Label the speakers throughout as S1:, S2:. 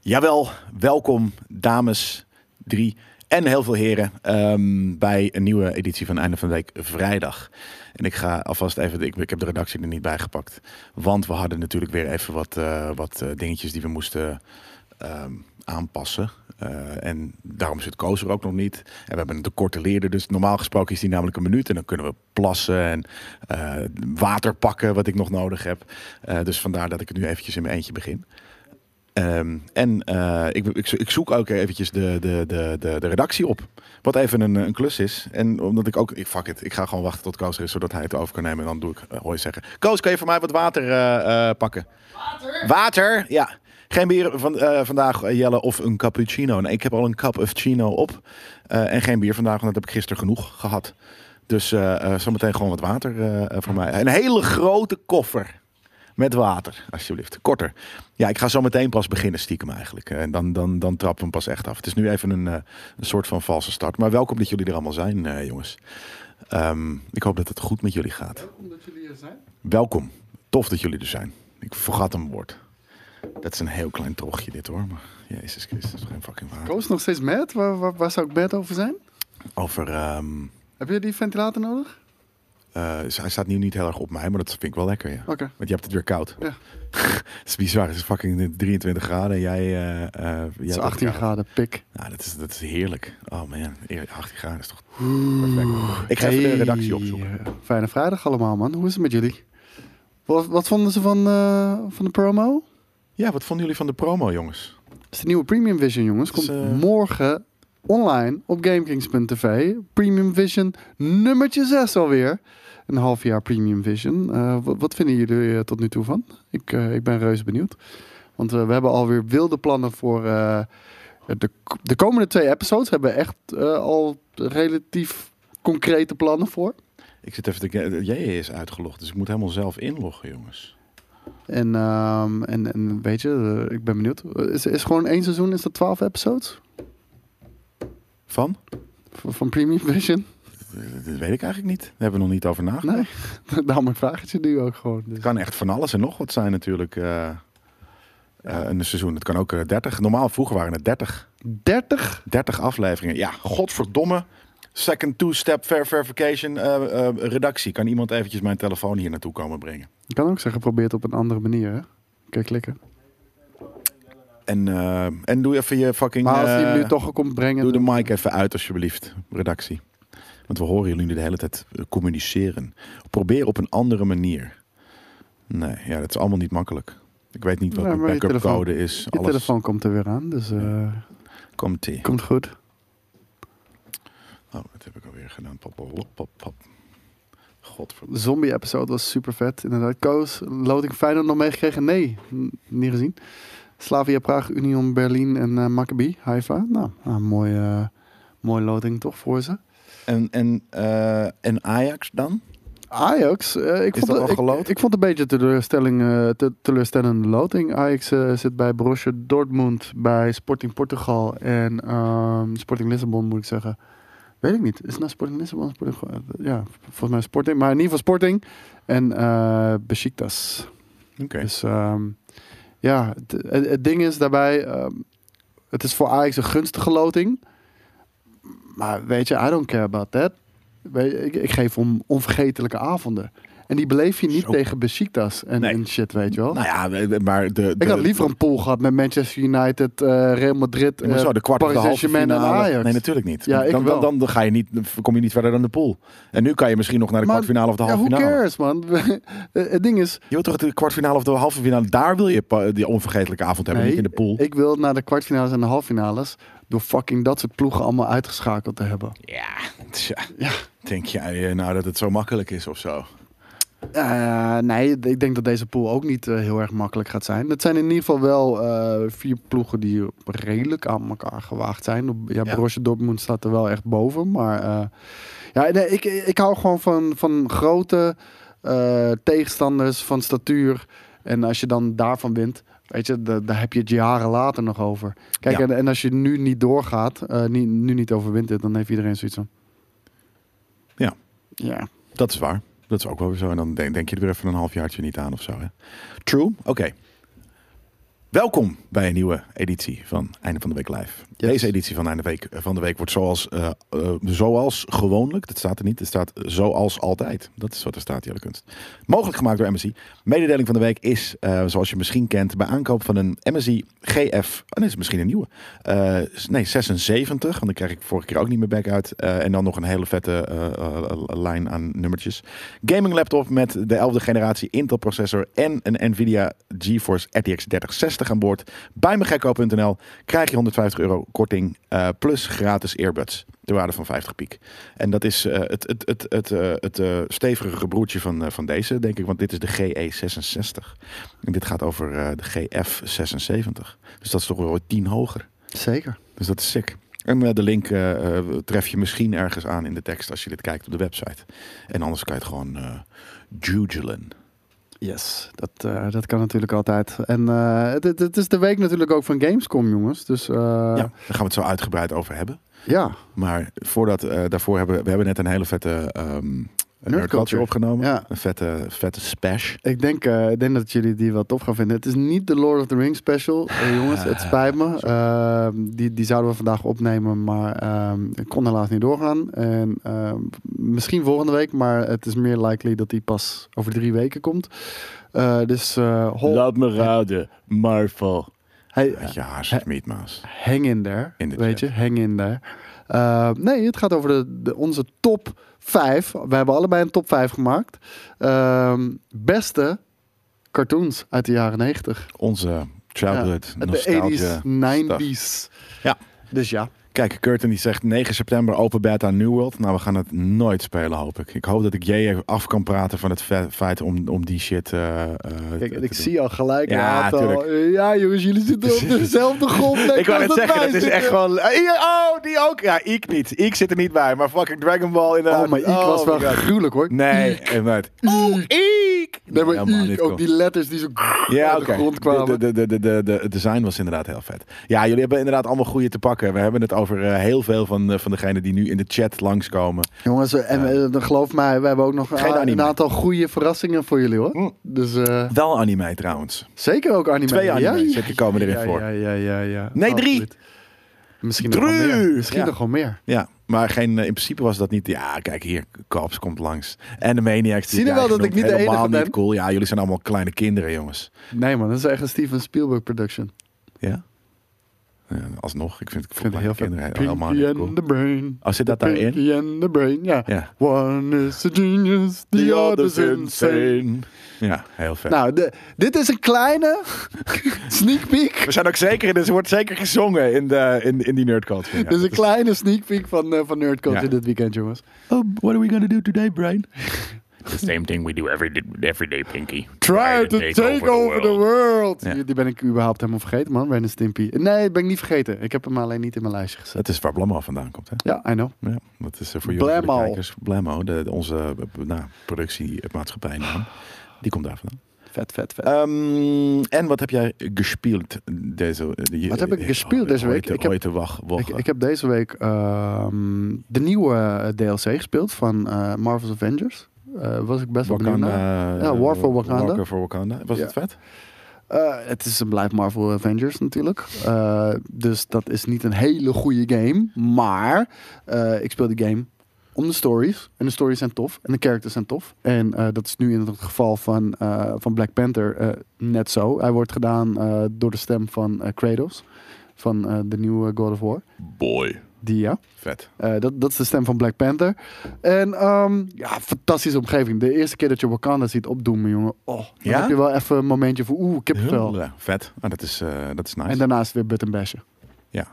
S1: Jawel, welkom dames drie en heel veel heren ehm, bij een nieuwe editie van Einde van de Week vrijdag. En ik ga alvast even, ik, ik heb de redactie er niet bij gepakt, want we hadden natuurlijk weer even wat, eh, wat eh, dingetjes die we moesten ehm, aanpassen. Eh, en daarom zit Koos er ook nog niet. En we hebben een tekorte leerder, dus normaal gesproken is die namelijk een minuut. En dan kunnen we plassen en eh, water pakken, wat ik nog nodig heb. Eh, dus vandaar dat ik het nu eventjes in mijn eentje begin. Ehm, en eh, ik, ik, zo- ik zoek ook eventjes de, de, de, de, de redactie op. Wat even een, eh, een klus is. En omdat ik ook... Ik, fuck it. Ik ga gewoon wachten tot Koos er is, zodat hij het over kan nemen. En dan doe ik eh, hooi zeggen. Koos, kan je voor mij wat water eh, eh, pakken? Water? Water, ja. Geen bier van, eh, vandaag, eh, Jelle, of een cappuccino. Nee, ik heb al een cup of chino op. Eh, en geen bier vandaag, want dat heb ik gisteren genoeg gehad. Dus eh, eh, zometeen gewoon wat water eh, eh, voor mij. Een hele grote koffer. Met water, alsjeblieft. Korter. Ja, ik ga zo meteen pas beginnen, stiekem eigenlijk. En dan, dan, dan trappen we hem pas echt af. Het is nu even een, eh, een soort van valse start. Maar welkom dat jullie er allemaal zijn, eh, jongens. Ehm, ik hoop dat het goed met jullie gaat.
S2: Omdat jullie er zijn?
S1: Welkom. Tof dat jullie er zijn. Ik vergat een woord. Dat is een heel klein trochtje dit hoor. Maar Jezus Christus, dat is geen fucking waar.
S2: Koos nog steeds mad? Waar, waar, waar zou ik mad over zijn?
S1: Over, ehm,
S2: Heb je die ventilator nodig?
S1: eh, hij staat nu niet heel erg op mij, maar dat vind ik wel lekker, ja.
S2: Oké.
S1: Want je hebt het weer koud.
S2: Ja.
S1: Het is bizar, het is fucking 23 graden en jij... eh, eh, jij hebt
S2: Het is
S1: het
S2: 18
S1: koud.
S2: graden, pik.
S1: Nou, dat is, dat is heerlijk. Oh man, eer- 18 graden is toch perfect. Ik ga even de
S2: Hey,
S1: redactie opzoeken.
S2: eh, Fijne vrijdag allemaal, man. Hoe is het met jullie? Wat, wat vonden ze van, eh, van de promo?
S1: Ja, wat vonden jullie van de promo, jongens?
S2: Het is de nieuwe Premium Vision, jongens.
S1: Het is,
S2: Komt
S1: eh,
S2: morgen online op GameKings.tv. Premium Vision nummertje 6 alweer. Een half jaar Premium Vision. Eh, wat, wat vinden jullie eh, tot nu toe van? Ik, eh, ik ben reuze benieuwd. Want eh, we hebben alweer wilde plannen voor eh, de, de komende twee episodes. Hebben we echt eh, al relatief concrete plannen voor.
S1: Ik zit even te kijken. Jij is uitgelogd, dus ik moet helemaal zelf inloggen, jongens.
S2: En, ehm, en, en weet je, eh, ik ben benieuwd. Is, is gewoon één seizoen, is dat 12 episodes?
S1: Van?
S2: Van, van Premium Vision?
S1: Dat weet ik eigenlijk niet. Daar hebben we nog niet over nagedacht.
S2: Nee, daarom mijn vraagje nu ook gewoon. Dus.
S1: Het kan echt van alles en nog wat zijn natuurlijk. eh, eh, een seizoen. Het kan ook eh, 30. Normaal vroeger waren het 30.
S2: 30?
S1: 30 afleveringen. Ja, godverdomme. Second two-step ver- verification eh, eh, redactie. Kan iemand eventjes mijn telefoon hier naartoe komen brengen?
S2: Je kan ook zeggen, probeer het op een andere manier. Hè? Kijk, klikken.
S1: En, eh, en doe even je fucking...
S2: Maar als hij hem
S1: eh,
S2: nu toch ook komt brengen...
S1: Doe de
S2: dan-
S1: mic even uit alsjeblieft, redactie. Want we horen jullie de hele tijd eh, communiceren. Probeer op een andere manier. Nee, ja, dat is allemaal niet makkelijk. Ik weet niet wat
S2: Nee,
S1: de
S2: maar je
S1: backup
S2: telefoon-
S1: code is.
S2: je
S1: Alles
S2: telefoon komt er weer aan, dus eh,
S1: komt ie.
S2: komt goed.
S1: Oh, dat heb ik alweer gedaan. Pop, pop, pop, pop. Godverdomme.
S2: De zombie-episode was super vet. Inderdaad, Koos, loting Feyenoord nog meegekregen? Nee, n- niet gezien. Slavia Praag, Union Berlin en eh Maccabi, Haifa. Nou, een mooie, eh, mooie loting toch voor ze.
S1: En, en, eh, en Ajax dan?
S2: Ajax, eh, ik,
S1: Is
S2: vond
S1: dat
S2: het,
S1: al
S2: ik,
S1: geloot?
S2: ik vond het een beetje teleurstelling, eh, te- teleurstellende loting. Ajax eh, zit bij Borussia Dortmund, bij Sporting Portugal en ehm, Sporting Lissabon moet ik zeggen. Weet ik niet. Is het nou Sporting Lissabon? Sporting, ja, volgens mij Sporting. Maar in ieder geval Sporting en eh Besiktas.
S1: Oké.
S2: Dus ehm, ja, het, het- het ding is daarbij, ehm, het is voor Ajax een gunstige loting. Maar weet je, I don't care about that. Weet je, ik, ik geef om onvergetelijke avonden. En die beleef je niet
S1: Zo.
S2: tegen Besiktas en,
S1: Nee.
S2: en shit, weet je wel.
S1: Nou ja, we- we- maar de... de
S2: ik had liever een pool gehad met Manchester United, eh, Real Madrid,
S1: maar
S2: eh,
S1: zo, de kwart of de
S2: Paris
S1: halve
S2: Saint-Germain en
S1: finale.
S2: Ajax.
S1: Nee, natuurlijk niet.
S2: Ja, ik
S1: dan,
S2: wel.
S1: dan, dan, ga je niet, kom je niet verder dan de pool. En nu kan je misschien nog naar de
S2: Maar-
S1: kwartfinale of de
S2: ja,
S1: halve
S2: who
S1: finale.
S2: cares, man? Eh, het ding is,
S1: Je wilt toch de kwartfinale of de halve finale? Daar wil je pa- die onvergetelijke avond hebben, niet in de pool.
S2: ik wil naar de kwartfinales en de halffinales door fucking dat soort ploegen allemaal uitgeschakeld te hebben.
S1: Ja, tja. Denk jij eh, nou dat het zo makkelijk is of zo?
S2: Eh, nee, ik denk dat deze pool ook niet eh, heel erg makkelijk gaat zijn. Het zijn in ieder geval wel eh, vier ploegen die redelijk aan elkaar gewaagd zijn. Op- Ja,
S1: Ja.
S2: Borussia Dortmund staat er wel echt boven. Maar eh, ja, nee, ik, ik hou gewoon van, van grote eh, tegenstanders, van statuur. En als je dan daarvan wint, weet je, da- daar heb je het jaren later nog over. Kijk,
S1: Ja.
S2: en, en als je nu niet doorgaat, eh, niet, nu niet overwint dit, dan heeft iedereen zoiets van...
S1: Ja.
S2: Ja.
S1: Dat is waar. Dat is ook wel weer zo. En dan denk, denk je er weer even een halfjaartje niet aan of zo. Hè? True? Oké. Welkom bij een nieuwe editie van Einde van de Week Live. Deze editie van Einde Week, van de Week wordt zoals, eh, eh, zoals gewoonlijk, dat staat er niet, het staat zoals altijd. Dat is wat er staat, Jelle Kunst. Mogelijk gemaakt door MSI. Mededeling van de week is, eh, zoals je misschien kent, bij aankoop van een MSI GF, oh nee, is misschien een nieuwe, Eh, s- nee 76, want dan krijg ik vorige keer ook niet meer back uit. Eh, en dan nog een hele vette eh, eh, lijn aan nummertjes. Gaming laptop met de 11e generatie Intel processor en een Nvidia GeForce RTX 3060 aan boord. Bij megekko.nl krijg je 150 euro korting eh, plus gratis earbuds ter waarde van 50 piek. En dat is eh, het, het, het, het, eh, het eh, stevigere broertje van, eh, van deze, denk ik, want dit is de GE66. En dit gaat over eh, de GF76. Dus dat is toch wel 10 hoger.
S2: Zeker.
S1: Dus dat is sick. En eh, de link eh, eh, tref je misschien ergens aan in de tekst als je dit kijkt op de website. En anders kan je het gewoon eh jugelen.
S2: Yes, dat, eh, dat kan natuurlijk altijd. En eh, het, het- het is de week natuurlijk ook van Gamescom, jongens. Dus eh,
S1: ja, daar
S2: ja.
S1: gaan we het zo uitgebreid over hebben. Maar voordat, eh, daarvoor hebben we- we hebben net een hele vette ehm nerd
S2: Culture.
S1: culture opgenomen.
S2: Ja.
S1: Een vette, vette spash.
S2: Ik denk, eh, ik denk dat jullie die wel tof gaan vinden. Het is niet de Lord of the Rings special, eh, jongens.
S1: Ah,
S2: Het spijt me. Ehm, die, die zouden we vandaag opnemen, maar ehm, ik kon helaas niet doorgaan. En, ehm, misschien volgende week, maar het is meer likely dat die pas over drie weken komt. Eh, dus eh hol-
S1: me raden, Marvel.
S2: hey,
S1: Ja, haast niet, Maas.
S2: hang in there.
S1: In de
S2: weet je, hang in there. Eh, nee, het gaat over de, de- onze top 5. We hebben allebei een top 5 gemaakt. Ehm, beste cartoons uit de jaren 90.
S1: Onze childhood,
S2: Ja,
S1: nostalgia.
S2: de 80s, 90s.
S1: Ja.
S2: Dus ja.
S1: Kijk, Curtin die zegt 9 september open beta New World. Nou, we gaan het nooit spelen, hoop ik. Ik hoop dat ik jij even af kan praten van het fe- feit om, om die shit eh, eh, te-
S2: Kijk, en
S1: te
S2: ik
S1: doen.
S2: zie al gelijk.
S1: Ja,
S2: Ja,
S1: tuurlijk.
S2: al, eh, ja jongens, jullie zitten op dezelfde golflengte.
S1: Ik wou
S2: als
S1: het zeggen, dat is
S2: wij
S1: echt
S2: zitten.
S1: gewoon... Oh, die ook? Ja, ik niet. Ik zit er niet bij, maar fucking Dragon Ball in de
S2: Oh, maar ik was wel gruwelijk hoor.
S1: Nee, inderdaad. Oh, ik!
S2: Nee, maar
S1: Helemaal
S2: ik,
S1: niet,
S2: ook
S1: kom.
S2: die letters die zo
S1: Ja,
S2: uit de
S1: oké.
S2: grond kwamen.
S1: De, de, de, de, de, de- het design was inderdaad heel vet. Ja, jullie hebben inderdaad allemaal goede te pakken. We hebben het over eh, heel veel van, eh, van degenen die nu in de chat langskomen.
S2: Jongens, eh, en eh, dan geloof mij, we hebben ook nog
S1: Geen
S2: a- een
S1: anime.
S2: aantal goede verrassingen voor jullie hoor.
S1: Mm.
S2: Dus eh,
S1: Wel anime trouwens.
S2: zeker ook anime.
S1: Twee
S2: Ja,
S1: anime
S2: ja,
S1: zeker komen erin
S2: ja,
S1: voor.
S2: Ja, ja, ja, ja.
S1: Nee, drie.
S2: Absoluut. Misschien nog wel
S1: Drie.
S2: meer. Misschien
S1: Ja.
S2: nog wel meer.
S1: Ja, maar geen, eh, in principe was dat niet... Ja, kijk hier, Cops komt langs. En de Maniacs. die
S2: Zie je
S1: jij
S2: wel dat ik
S1: genoemd,
S2: niet de
S1: helemaal
S2: enige
S1: niet
S2: ben?
S1: cool. Ja, jullie zijn allemaal kleine kinderen, jongens.
S2: Nee man, dat is echt een Steven Spielberg production.
S1: Ja? Ja, alsnog, ik vind het
S2: Ik
S1: voor
S2: vind het
S1: kleine
S2: heel vet.
S1: Oh, kinderen helemaal
S2: Pinky
S1: niet
S2: and
S1: cool.
S2: the Brain.
S1: Oh, zit dat
S2: The
S1: daarin?
S2: Pinky and the Brain, ja.
S1: Ja.
S2: One is a genius, the, other is insane.
S1: Ja, heel vet.
S2: Nou, de- dit is een kleine sneak peek
S1: We zijn ook zeker, dus er wordt zeker gezongen in, de, in, in die nerdculture.
S2: dus een kleine sneak peek van, eh, van Nerd Culture
S1: Ja.
S2: dit weekend, jongens.
S1: Oh, what are we gonna do today, Brian?
S3: The same thing we do every every day, Pinky.
S2: Try to take, over, the world.
S1: Ja.
S2: Die, die ben ik überhaupt helemaal vergeten, man. Ren en Stimpy. Nee, dat ben ik niet vergeten. Ik heb hem alleen niet in mijn lijstje gezet.
S1: Dat is waar Blammo vandaan komt, hè?
S2: Ja, I know.
S1: Ja, dat is eh, voor jullie voor de
S2: Blammo.
S1: kijkers. Blammo, de, de- onze eh, nou, productiemaatschappij, naam.
S2: Ah.
S1: die komt daar vandaan.
S2: Vet, vet, vet.
S1: Ehm, en wat heb jij gespeeld deze eh, week?
S2: Wat heb ik gespeeld
S1: eh,
S2: deze week? Ik
S1: Ik
S2: heb-
S1: heb te wachten.
S2: ik, ik heb deze week ehm, de nieuwe eh, DLC gespeeld van eh, Marvel's Avengers. Eh, was ik best wel benieuwd naar. Ja, War for Wakanda.
S1: War eh, for Wakanda. Was
S2: Ja.
S1: het vet?
S2: Eh, het is een blijft Marvel Avengers natuurlijk. Eh, dus dat is niet een hele goede game. Maar eh, ik speel die game om de stories. En de stories zijn tof. En de characters zijn tof. En eh, dat is nu in het geval van, eh, van Black Panther eh, net zo. Hij wordt gedaan eh, door de stem van eh, Kratos. Van eh, de nieuwe God of War.
S1: Boy.
S2: Die ja.
S1: Vet.
S2: Eh, dat, dat is de stem van Black Panther. En ehm, ja, fantastische omgeving. De eerste keer dat je Wakanda ziet opdoemen, jongen. Oh, dan
S1: Ja?
S2: heb je wel even een momentje voor oeh, kippenvel.
S1: Ja, vet. Ah, dat, is, eh, dat is nice.
S2: En daarnaast weer button bashen.
S1: Ja.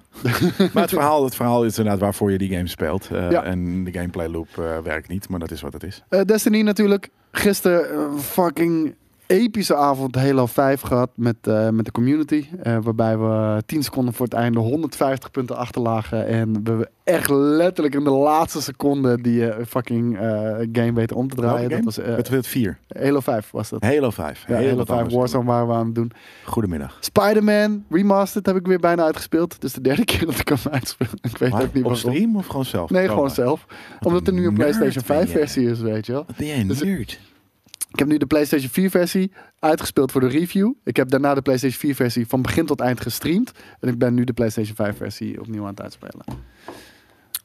S1: maar het verhaal, het verhaal is inderdaad waarvoor je die game speelt. Eh,
S2: Ja.
S1: En de gameplay loop eh, werkt niet, maar dat is wat het is.
S2: Eh, Destiny natuurlijk. Gisteren een fucking epische avond Halo 5 gehad met, eh, met de community. Eh, waarbij we 10 seconden voor het einde 150 punten achterlagen. En we echt letterlijk in de laatste seconde die eh, fucking eh, game weten om te draaien.
S1: Welke
S2: Dat was, eh,
S1: Battlefield 4.
S2: Halo 5 was dat.
S1: Halo 5.
S2: Ja,
S1: Heel
S2: Halo
S1: wat
S2: 5
S1: anders.
S2: Warzone waren we aan het doen.
S1: Goedemiddag.
S2: Spider-Man Remastered heb ik weer bijna uitgespeeld. Dus de derde keer dat ik hem uitspeel. Ik weet
S1: Maar
S2: ook niet
S1: op
S2: waarom.
S1: stream of gewoon zelf?
S2: Nee,
S1: Oh,
S2: gewoon
S1: maar.
S2: zelf. Omdat er nu een
S1: nerd
S2: PlayStation
S1: ben
S2: 5
S1: jij.
S2: versie is, weet je wel.
S1: Wat ben jij een
S2: Dus-
S1: nerd?
S2: Ik heb nu de PlayStation 4 versie uitgespeeld voor de review. Ik heb daarna de PlayStation 4 versie van begin tot eind gestreamd. En ik ben nu de PlayStation 5 versie opnieuw aan het uitspelen.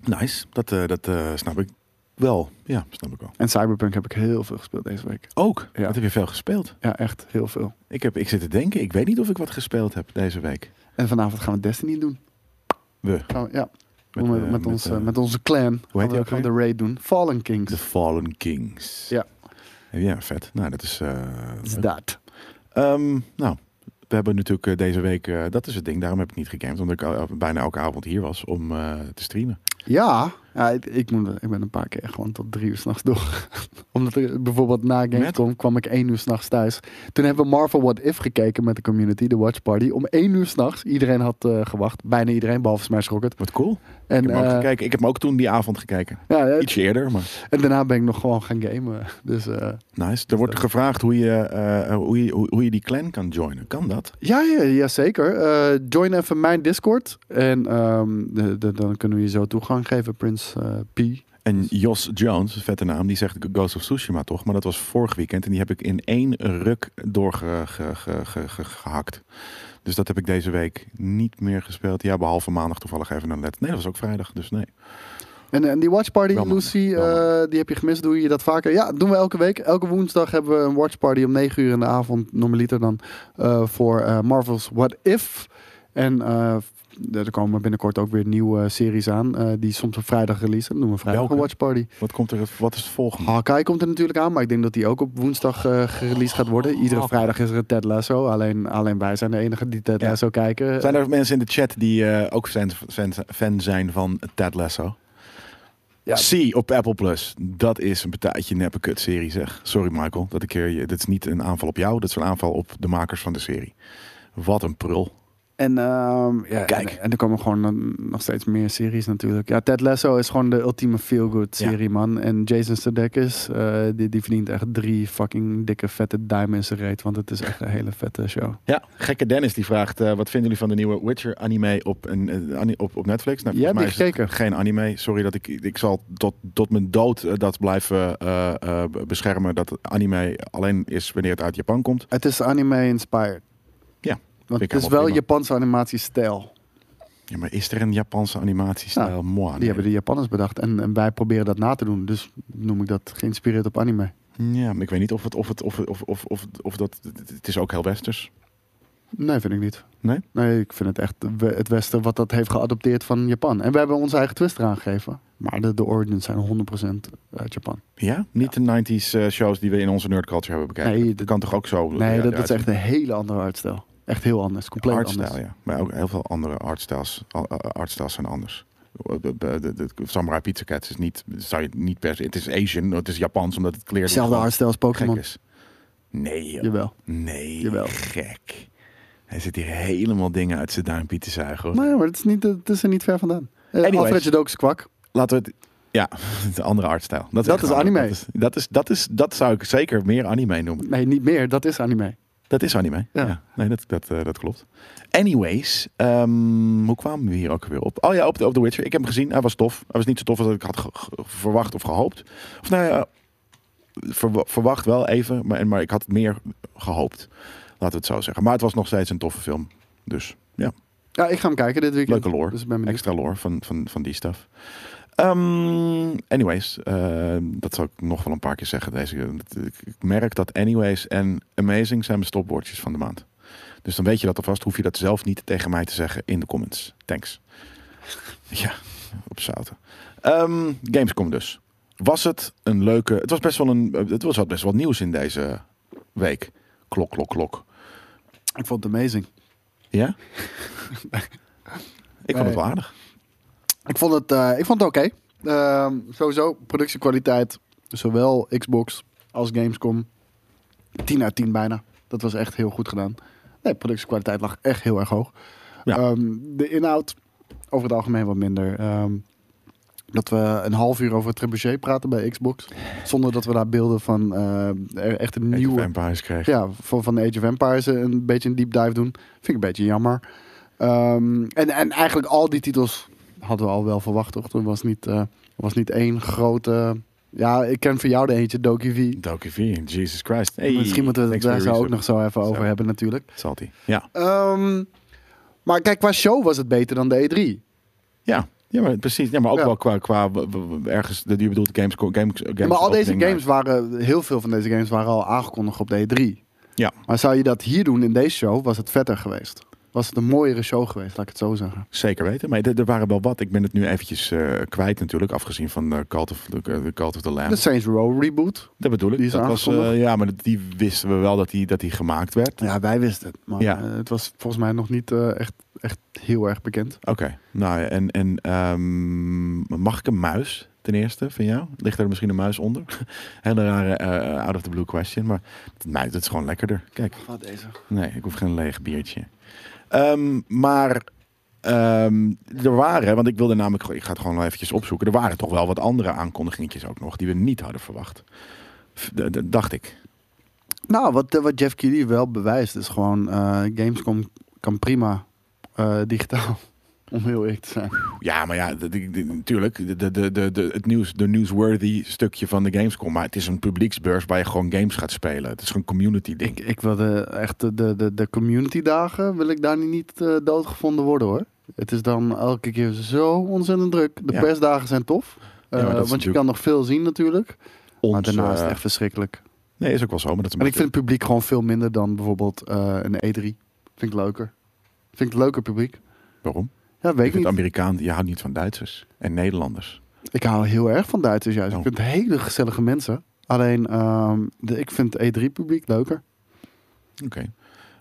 S1: Nice, dat, eh, dat eh, snap ik wel. Ja, snap ik wel.
S2: En Cyberpunk heb ik heel veel gespeeld deze week.
S1: Ook,
S2: Ja.
S1: dat heb je veel gespeeld.
S2: Ja, echt heel veel.
S1: Ik, heb, ik zit te denken, ik weet niet of ik wat gespeeld heb deze week.
S2: En vanavond gaan we Destiny doen.
S1: We.
S2: Gaan we, ja,
S1: Met,
S2: met,
S1: eh,
S2: met, ons, eh,
S1: eh,
S2: met onze clan.
S1: die
S2: gaan we,
S1: ook
S2: gaan we de raid doen. Fallen Kings.
S1: The Fallen Kings.
S2: Ja.
S1: Ja, vet. Nou, dat is... eh,
S2: Is
S1: leuk.
S2: dat.
S1: Ehm, nou, we hebben natuurlijk eh, deze week... eh, dat is het ding, daarom heb ik niet gegamed. Omdat ik al- al- bijna elke avond hier was om eh, te streamen.
S2: Ja, ja ik, ik, moet, ik ben een paar keer gewoon tot drie uur s'nachts door. Omdat ik bijvoorbeeld na Gamescom kwam ik één uur s'nachts thuis. Toen hebben we Marvel What If gekeken met de community, de watch party. Om één uur s'nachts. Iedereen had eh, gewacht. Bijna iedereen, behalve Smash Rocket.
S1: Wat cool.
S2: En,
S1: ik, heb hem ook
S2: eh,
S1: gekeken. ik heb hem ook toen die avond gekeken.
S2: ja, eh,
S1: Ietsje eerder, maar
S2: en daarna ben ik nog gewoon gaan gamen. Dus eh,
S1: nice. Er wordt gevraagd hoe je, eh, hoe, je, hoe, hoe je die clan kan joinen. Kan dat?
S2: ja, ja, ja, zeker. Eh, join even mijn Discord. En ehm, de- de- dan kunnen we je zo toegang geven, Prins eh, P.
S1: En Jos Jones, een vette naam, die zegt Ghost of Tsushima toch? Maar dat was vorig weekend en die heb ik in één ruk doorgehakt. Ge, ge, ge- ge- gehakt. dus dat heb ik deze week niet meer gespeeld. Ja, behalve maandag toevallig even een let. Nee, dat was ook vrijdag, dus nee.
S2: En, en die watchparty,
S1: Wel mannen,
S2: Lucy,
S1: wel mannen.
S2: eh, die heb je gemist. Doe je dat vaker? Ja, doen we elke week. Elke woensdag hebben we een watchparty om 9 uur in de avond. Normaliter dan eh, voor eh, Marvel's What If. En eh, er komen binnenkort ook weer nieuwe series aan. eh, die soms op vrijdag releasen. Dan doen we vrijdag een
S1: Welke?
S2: watchparty.
S1: Wat, komt er, wat is het volgende?
S2: Hawkeye komt er natuurlijk aan. Maar ik denk dat die ook op woensdag eh gereleased gaat worden. Iedere vrijdag is er een Ted Lasso. Alleen, alleen wij zijn de enige die Ted
S1: Ja.
S2: Lasso kijken.
S1: Zijn er mensen in de chat die eh, ook fan, fan, fan zijn van Ted Lasso?
S2: Ja.
S1: C op Apple Plus. Dat is een betaatje neppe kut serie zeg. Sorry Michael, dat ik hier je. Dit is niet een aanval op jou, dat is een aanval op de makers van de serie. Wat een prul.
S2: En, ehm, ja,
S1: Kijk.
S2: En, en er komen gewoon eh, nog steeds meer series natuurlijk. Ja, Ted Lasso is gewoon de ultieme feel-good
S1: Ja.
S2: serie, man. En Jason Sudeikis, eh, die, die verdient echt drie fucking dikke vette duimen in zijn reet. Want het is echt een hele vette show.
S1: Ja, gekke Dennis die vraagt: eh, wat vinden jullie van de nieuwe Witcher anime op, een, eh, ani- op, op Netflix? Nou, volgens
S2: Jij hebt
S1: mij
S2: niet
S1: is het
S2: gekeken.
S1: Geen anime. Sorry dat ik. Ik zal tot, tot mijn dood eh, dat blijven eh, eh, beschermen. Dat anime alleen is wanneer het uit Japan komt.
S2: Het is anime-inspired.
S1: Ja,
S2: Want
S1: ik
S2: het is
S1: helemaal
S2: wel
S1: prima.
S2: Japanse animatiestijl.
S1: Ja, maar is er een Japanse animatiestijl?
S2: Nou,
S1: Moi, nee.
S2: Die hebben de Japanners bedacht. En, en wij proberen dat na te doen. Dus noem ik dat geïnspireerd op anime.
S1: Ja, maar ik weet niet of het. Of het of, of, of, of, of dat, het is ook heel westers.
S2: Nee, vind ik niet.
S1: Nee?
S2: Nee, ik vind het echt we- het Westen wat dat heeft geadopteerd van Japan. En we hebben onze eigen twist eraan gegeven. Maar de, de origins zijn 100% uit Japan.
S1: Ja? Niet de 90s eh, shows die we in onze nerdculture hebben bekeken.
S2: Nee,
S1: dat
S2: dat-
S1: kan toch ook zo?
S2: Nee,
S1: ja,
S2: dat, dat is
S1: eruit-
S2: echt een hele andere artstijl. Echt heel anders. Compleet
S1: artstijl,
S2: anders.
S1: ja. Maar ook heel veel andere artstyles, al- eh, artstyles zijn anders. Eh, De, de, de, de Samurai Pizza Cats is niet, zou je niet per se, het is Asian, het is Japans, omdat het kleerlijk
S2: Hetzelfde
S1: gewoon
S2: artstijl als
S1: gek
S2: Pokémon.
S1: is. Nee, joh.
S2: Jawel.
S1: nee,
S2: Jawel.
S1: gek. Hij zit hier helemaal dingen uit zijn duimpje te zuigen. Hoor.
S2: Maar, ja, maar het, is niet, het is er niet ver vandaan. Eh
S1: Anyways.
S2: Alfred Jadokus kwak.
S1: Laten we het, ja, de andere artstijl. Dat is,
S2: Dat
S1: echt
S2: is
S1: een andere-
S2: anime.
S1: Dat, is, dat, is, dat, is, dat zou ik zeker meer anime noemen.
S2: Nee, niet meer. Dat is anime.
S1: Dat is anime. Ja.
S2: Ja.
S1: Nee, dat, dat, eh, dat klopt. Anyways, ehm, hoe kwamen we hier ook weer op? Oh ja, op de, op The Witcher. Ik heb hem gezien. Hij was tof. Hij was niet zo tof als ik had ge- ge- verwacht of gehoopt. Of nou ja, verwa- verwacht wel even, maar, maar ik had meer gehoopt. Laten we het zo zeggen. Maar het was nog steeds een toffe film. Dus ja,
S2: Ja, ik ga hem kijken dit weekend.
S1: leuke lore.
S2: Dus ik ben benieuwd.
S1: Extra lore van, van, van die stuff. Ehm, anyways, ehm, dat zou ik nog wel een paar keer zeggen. Deze, ik ik merk dat anyways en amazing zijn mijn stopwoordjes van de maand. Dus dan weet je dat alvast. Hoef je dat zelf niet tegen mij te zeggen in de comments. Thanks. Ja, op zouten. Ehm, Gamescom dus. Was het een leuke... Het was best wel een... Het was had best wel nieuws in deze week. Klok, klok, klok.
S2: Ik vond het amazing.
S1: Ja? ik vond het
S2: Nee.
S1: wel aardig.
S2: Ik vond het, eh, ik vond het oké. Ehm, sowieso, productiekwaliteit. Zowel Xbox als Gamescom. 10 uit 10 bijna. Dat was echt heel goed gedaan. Nee, productiekwaliteit lag echt heel erg hoog.
S1: Ja.
S2: Ehm, de inhoud over het algemeen wat minder. Ehm, dat we een half uur over het Trebuchet praten bij Xbox. Zonder dat we daar beelden van eh, echt een
S1: Nieuwe...
S2: nieuwe
S1: Vampires kreeg.
S2: ja, van, van Age of Empires eh, een beetje een deep dive doen. Vind ik een beetje jammer. Ehm, en, en eigenlijk al die titels hadden we al wel verwacht, toch? Er was niet, eh, was niet één grote Ja, ik ken voor jou de eentje, Doki V.
S1: Doki V, Jesus Christ. Hey,
S2: Misschien moeten we het
S1: thanks
S2: daar
S1: for
S2: zo
S1: your
S2: ook nog
S1: research.
S2: zo even over
S1: Zo.
S2: hebben natuurlijk.
S1: Salty. Ja.
S2: Ehm, maar kijk, qua show was het beter dan de E3.
S1: Ja. Ja, maar precies. Ja, maar ook
S2: Ja.
S1: wel qua, qua w- w- w- ergens, de, je bedoelt games, games, games
S2: maar al deze
S1: opening,
S2: games waren, heel veel van deze games waren al aangekondigd op de E3.
S1: Ja.
S2: Maar zou je dat hier doen in deze show, was het vetter geweest. Was het een mooiere show geweest, laat ik het zo zeggen.
S1: eh, Zeker weten. Maar er er waren wel wat. Ik ben het nu eventjes eh, kwijt natuurlijk. Afgezien van de Cult of, de, de Cult of the Lamb.
S2: De Saints Row reboot.
S1: dat bedoel ik.
S2: die is
S1: dat was, eh,
S2: aangekondigd.
S1: ja, maar dat- die wisten we wel dat die, dat die gemaakt werd.
S2: Ja, wij wisten het. Maar
S1: Ja.
S2: eh, het was volgens mij nog niet eh, echt, echt heel erg bekend.
S1: Oké. Nou ja, en, en ehm, mag ik een muis ten eerste van jou? Ligt er misschien een muis onder? Hele rare eh, out of the blue question. Maar nee, dat is gewoon lekkerder. Kijk.
S2: Wat deze?
S1: Nee, ik hoef geen leeg biertje. Ehm, maar ehm, er waren, want ik wilde namelijk, ik ga het gewoon wel eventjes opzoeken. Er waren toch wel wat andere aankondigingetjes ook nog die we niet hadden verwacht. F- d- d- dacht ik.
S2: Nou, wat, eh, wat Jeff Keighley wel bewijst is gewoon... eh, Gamescom kan prima eh, digitaal, om heel eerlijk te zijn.
S1: Ja, maar ja, dat- ik- dit- natuurlijk. De, de, de, de, de- het nieuws, de newsworthy stukje van de Gamescom. Maar het is een publieksbeurs waar je gewoon games gaat spelen. Het is een community ding.
S2: Ik, ik wilde echt de- de, de, de community dagen wil ik daar niet eh, doodgevonden worden hoor. Het is dan elke keer zo ontzettend druk. De
S1: Ja.
S2: persdagen zijn tof.
S1: maar dat
S2: eh,
S1: is
S2: want je
S1: natuurlijk
S2: kan nog veel zien natuurlijk. maar
S1: Ons,
S2: daarna is
S1: eh,
S2: het echt verschrikkelijk.
S1: Nee, is ook wel zo. Maar dat is een
S2: En ik vind
S1: beetje-
S2: het publiek gewoon veel minder dan bijvoorbeeld eh, een E3. Vind ik leuker. Vind ik leuker publiek.
S1: Waarom?
S2: Ja,
S1: Ik
S2: weet ik
S1: vind
S2: niet.
S1: Amerikaan, je houdt niet van Duitsers en Nederlanders.
S2: Ik hou heel erg van Duitsers juist.
S1: Oh.
S2: Ik vind het hele gezellige mensen. Alleen, ehm, de, ik vind E3 publiek leuker.
S1: Oké.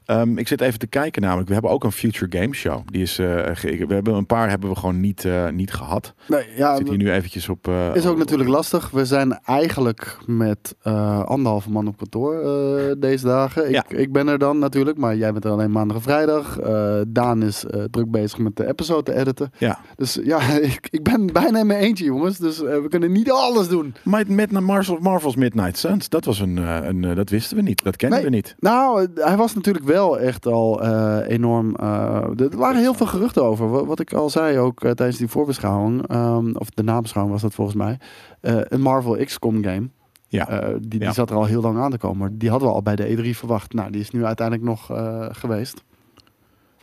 S1: Ehm, ik zit even te kijken namelijk. We hebben ook een Future Game Show. Die is, eh, ge- we hebben een paar hebben we gewoon niet, eh, niet gehad.
S2: Nee,
S1: Ik
S2: ja,
S1: zit hier nu eventjes op... eh,
S2: Is ook
S1: op-
S2: natuurlijk lastig. We zijn eigenlijk met eh, anderhalve man op kantoor eh, deze dagen. Ik,
S1: Ja.
S2: ik ben er dan natuurlijk, maar jij bent er alleen maandag en vrijdag. Eh, Daan is eh, druk bezig met de episode te editen.
S1: Ja.
S2: Dus ja, ik, ik ben bijna in mijn eentje, jongens. Dus eh, we kunnen niet alles doen.
S1: Maar met Marvel, Marvel's Midnight Suns, dat was een... eh, een eh, dat wisten we niet. Dat kenden
S2: Nee.
S1: we niet.
S2: Nou, eh, hij was natuurlijk wel echt al eh, enorm. eh, er waren heel veel geruchten over. Wa- Wat, ik al zei ook eh, tijdens die voorbeschouwing, ehm, of de nabeschouwing was dat volgens mij, eh, een Marvel XCOM game.
S1: Ja.
S2: Eh, die, die
S1: Ja.
S2: zat er al heel lang aan te komen. Maar Die hadden we al bij de E3 verwacht. Nou, die is nu uiteindelijk nog eh, geweest.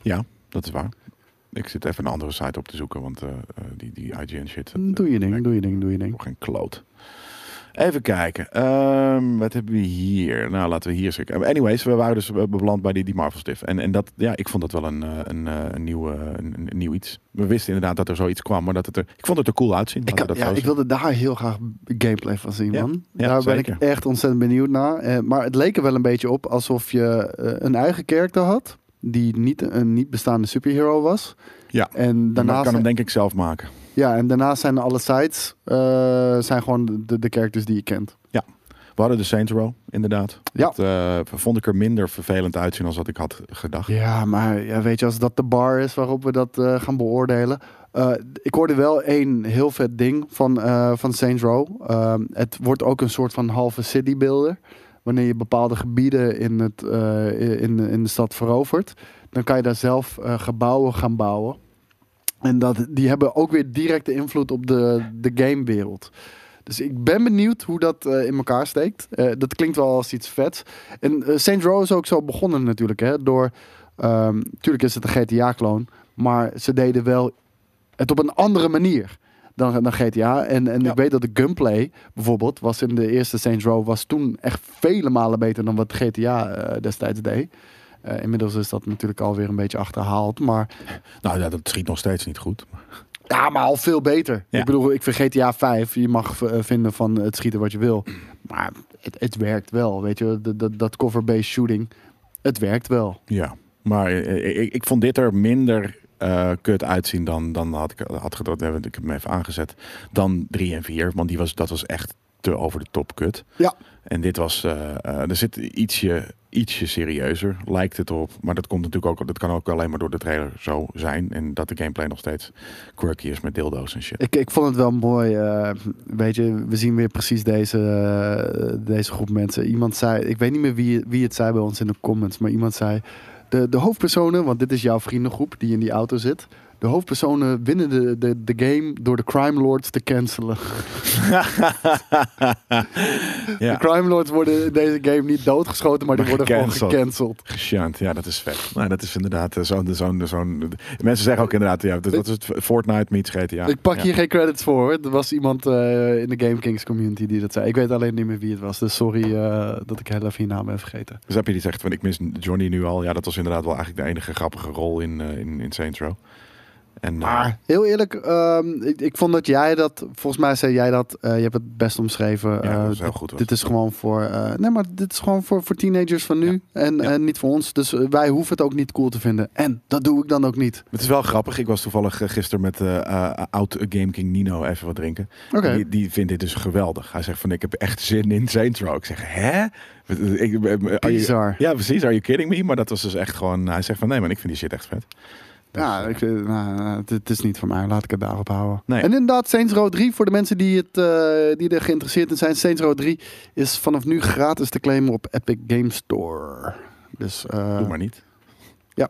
S1: ja, dat is waar. Ik zit even een andere site op te zoeken, want eh, eh, die, die IGN shit... dat-
S2: Doe je
S1: eh,
S2: ding, doe je ding, doe je ding.
S1: Nog geen kloot. Even kijken. Ehm, wat hebben we hier? Nou, laten we hier eens kijken. Anyways, we waren dus eh, beland bij die, die Marvel Stiff. En, en dat, ja, ik vond dat wel een, eh, een, eh, een, nieuw, eh, een, een nieuw iets. We wisten inderdaad dat er zoiets kwam, maar dat het er... Ik vond het er cool uitzien.
S2: Ik,
S1: laten we
S2: ja,
S1: dat zo
S2: ik wilde daar heel graag gameplay van zien,
S1: Ja,
S2: man.
S1: ja,
S2: daar ben
S1: zeker.
S2: ik echt ontzettend benieuwd naar. Eh, maar het leek er wel een beetje op alsof je eh, een eigen character had. Die niet een niet bestaande superhero was.
S1: Ja,
S2: En
S1: zeggen. Maar ik
S2: daarnaast,
S1: kan hem denk ik zelf maken.
S2: ja, en daarnaast zijn alle sites eh, zijn gewoon de, de characters die je kent.
S1: We hadden de Saints Row, inderdaad.
S2: Ja.
S1: Dat eh, vond ik er minder vervelend uitzien dan dat ik had gedacht.
S2: Ja, maar ja, weet je, als dat de bar is waarop we dat eh, gaan beoordelen. Eh, ik hoorde wel één heel vet ding van, eh, van Saints Row. Ehm, het wordt ook een soort van halve city builder. Wanneer je bepaalde gebieden in, het, eh, in, in de stad verovert, dan kan je daar zelf eh, gebouwen gaan bouwen. En dat, die hebben ook weer directe invloed op de, de gamewereld. Dus ik ben benieuwd hoe dat eh, in elkaar steekt. Eh, dat klinkt wel als iets vets. En eh Saints Row is ook zo begonnen natuurlijk. Hè, door, ehm tuurlijk is het een GTA-kloon. Maar ze deden wel het op een andere manier dan, dan GTA. En, en
S1: Ja.
S2: ik weet dat de gunplay bijvoorbeeld was in de eerste Saints Row... was toen echt vele malen beter dan wat GTA eh, destijds deed. Eh, inmiddels is dat natuurlijk alweer een beetje achterhaald. Maar
S1: Nou ja, dat schiet nog steeds niet goed.
S2: ja, maar al veel beter.
S1: Ja.
S2: Ik bedoel, ik vind GTA 5. Je mag v- eh, vinden van het schieten wat je wil. Maar het, het werkt wel, weet je. Dat, dat, dat cover-based shooting, het werkt wel.
S1: Ja, maar eh, ik, ik vond dit er minder eh, kut uitzien dan, dan had ik had gedacht. eh, want Ik heb hem even aangezet. Dan 3 en 4, want die was, dat was echt te over de top kut.
S2: Ja.
S1: En dit was, eh, eh, er zit ietsje, ietsje serieuzer, lijkt het op. Maar dat komt natuurlijk ook, dat kan ook alleen maar door de trailer zo zijn. En dat de gameplay nog steeds quirky is met dildo's en shit.
S2: Ik, ik vond het wel mooi. eh, weet je, we zien weer precies deze, eh, deze groep mensen. Iemand zei, ik weet niet meer wie, wie het zei bij ons in de comments, maar iemand zei. De, de hoofdpersonen, want dit is jouw vriendengroep die in die auto zit. De hoofdpersonen winnen de, de, de game door de crime lords te cancelen.
S1: ja,
S2: De crime lords worden in deze game niet doodgeschoten, maar die
S1: Maar
S2: worden
S1: gecanceld.
S2: gewoon gecanceld.
S1: geshunt. Ja, dat is vet. Nou, dat is inderdaad eh, zo'n... zo'n zo'n mensen zeggen ook inderdaad, ja, dat, dat is het Fortnite meets GTA.
S2: Ik pak
S1: Ja.
S2: hier geen credits voor. hoor. Er was iemand eh, in de Game Kings community die dat zei. Ik weet alleen niet meer wie het was. Dus sorry eh, dat ik heel even je naam ben vergeten.
S1: Dus heb je die zegt van ik mis Johnny nu al. Ja, dat was inderdaad wel eigenlijk de enige grappige rol in, eh, in, in Saints Row. En, eh,
S2: Maar heel eerlijk, ehm, ik, ik vond dat jij dat... Volgens mij zei jij dat... eh, je hebt het best omschreven.
S1: ja,
S2: eh,
S1: dat is heel goed. was
S2: dit is gewoon voor... eh, nee, maar dit is gewoon voor, voor teenagers van nu. En,
S1: Ja.
S2: en niet voor ons. Dus eh, wij hoeven het ook niet cool te vinden. En dat doe ik dan ook niet.
S1: Het is wel grappig. Ik was toevallig eh, gisteren met eh eh, oud Game King Nino even wat drinken.
S2: Oké.
S1: Die, die vindt dit dus geweldig. Hij zegt van ik heb echt zin in Saints Row. Ik zeg hè? Wat- Ik, eh, are you-
S2: Bizar.
S1: ja precies, are you kidding me? Maar dat was dus echt gewoon, hij zegt van nee man, ik vind die shit echt vet. Dus,
S2: Ja,
S1: eh,
S2: ik, eh, nou, eh, het, het is niet voor mij. Laat ik het daarop houden.
S1: Nee.
S2: En inderdaad, Saints Row 3, voor de mensen die, het, eh, die er geïnteresseerd in zijn. Saints Row 3 is vanaf nu gratis te claimen op Epic Game Store. Dus eh,
S1: Doe maar niet.
S2: Ja.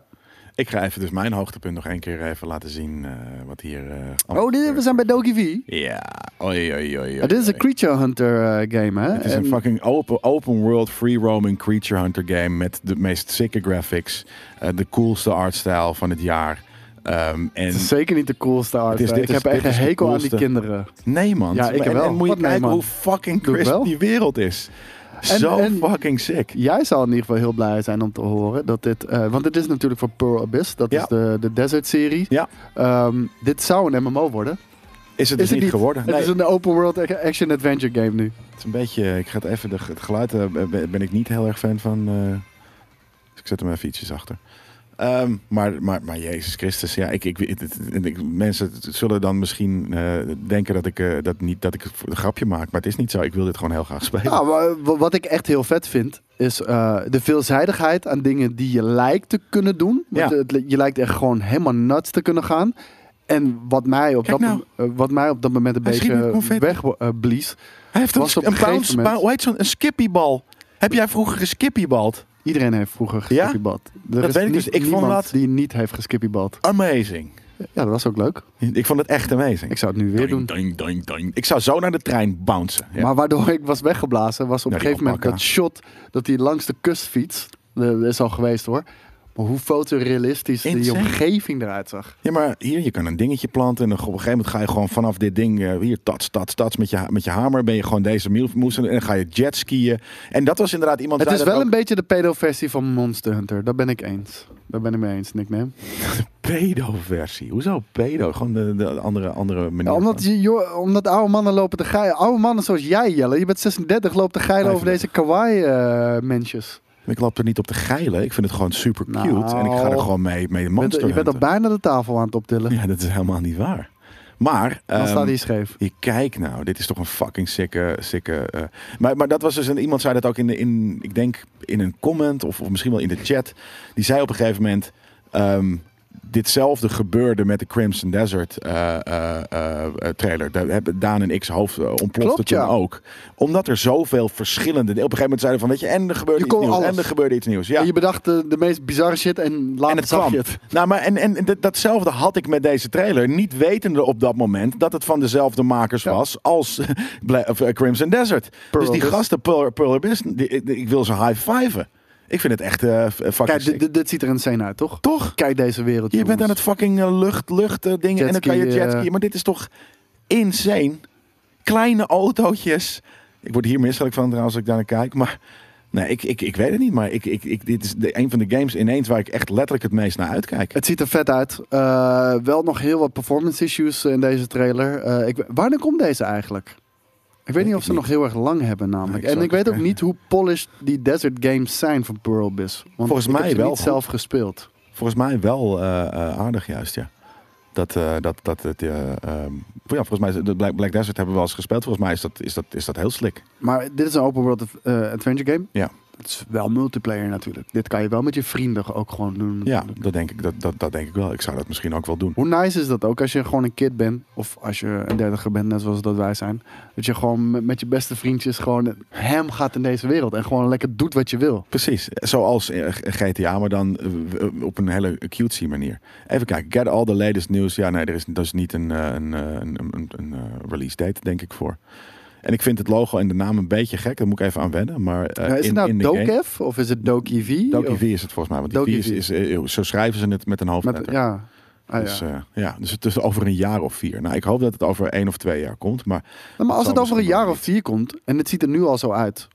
S1: Ik ga even dus mijn hoogtepunt nog één keer even laten zien eh, wat hier... eh, allemaal
S2: Oh, dit, we zijn bij Doki V.
S1: Ja, oei oei oei.
S2: Ah, dit is
S1: oei.
S2: een Creature Hunter eh, game, hè?
S1: Het is een
S2: En-
S1: fucking open, open world free roaming creature hunter game met de meest sikke graphics, eh, de coolste artstyle van het jaar. Ehm, en
S2: Het is zeker niet de coolste art.
S1: Het is-
S2: hè.
S1: dit
S2: ik
S1: is-
S2: heb echt
S1: dit
S2: een
S1: is de
S2: hekel aan die
S1: coolste.
S2: kinderen.
S1: nee man,
S2: Ja, ik
S1: en,
S2: wel.
S1: en moet je
S2: Wat nee,
S1: kijken
S2: man?
S1: hoe fucking
S2: Doe ik
S1: crisp
S2: wel.
S1: die wereld is.
S2: En-
S1: Zo
S2: en-
S1: fucking sick.
S2: Jij zal in ieder geval heel blij zijn om te horen dat dit. eh, want dit is natuurlijk voor Pearl Abyss, dat
S1: Ja.
S2: is de, de Desert-serie.
S1: Ja.
S2: Ehm, dit zou een MMO worden.
S1: Is het
S2: Is
S1: dus
S2: het
S1: niet
S2: niet.
S1: geworden? Nee,
S2: Het is een open world action adventure game nu.
S1: het is een beetje. Ik ga het even. De, het geluid eh, ben ben ik niet heel erg fan van. eh, dus ik zet hem even ietsjes achter. Ehm, maar, maar, maar Jezus Christus, ja, ik, ik, weet het- het- ik- mensen zullen dan misschien eh, denken dat ik, eh, dat, niet, dat ik een grapje maak, maar het is niet zo. Ik wil dit gewoon heel graag spelen.
S2: Nou, wa- wa- wat ik echt heel vet vind, is eh, de veelzijdigheid aan dingen die je lijkt te kunnen doen. Want
S1: Ja.
S2: het li- je lijkt echt gewoon helemaal nuts te kunnen gaan. En wat mij op,
S1: Kijk
S2: dat,
S1: nou.
S2: mom- eh, wat mij op dat moment een
S1: Hij schiet met
S2: beetje eh,
S1: confetti.
S2: wegblies.
S1: Hij heeft
S2: was op
S1: een, een
S2: een gegeven
S1: bounce,
S2: moment-
S1: bou- hoe heet zo'n een skippiebal? Heb jij vroeger geskippybald?
S2: Iedereen heeft vroeger
S1: Ja?
S2: geskippybald. Er
S1: Dat
S2: is
S1: weet ik
S2: niet-
S1: dus. Ik vond
S2: niemand
S1: dat-
S2: die niet heeft geskippybald.
S1: Amazing.
S2: Ja, dat was ook leuk.
S1: Ik vond het echt amazing.
S2: Ik
S1: Ik,
S2: zou het nu weer doen.
S3: Ding, ding, ding.
S1: zou zo naar de trein bouncen. Ja.
S2: Maar waardoor ik was weggeblazen, was op
S1: Ja,
S2: een
S1: die
S2: gegeven moment dat
S1: alpaca.
S2: shot dat hij langs de kust fietst. Dat is al geweest hoor. Maar hoe fotorealistisch die
S1: Insane.
S2: omgeving eruit zag.
S1: Ja, maar hier, je kan een dingetje planten. En op een gegeven moment ga je gewoon vanaf dit ding. eh, hier, tats, tats, tats. Met je, ha- met je hamer ben je gewoon deze miel- moes. En dan ga je jetskiën. En dat was inderdaad iemand.
S2: Het
S1: zei
S2: is
S1: dat
S2: wel een
S1: ook.
S2: beetje de pedo-versie van Monster Hunter. Daar ben ik eens. Daar ben ik mee eens, nickname.
S1: pedo-versie. Hoezo pedo? Gewoon de, de andere, andere manier.
S2: Ja, omdat,
S1: van-
S2: je, joh, omdat oude mannen lopen te geilen. Oude mannen zoals jij, Jelle. Je bent 36, loopt te geilen over deze eh,
S1: 35.
S2: kawaii-mensjes.
S1: Ik loop er niet op te geilen. Ik vind het gewoon super cute.
S2: Nou.
S1: en ik ga er gewoon mee, mee
S2: je bent,
S1: monster
S2: je bent al
S1: hunten.
S2: bijna de tafel aan het optillen.
S1: Ja, dat is helemaal niet waar. Maar.
S2: Dan
S1: ehm,
S2: staat hij scheef.
S1: Je kijk nou, dit is toch een fucking sikke, sikke. eh, maar, maar dat was dus een, iemand zei dat ook in de, in, ik denk in een comment of, of misschien wel in de chat. Die zei op een gegeven moment, ehm, ditzelfde gebeurde met de Crimson Desert eh, eh, eh, eh, trailer. Daar hebben Daan en X hoofd eh, ontplofte
S2: Klopt,
S1: toen
S2: ja.
S1: ook. Omdat er zoveel verschillende, op een gegeven moment zeiden van, weet je, en er gebeurde
S2: Je
S1: iets
S2: kon
S1: nieuws,
S2: alles.
S1: en er gebeurde iets nieuws. Ja.
S2: En je bedacht de, de meest bizarre shit en later
S1: En het
S2: zag
S1: kwam.
S2: je het.
S1: Nou, maar en, en dat- datzelfde had ik met deze trailer. Niet wetende op dat moment dat het van dezelfde makers
S2: Ja.
S1: was als Bla- of, eh, Crimson Desert.
S2: Pearl
S1: dus die
S2: Abyss.
S1: gasten, Pearl, Pearl Abyss, die- die- ik wil ze high-fiven. Ik vind het echt eh, f- fucking
S2: Kijk,
S1: sick.
S2: dit- dit, dit ziet er insane uit, toch?
S1: Toch?
S2: Kijk deze wereld.
S1: Je bent
S2: jongens.
S1: aan het fucking eh, lucht, lucht eh, dingen en dan kan je
S2: Jetski, eh.
S1: jetskiën. Maar dit is toch insane. Kleine autootjes. Ik word hier misselijk van trouwens als ik daar naar kijk. Maar nee, ik, ik, ik weet het niet. Maar ik, ik, ik, dit is de, een van de games ineens waar ik echt letterlijk het meest naar uitkijk.
S2: Het ziet er vet uit. Eh, wel nog heel wat performance issues eh, in deze trailer. Eh, ik, wanneer komt deze eigenlijk? Ik weet,
S1: Weet
S2: niet of
S1: ik
S2: ze
S1: niet.
S2: nog heel erg lang hebben namelijk.
S1: Nee, ik
S2: en
S1: zou
S2: ik weet
S1: het
S2: ook
S1: niet
S2: niet hoe polished die desert games zijn van Pearl Abyss. Want
S1: Volgens
S2: ik
S1: mij
S2: heb ze
S1: wel
S2: niet
S1: goed.
S2: zelf gespeeld.
S1: Volgens mij wel eh, eh, aardig juist, ja. Dat, eh, dat, dat het, eh, ehm, ja, volgens mij, is het- de Black, Black Desert hebben we wel eens gespeeld. Volgens mij is dat, is dat, is dat heel slik.
S2: Maar dit is een open world eh, adventure game.
S1: Ja.
S2: Het is wel multiplayer natuurlijk. Dit kan je wel met je vrienden ook gewoon doen.
S1: Ja, dat denk, ik, dat, dat, dat denk ik wel. Ik zou dat misschien ook wel doen.
S2: Hoe nice is dat ook als je gewoon een kid bent, of als je een dertiger bent, net zoals dat wij zijn. Dat je gewoon met- met je beste vriendjes gewoon hem gaat in deze wereld. En gewoon lekker doet wat je wil.
S1: Precies, zoals eh, G- GTA, maar dan eh, eh, op een hele cutesy manier. Even kijken, get all the latest news. Ja, nee, er is, dat is niet een, eh, een, eh, een, een, een, een, eh, release date, denk ik, voor. En ik vind het logo en de naam een beetje gek, daar moet ik even aan wennen. Maar eh,
S2: Nou, is
S1: in,
S2: het nou
S1: in de game-
S2: Dokev of is het Doki V?
S1: Doki
S2: Of-
S1: V is het volgens mij, want
S2: Doki
S1: die V
S2: V.
S1: is, is, eh, zo schrijven ze het met een hoofdletter.
S2: Met, ja. Ah, ja.
S1: Dus, eh, ja, dus het is over een jaar of vier. Nou, ik hoop dat het over één of twee jaar komt, maar
S2: Nou, maar als
S1: zal
S2: het over een
S1: misschien
S2: jaar
S1: wel
S2: of vier komt en het ziet er nu al zo uit,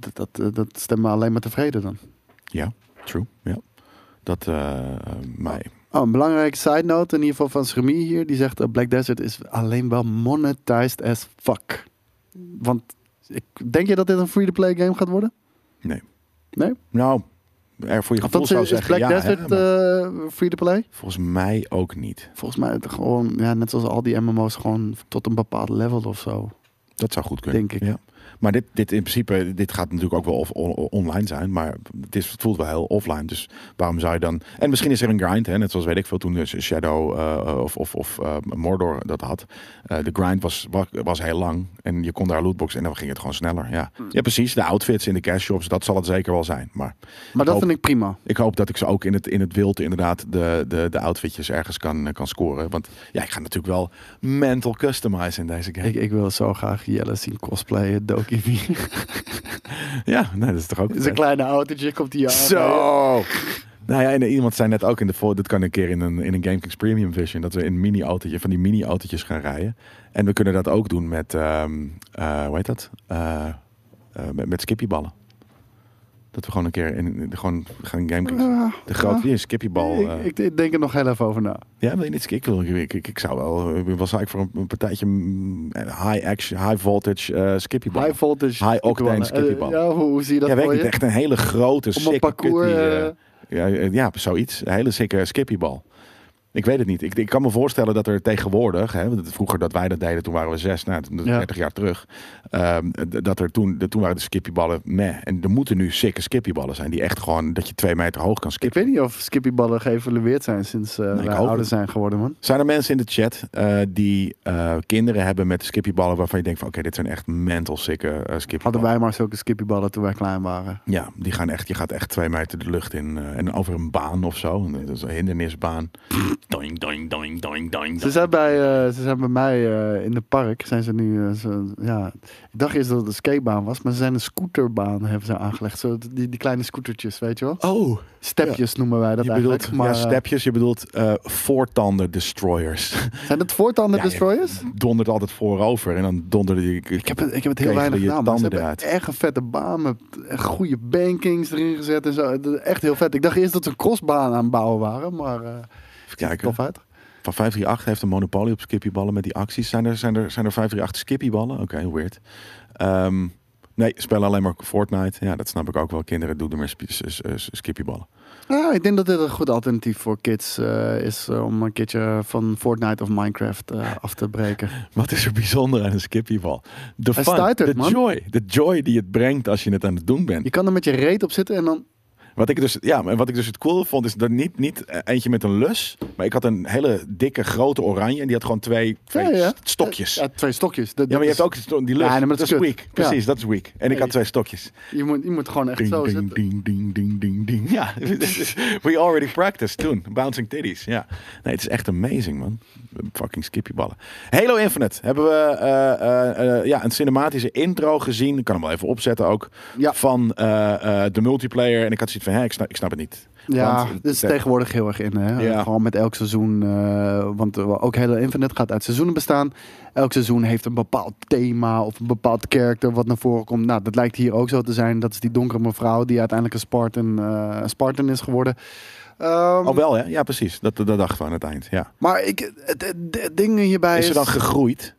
S2: dat, dat, eh, dat stemt me alleen maar tevreden dan.
S1: ja, true, ja. Dat, eh mij.
S2: Oh, een belangrijke side note in ieder geval van Schermie hier. Die zegt, eh, Black Desert is alleen wel monetized as fuck. Want, ik, denk je dat dit een free-to-play game gaat worden?
S1: Nee.
S2: Nee?
S1: Nou, er voor je gevoel
S2: Althans,
S1: zou
S2: is, is
S1: zeggen
S2: Black
S1: ja, hè,
S2: Desert
S1: maar
S2: eh, free-to-play?
S1: volgens mij ook niet.
S2: Volgens mij het gewoon, ja, net zoals al die MMO's, gewoon tot een bepaald level of zo.
S1: Dat zou goed kunnen.
S2: Denk ik.
S1: Ja. Maar dit, dit in principe, dit gaat natuurlijk ook wel of- on- online zijn, maar het, is, het voelt wel heel offline. Dus waarom zou je dan... En misschien is er een grind, hè, net zoals weet ik veel toen dus Shadow eh, of, of, of eh, Mordor dat had. Eh, de grind was, was, was heel lang en je kon daar lootbox en dan ging het gewoon sneller. Ja,
S2: Hmm.
S1: ja precies. De outfits in de cash shops, dat zal het zeker wel zijn. Maar
S2: Maar dat
S1: hoop-
S2: vind ik prima.
S1: Ik hoop dat ik ze ook in het, in het wild inderdaad de, de, de outfitjes ergens kan, eh, kan scoren. Want ja, ik ga natuurlijk wel mental customize in deze game.
S2: Ik, ik wil zo graag Jelle zien cosplayen, Doki V.
S1: Ja, nee, dat is toch ook...
S2: is een kleine autootje, komt die aan.
S1: Zo! Nou ja, en iemand zei net ook in de voor, dit kan een keer in een, in een GameKings Premium Vision, dat we in een mini-autootje, van die mini-autootjes gaan rijden. En we kunnen dat ook doen met, ehm, eh, hoe heet dat? Eh, eh, met, met skippyballen. Dat we gewoon een keer in, in- gewoon gaan GameKings.
S2: Ja,
S1: De grote, hier, skippiebal.
S2: Ah, ik-
S1: eh,
S2: ik, ik denk er nog heel even over na.
S1: Ja, wil je niet? Ik, wil, ik, ik, ik zou wel. Ik was eigenlijk voor een, een partijtje mm, high action, high voltage eh skippybal.
S2: High voltage.
S1: High octane
S2: skippyballen.
S1: skippybal.
S2: Eh, ja, hoe, hoe zie je dat
S1: ja, weet ik
S2: voor
S1: niet.
S2: je?
S1: Echt een hele grote,
S2: Om een
S1: sikke
S2: parcours...
S1: kut die, eh,
S2: eh,
S1: ja, eh, ja, zoiets. Een hele sikke skippybal. Ik weet het niet. Ik, ik kan me voorstellen dat er tegenwoordig, hè, want het- vroeger dat wij dat deden, toen waren we zes, nou, dat is
S2: Ja.
S1: 30 jaar terug, ehm, d- dat er toen, de, toen waren de skippyballen meh. En er moeten nu sikke skippyballen zijn die echt gewoon, dat je twee meter hoog kan
S2: ik
S1: skippen.
S2: weet niet of skippyballen geëvalueerd zijn sinds eh
S1: ik
S2: wij
S1: hoop
S2: ouder
S1: het.
S2: zijn geworden, man.
S1: Zijn er mensen in de chat eh, die eh, kinderen hebben met skippyballen waarvan je denkt van oké, dit zijn echt mental sikke eh, skippyballen.
S2: Hadden wij maar zulke skippyballen toen wij klein waren.
S1: Ja, die gaan echt, je gaat echt twee meter de lucht in eh, en over een baan of zo. Dat is een hindernisbaan.
S3: Doing, doing, doing, doing, doing.
S2: Ze zijn bij, eh, ze zijn bij mij eh, in het park. Zijn ze nu, eh, ze- ja, ik dacht eerst dat het een skatebaan was, maar ze zijn een scooterbaan hebben ze aangelegd. Zo, die, die kleine scootertjes, weet je wel?
S1: Oh,
S2: Stepjes noemen wij dat
S1: je
S2: eigenlijk.
S1: bedoelt,
S2: maar,
S1: ja,
S2: eh,
S1: stepjes, je bedoelt eh voortanden destroyers.
S2: zijn het voortanden
S1: Ja, je-
S2: destroyers?
S1: dondert altijd voorover en dan donderde je...
S2: Ik heb het, ik heb het heel
S1: Kregen je
S2: weinig gedaan. maar ze
S1: tanden
S2: hebben echt een vette baan met echt goede bankings erin gezet en zo. Dat is Echt heel vet. Ik dacht eerst dat ze een crossbaan aan het bouwen waren, maar eh
S1: Even kijken,
S2: tof uit.
S1: van 538 heeft een monopolie op skippyballen met die acties. Zijn er, zijn er, zijn er 538 skippyballen? Oké, weird. Ehm, nee, spelen alleen maar Fortnite. Ja, dat snap ik ook wel. Kinderen doen er maar sp- s- s- s- skippyballen.
S2: Ja, ik denk dat dit een goed alternatief voor kids eh, is eh, om een keertje van Fortnite of Minecraft eh, af te breken.
S1: Wat is er bijzonder aan een skippybal? De
S2: Hij
S1: fun,
S2: stuitert,
S1: de
S2: man.
S1: joy. De joy die het brengt als je het aan het doen bent.
S2: Je kan er met je reet op zitten en dan...
S1: Wat ik dus, ja, maar wat ik dus het cool vond, is dat niet, niet eh, eentje met een lus, maar ik had een hele dikke grote oranje en die had gewoon twee, twee
S2: Ja, ja.
S1: st- stokjes.
S2: Ja, twee stokjes. Dat-
S1: Ja, maar je
S2: dat
S1: hebt ook sto- die lus.
S2: Ja, nee, maar
S1: dat,
S2: dat
S1: is
S2: is
S1: weak.
S2: kut.
S1: Precies, dat is weak. En ik
S2: Nee.
S1: had twee stokjes.
S2: is- Je moet, je moet gewoon echt
S1: Ding,
S2: zo
S1: ding,
S2: zitten.
S1: ding, ding, ding, ding, ding. Ja, this is- we already practiced toen. Bouncing titties, ja. Nee, het is echt amazing, man. Fucking skippyballen. Halo Infinite. Hebben we eh, eh, eh, ja, een cinematische intro gezien. Ik kan hem wel even opzetten ook.
S2: Ja.
S1: Van eh, eh, de multiplayer. En ik had zoiets van, hè, ik snap, ik snap het niet.
S2: Ja,
S1: Want- eh,
S2: dit is tegenwoordig heel erg in. Hè? Eh,
S1: Ja.
S2: Gewoon met elk seizoen. eh, want eh, ook Halo Infinite gaat uit seizoenen bestaan. Elk seizoen heeft een bepaald thema of een bepaald karakter wat naar voren komt. Nou, dat lijkt hier ook zo te zijn. Dat is die donkere mevrouw die uiteindelijk een Spartan, eh, een Spartan is geworden. Ehm,
S1: Oh, wel hè? Ja, precies. Dat, dat dachten we aan het eind. Ja.
S2: maar ik, het, het- het ding hierbij
S1: Is
S2: is...
S1: ze dan gegroeid?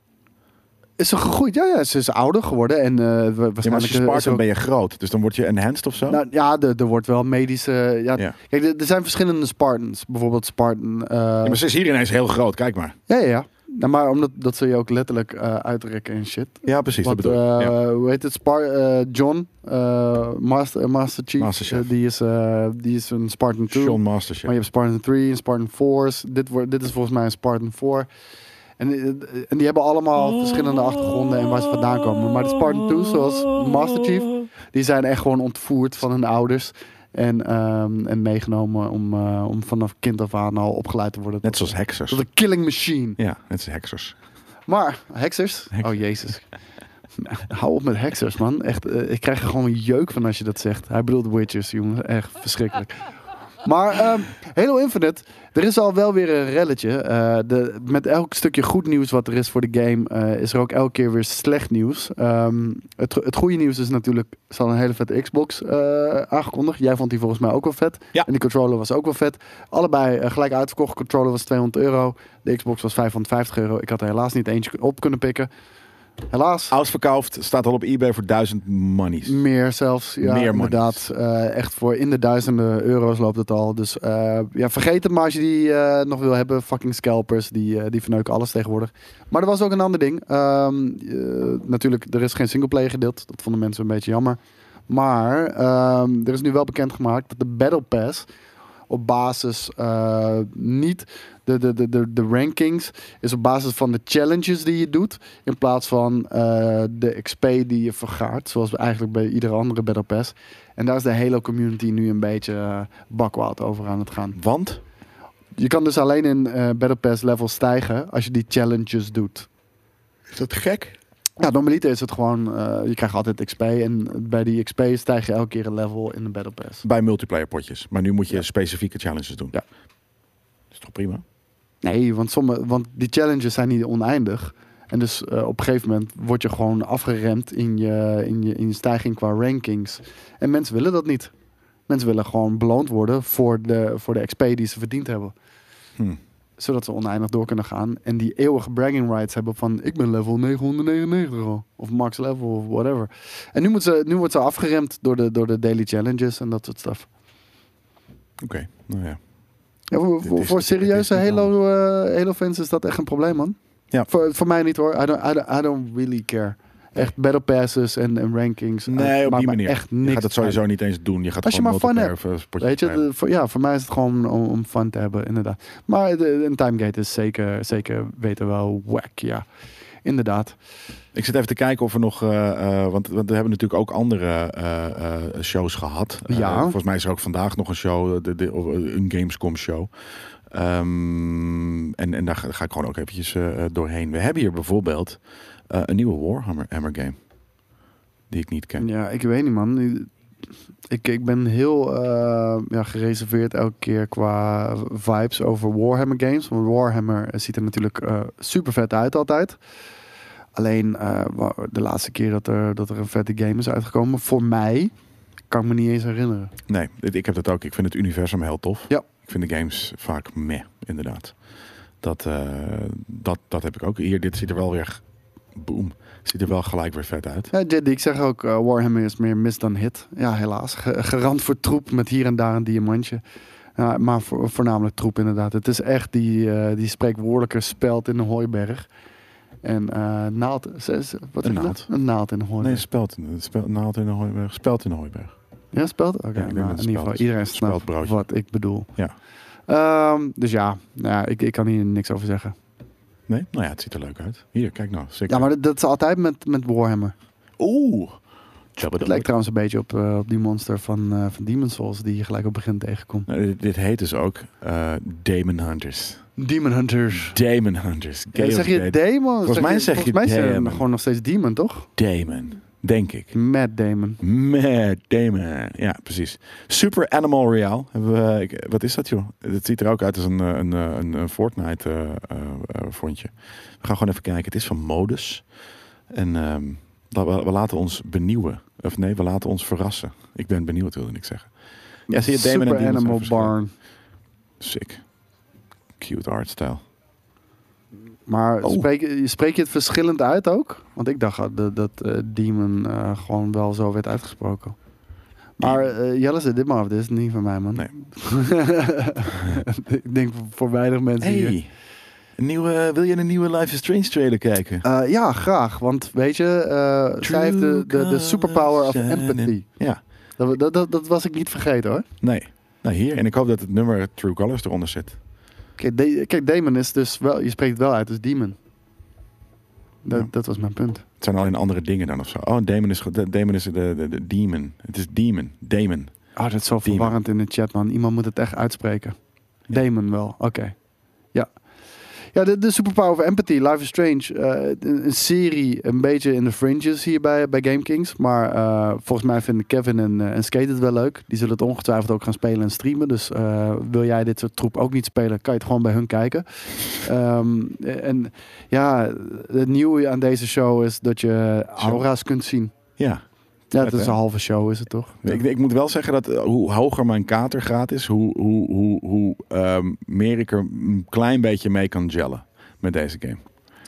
S2: is ze gegroeid? Ja, ja, ze is ouder geworden. En, eh, wa-
S1: Ja, maar als
S2: waarschijnlijk
S1: je
S2: eh, is
S1: Spartan
S2: ze ook-
S1: ben je groot. Dus dan word je enhanced of zo?
S2: Nou, ja, er, er wordt wel medische... Ja,
S1: Ja.
S2: Kijk, er, er zijn verschillende Spartans. Bijvoorbeeld Spartan... eh,
S1: Ja, maar ze is hier ineens heel groot. Kijk maar.
S2: Ja, ja, ja. Nou, maar omdat dat ze je ook letterlijk eh, uitrekken en shit.
S1: Ja, precies.
S2: Want,
S1: dat bedoel ik.
S2: eh,
S1: Ja.
S2: Hoe heet het? Spar eh, John, eh, Master, eh, Master Chief,
S1: Masterchef.
S2: eh, die, is, eh, die is een Spartan 2.
S1: Sean
S2: Maar
S1: Masterchef.
S2: je hebt Spartan 3 en Spartan 4's. Dit, wordt, dit is volgens mij een Spartan 4. En, eh, en die hebben allemaal verschillende achtergronden en waar ze vandaan komen. Maar de Spartan 2, zoals Master Chief, die zijn echt gewoon ontvoerd van hun ouders. En, ehm, en meegenomen om, eh, om vanaf kind af aan al opgeleid te worden.
S1: Net
S2: tot-
S1: zoals heksers.
S2: Tot een killing machine.
S1: Ja, net als heksers.
S2: Maar, heksers?
S1: Heks-
S2: Oh, jezus. Nou, Hou op met heksers, man. Echt, eh, ik krijg er gewoon jeuk van als je dat zegt. Hij bedoelt witches, jongen. Echt verschrikkelijk. Maar ehm Halo Infinite, er is al wel weer een relletje. Eh, de, met elk stukje goed nieuws wat er is voor de game, eh, is er ook elke keer weer slecht nieuws. Ehm, het, het goede nieuws is natuurlijk, ze hadden een hele vette Xbox eh, aangekondigd. Jij vond die volgens mij ook wel vet.
S1: Ja.
S2: En die controller was ook wel vet. Allebei eh, gelijk uitverkocht. Controller was 200 euro. De Xbox was 550 euro. Ik had er helaas niet eentje op kunnen pikken. Helaas.
S1: Uitverkauft staat al op eBay voor 1000 monies.
S2: Meer zelfs. Ja,
S1: Meer
S2: inderdaad. Eh, echt voor in de duizenden euro's loopt het al. Dus eh, ja, vergeet het maar als je die eh, nog wil hebben. Fucking scalpers, die, eh, die verneuken alles tegenwoordig. Maar er was ook een ander ding. Ehm, eh, natuurlijk, er is geen singleplayer gedeeld. Dat vonden mensen een beetje jammer. Maar ehm, er is nu wel bekendgemaakt dat de Battle Pass op basis eh, niet de, de, de, de, de rankings is op basis van de challenges die je doet in plaats van eh, de XP die je vergaart zoals eigenlijk bij iedere andere Battle Pass en daar is de hele community nu een beetje eh, bakwaad over aan het gaan
S1: Want?
S2: je kan dus alleen in eh Battle Pass levels stijgen als je die challenges doet
S1: Is dat gek?
S2: ja, normaliter is het gewoon, eh, je krijgt altijd XP en bij die XP stijg je elke keer een level in de Battle Pass.
S1: Bij multiplayer potjes. Maar nu moet je specifieke challenges doen.
S2: Ja.
S1: Is toch prima?
S2: Nee, want, sommige, want die challenges zijn niet oneindig. En dus eh, op een gegeven moment word je gewoon afgeremd in je, in, je, in je stijging qua rankings. En mensen willen dat niet. Mensen willen gewoon beloond worden voor de, voor de XP die ze verdiend hebben.
S1: Hm.
S2: Zodat ze oneindig door kunnen gaan. En die eeuwige bragging rights hebben van... ik ben level 999 al. Of max level of whatever. En nu, moet ze, nu wordt ze afgeremd door de, door de daily challenges en dat soort stuff.
S1: Oké, nou ja.
S2: Ja, voor,
S1: Dit
S2: voor-
S1: is-
S2: voor
S1: dit- dit
S2: serieuze
S1: is niet
S2: Halo, eh, Halo fans is dat echt een probleem, man.
S1: Ja.
S2: Voor, voor mij niet hoor. I don't, I don't, I don't really care. Echt battle passes en, en rankings.
S1: Nee,
S2: eh,
S1: op die
S2: maakt me
S1: manier.
S2: Echt
S1: Je
S2: niks.
S1: gaat het sowieso niet eens doen. Je gaat
S2: Als je
S1: gewoon
S2: maar fun
S1: multiplayer of, eh,
S2: uit.
S1: potjes
S2: Weet je,
S1: spelen.
S2: de- voor, ja, voor mij is het gewoon om, om fun te hebben, inderdaad. Maar de, een timegate is zeker, zeker weten wel wack, ja. Inderdaad.
S1: Ik zit even te kijken of er nog, eh, eh, want, want we hebben natuurlijk ook andere eh, eh, shows gehad. Eh,
S2: Ja.
S1: volgens mij is er ook vandaag nog een show, eh, de, de, of, eh, een Gamescom show. Ehm, en, en daar ga, ga ik gewoon ook eventjes eh, eh, doorheen. We hebben hier bijvoorbeeld eh, een nieuwe Warhammer Hammer game. Die ik niet ken.
S2: Ja, ik weet niet, man. Ik, ik ben heel eh, ja, gereserveerd elke keer qua vibes over Warhammer games. Want Warhammer eh, ziet er natuurlijk super vet uit altijd. Alleen eh, wa- de laatste keer dat er, dat er een vette game is uitgekomen, voor mij, kan ik me niet eens herinneren.
S1: Nee, dit- ik heb dat ook. Ik vind het universum heel tof.
S2: Ja.
S1: Ik vind de games vaak meh, inderdaad. Dat, eh, dat, dat heb ik ook. Hier, dit ziet er wel weer, boom, ziet er wel gelijk weer vet uit.
S2: Ja, Jed, ik zeg ook, eh, Warhammer is meer mis dan hit. Ja, helaas. Ge- gerand voor troep met hier en daar een diamantje. Ja, maar vo- voornamelijk troep inderdaad. Het is echt die, eh, die spreekwoordelijke speld in de hooiberg. En eh naald... ze- ze- Wat
S1: Een
S2: zeg je
S1: naald.
S2: dat? Een naald in de hooiberg.
S1: Nee, speld in, speld, naald in de hooiberg. Speld in de hooiberg.
S2: Ja, speld? Oké,
S1: Ja, ik denk
S2: nou,
S1: dat
S2: in
S1: het speld
S2: ieder geval
S1: is.
S2: iedereen snapt
S1: Speldbroodje.
S2: wat ik bedoel.
S1: Ja.
S2: Ehm, dus ja, ja ik, ik kan hier niks over zeggen.
S1: Nee? Nou ja, het ziet er leuk uit. Hier, kijk nou. Zeker.
S2: Ja, maar dat, dat is altijd met, met Warhammer.
S1: Oeh. Jabba
S2: Het
S1: the
S2: lijkt trouwens een beetje op, eh, op die monster van, eh van Demon Souls die je gelijk op het begin tegenkomt.
S1: Nou, dit, dit heet dus ook eh Demon Hunters.
S2: Demon Hunters.
S1: Demon Hunters.
S2: Ja, zeg je
S1: Gale-
S2: Demon?
S1: Volgens mij zeg je
S2: volgens mij is
S1: Damon.
S2: hij gewoon nog steeds Demon, toch?
S1: Damon. Denk ik.
S2: Mad Damon.
S1: Mad Damon. Ja, precies. Super Animal Real. Hebben we, ik- wat is dat, joh? Het ziet er ook uit als een, eh, een, eh, een, een Fortnite eh, eh, eh, frontje. We gaan gewoon even kijken. Het is van Modus. En ehm, la- we, we laten ons benieuwen. Of nee, we laten ons verrassen. Ik ben benieuwd, wilde ik zeggen. Ja, zie je Damon en
S2: Super
S1: Demon zijn
S2: Animal
S1: verschillend.
S2: Barn.
S1: Sick. Cute art style.
S2: Maar
S1: Oh.
S2: spreek, spreek je het verschillend uit ook? Want ik dacht eh, dat, dat eh, Demon eh, gewoon wel zo werd uitgesproken. Maar eh, Jelle zit dit maar af. Dit is niet van mij, man.
S1: Nee.
S2: ik denk voor weinig mensen hier.
S1: Hey. Een nieuwe, eh, wil je een nieuwe Life is Strange trailer kijken?
S2: Eh, ja, graag. Want weet je, eh zij heeft de, de, de superpower of
S1: True
S2: empathy.
S1: Ja,
S2: Dat, dat, dat, dat was ik niet vergeten hoor.
S1: nee. Nou, hier. En ik hoop dat het nummer True Colors eronder zit.
S2: Kijk, Da- kijk Damon is dus wel, je spreekt het wel uit als Demon. Dat,
S1: Ja.
S2: dat was mijn punt.
S1: Het zijn alleen andere dingen dan of zo. Oh, Damon is, ge- de- Damon is de, de, de demon. Het is demon. Damon.
S2: Oh, dat is zo
S1: Demon.
S2: verwarrend in de chat, man. Iemand moet het echt uitspreken.
S1: Ja.
S2: Damon wel, oké. Ja. Ja, de, de superpower of empathy, Life is Strange. eh, een, een serie, een beetje in de fringes hier bij, bij Game Kings. Maar eh, volgens mij vinden Kevin en, eh, en Skate het wel leuk. Die zullen het ongetwijfeld ook gaan spelen en streamen. Dus eh, wil jij dit soort troep ook niet spelen, kan je het gewoon bij hun kijken. Ehm, en ja, het nieuwe aan deze show is dat je aura's kunt zien.
S1: Ja.
S2: Ja,
S1: Vet,
S2: het is
S1: hè?
S2: een halve show, is het toch?
S1: Ik, ik moet wel zeggen dat eh, hoe hoger mijn katergraad is, hoe, hoe, hoe, hoe ehm, meer ik er een klein beetje mee kan jellen met deze game.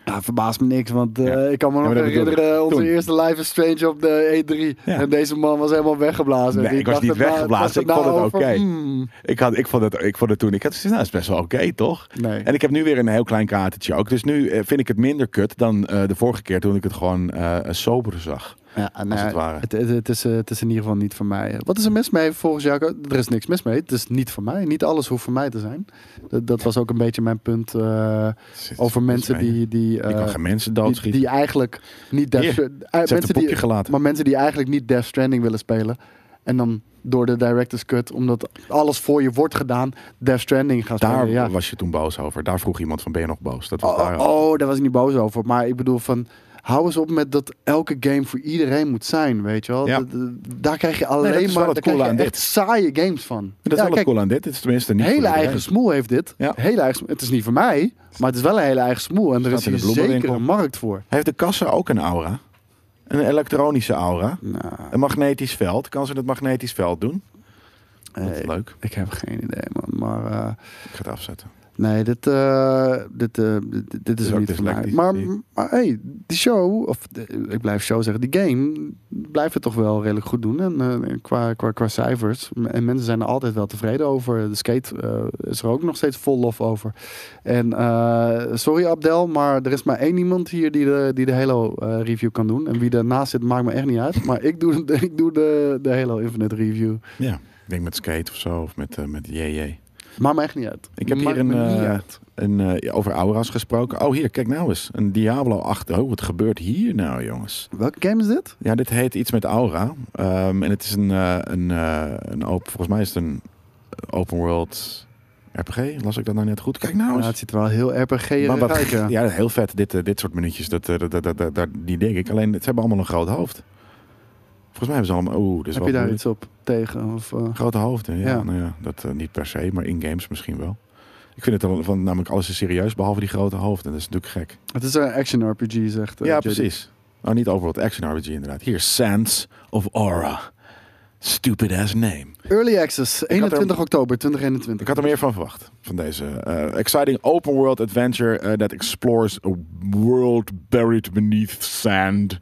S2: Ja, verbaast me niks, want eh,
S1: Ja.
S2: ik kan me
S1: Ja,
S2: nog
S1: maar dat bedoel ik.
S2: herinneren onze
S1: Toen.
S2: eerste Live is Strange op de E3.
S1: Ja.
S2: En deze man was helemaal weggeblazen.
S1: Nee,
S2: Die
S1: ik was
S2: dacht
S1: niet
S2: het na-
S1: weggeblazen.
S2: dacht
S1: Ik vond
S2: na
S1: het
S2: over,
S1: oké.
S2: hmm,
S1: Ik, had, ik, vond het, ik vond het toen, ik had zoiets, nou, is best wel oké, toch?
S2: nee.
S1: En ik heb nu weer een heel klein katertje ook. Dus nu eh, vind ik het minder kut dan eh, de vorige keer toen ik het gewoon eh sober zag.
S2: Ja, nou,
S1: het ware.
S2: Het, het- het is, eh, het is in ieder geval niet van mij. Wat is er mis mee volgens jou? Er is niks mis mee. Het is niet van mij. Niet alles hoeft van mij te zijn. Dat, dat was ook een beetje mijn punt eh, over mensen die... die
S1: ik kan
S2: eh,
S1: geen mensen
S2: die,
S1: doodschieten.
S2: die eigenlijk niet Death
S1: Hier,
S2: Stranding...
S1: Ze heeft
S2: mensen
S1: een poepje
S2: die,
S1: gelaten.
S2: maar mensen die eigenlijk niet Death Stranding willen spelen. En dan door de director's cut, omdat alles voor je wordt gedaan, Death Stranding gaan
S1: Daar
S2: spelen. Ja.
S1: was je toen boos over. Daar vroeg iemand van, ben je nog boos? Dat was
S2: Oh,
S1: daar
S2: oh,
S1: al.
S2: oh, daar was ik niet boos over. Maar ik bedoel van... Hou eens op met dat elke game voor iedereen moet zijn, weet je wel.
S1: Ja.
S2: Dat- dat- Daar krijg je alleen
S1: dat is wel
S2: maar
S1: het
S2: daar krijg
S1: coole
S2: je
S1: aan
S2: echt saaie games van.
S1: Dat is
S2: Ja,
S1: wel
S2: kijk,
S1: het cool aan dit. Dit is tenminste niet
S2: een hele
S1: voor iedereen.
S2: eigen smoel heeft dit.
S1: Ja.
S2: Hele eigen, smoel. het is niet voor mij, maar het is wel een hele eigen smoel. En er
S1: Staat
S2: is
S1: in de
S2: hier zeker
S1: bloemenwinkel.
S2: een markt voor.
S1: Heeft de kassa ook een aura? Een elektronische aura?
S2: Nou,
S1: Een magnetisch veld? Kan ze dat magnetisch veld doen? Dat is
S2: Eh,
S1: leuk.
S2: ik heb geen idee, man. Maar eh,
S1: Ik ga het afzetten.
S2: Nee, dit, eh, dit, eh, dit, dit is,
S1: is
S2: er
S1: ook
S2: niet voor mij.
S1: dyslectisch,
S2: Maar,
S1: zie
S2: maar hey, die show, of de- ik blijf show zeggen, die game blijft het toch wel redelijk goed doen. En eh, qua, qua, qua cijfers. M- En mensen zijn er altijd wel tevreden over. De skate eh, is er ook nog steeds vol lof over. En eh, sorry Abdel, maar er is maar één iemand hier die de, die de Halo eh, review kan doen. En wie daarnaast zit, maakt me echt niet uit. Maar ik doe, de- ik doe de, de Halo Infinite review.
S1: Ja, ik denk met skate of zo. Of met, eh, met JJ.
S2: Maakt me echt niet uit.
S1: Ik heb
S2: Maakt
S1: hier een,
S2: me niet
S1: eh,
S2: uit.
S1: En eh, over aura's gesproken. Oh, hier, kijk nou eens. Een Diablo 8. Oh, wat gebeurt hier nou, jongens?
S2: Welke game is dit?
S1: Ja, dit heet iets met aura. Ehm, en het is een, eh, een, eh, een open... Volgens mij is het een open world RPG. Las ik dat nou net goed? Kijk nou
S2: Ja,
S1: eens.
S2: het ziet er wel heel rpg
S1: Maar wat-
S2: uit. Ja.
S1: Ja, heel vet. Dit, eh, dit soort minuutjes, dat, eh, dat, dat, dat, dat- die denk ik. Alleen, ze hebben allemaal een groot hoofd. Volgens mij hebben ze allemaal... Oeh, dat is
S2: Heb
S1: wel
S2: je daar
S1: moeilijk.
S2: iets op tegen? Of, eh,
S1: Grote hoofden, ja.
S2: Ja.
S1: Nou ja dat eh, niet per se, maar in games misschien wel. Ik vind het dan van, namelijk alles is serieus, behalve die grote hoofden. Dat is natuurlijk gek.
S2: het is een action RPG, zegt eh,
S1: ja,
S2: JD.
S1: precies. Oh, niet overal action RPG inderdaad. Hier, Sands of Aura. Stupid ass name.
S2: Early Access,
S1: had
S2: 21
S1: er-
S2: oktober 2021.
S1: Ik had er meer van verwacht, van deze eh, exciting open world adventure eh, that explores a world buried beneath sand.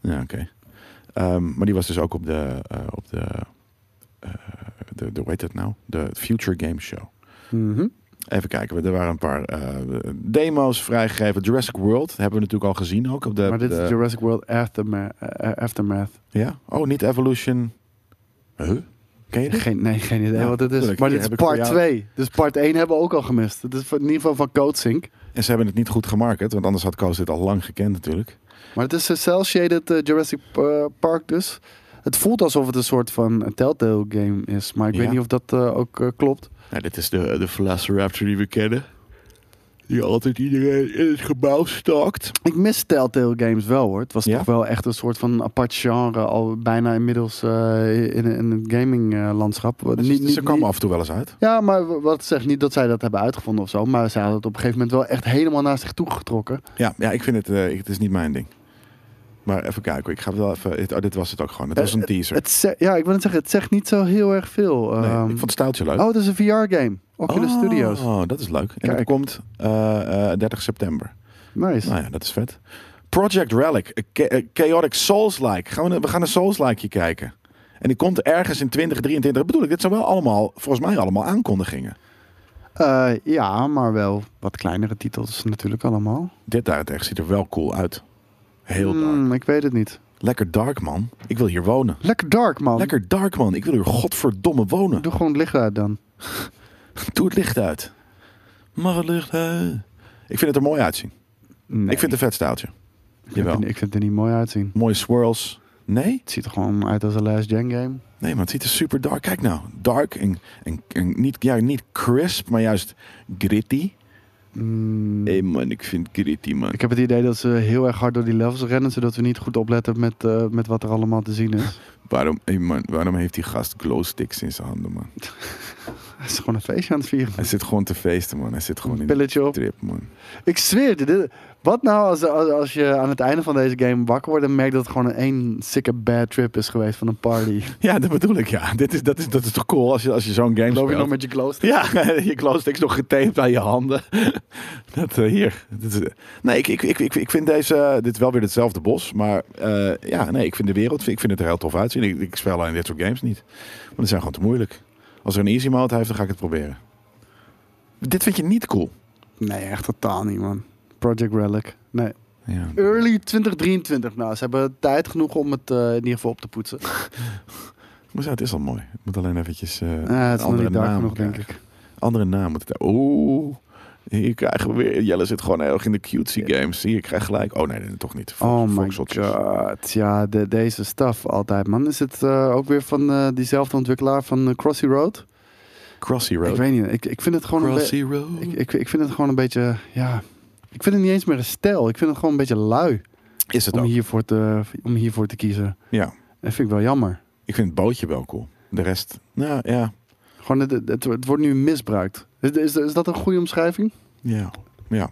S1: Ja, oké. Ehm, maar die was dus ook op de, eh, op de, eh, de, de, hoe heet het nou? De Future Game Show.
S2: Mhm.
S1: Even kijken, er waren een paar eh, demo's vrijgegeven. Jurassic World hebben we natuurlijk al gezien ook op de...
S2: maar dit
S1: de-
S2: is Jurassic World Afterma- eh, eh, Aftermath.
S1: Ja? Oh, niet Evolution... Huh? Ken je dit?
S2: Geen, nee, geen idee
S1: Ja,
S2: wat dit is.
S1: tuurlijk.
S2: Maar
S1: Hier
S2: dit is
S1: heb ik voor
S2: part
S1: jou.
S2: 2. Dus part 1 hebben we ook al gemist. Het is van- in ieder geval van CodeSync.
S1: En ze hebben het niet goed gemarket, want anders had Koos dit al lang gekend natuurlijk.
S2: Maar het is een cel-shaded eh, Jurassic eh, Park dus. Het voelt alsof het een soort van Telltale game is. Maar ik
S1: Ja.
S2: weet niet of dat eh, ook eh, klopt.
S1: Nou, dit is de, de Velociraptor die we kennen. Die altijd iedereen in het gebouw stalkt.
S2: Ik mis Telltale Games wel hoor. Het was
S1: Ja?
S2: toch wel echt een soort van apart genre. Al bijna inmiddels eh, in, in het gaming eh, landschap. Niet-
S1: Dus Ze,
S2: niet-
S1: ze kwamen
S2: niet-
S1: af en toe wel eens uit.
S2: Ja, maar w- wat zegt niet dat zij dat hebben uitgevonden of zo. Maar ze hadden het op een gegeven moment wel echt helemaal naar zich toe getrokken.
S1: Ja, ja ik vind het, eh, ik- het is niet mijn ding. Maar even kijken, ik ga wel even... Dit, oh, dit was het ook gewoon. Het was een teaser.
S2: Het ze- ja, ik wil het zeggen, het zegt niet zo heel erg veel.
S1: Nee,
S2: Ehm,
S1: ik vond het staaltje leuk.
S2: Oh, het is een VR-game. Oculus
S1: Oh,
S2: Studios.
S1: dat is leuk. En dat
S2: Kijk.
S1: komt eh, eh, 30 september.
S2: Nice.
S1: Nou ja, dat is vet. Project Relic, a cha- a Chaotic Souls-like. Gaan we, we gaan een Souls-like kijken. En die komt ergens in 2023. Dat bedoel ik, dit zijn wel allemaal, volgens mij allemaal aankondigingen.
S2: Eh, ja, maar wel wat kleinere titels natuurlijk allemaal.
S1: Dit daarentegen ziet er wel cool uit. Heel dark.
S2: Mm, ik weet het niet.
S1: Lekker dark, man. Ik wil hier wonen.
S2: Lekker dark, man.
S1: Lekker dark, man. Ik wil hier godverdomme wonen.
S2: Doe gewoon het licht uit dan.
S1: Doe het licht uit. Mag het licht uit. Ik vind het er mooi uitzien.
S2: Nee.
S1: Ik vind het een vet staaltje.
S2: ik,
S1: Jawel.
S2: vind, ik vind het er niet mooi uitzien.
S1: Mooie swirls. Nee?
S2: Het ziet er gewoon uit als een last gen game.
S1: Nee, maar het ziet er super dark. Kijk nou. Dark en, en, en niet, ja, niet crisp, maar juist gritty.
S2: Mm,
S1: Nee man, ik vind gritty, man.
S2: Hmm. Ik heb het idee dat ze heel erg hard door die levels rennen, zodat we niet goed opletten met, eh, met wat er allemaal te zien is.
S1: Waarom, hey, man, waarom heeft die gast glowsticks in zijn handen, man?
S2: Het is gewoon een feestje aan het vieren.
S1: Hij zit gewoon te feesten, man. Hij zit gewoon in de
S2: Pilletje op.
S1: trip, man.
S2: Ik zweer het, dit. Wat nou als, als, als je aan het einde van deze game wakker wordt en merkt dat het gewoon een één sikke bad trip is geweest van een party.
S1: Ja, dat bedoel ik, ja. Dit is, dat, is, dat is toch cool als je, als je zo'n game
S2: Loop je
S1: speelt.
S2: nog met je glow stick?
S1: Ja, je glowsticks nog getaped aan je handen. Dat eh, hier. Dit is, eh, nee, ik, ik, ik, ik, ik vind deze, eh, dit wel weer hetzelfde bos. Maar eh, ja, nee, ik vind de wereld, ik vind het er heel tof uitzien. Ik, ik speel alleen dit soort games niet. Want die zijn gewoon te moeilijk. Als er een easy mode heeft, dan ga ik het proberen. Dit vind je niet cool.
S2: Nee, echt totaal niet, man. Project Relic. Nee.
S1: Ja.
S2: Early 2023. Nou, ze hebben tijd genoeg om het eh, in ieder geval op te poetsen.
S1: Maar zo, het is al mooi. Het moet alleen eventjes eh,
S2: Ah, het
S1: een
S2: is nog
S1: andere
S2: niet dark
S1: naam
S2: genoeg, denk
S1: krijgen.
S2: ik.
S1: Andere naam moet het... Oeh. Hier krijgen we weer... Jelle zit gewoon heel erg in de cutie games. Zie je, ik krijg gelijk... Oh nee, nee, toch niet. Fox-
S2: Oh my
S1: Foxhotters.
S2: god. Ja, de- deze staf altijd, man. Is het eh, ook weer van eh, diezelfde ontwikkelaar van eh, Crossy Road?
S1: Crossy Road.
S2: Ik weet niet. Ik, ik vind het gewoon een beetje...
S1: Road.
S2: Ik, ik, ik vind het gewoon een beetje... Ja, ik vind het niet eens meer een stijl. Ik vind het gewoon een beetje lui
S1: Is het
S2: om
S1: ook.
S2: hiervoor, te, om hiervoor te kiezen.
S1: Ja.
S2: Dat vind ik wel jammer.
S1: Ik vind het bootje wel cool. De rest, nou ja.
S2: Gewoon, het, het, het wordt nu misbruikt. Is, is, is dat een goede omschrijving?
S1: Ja. Ja.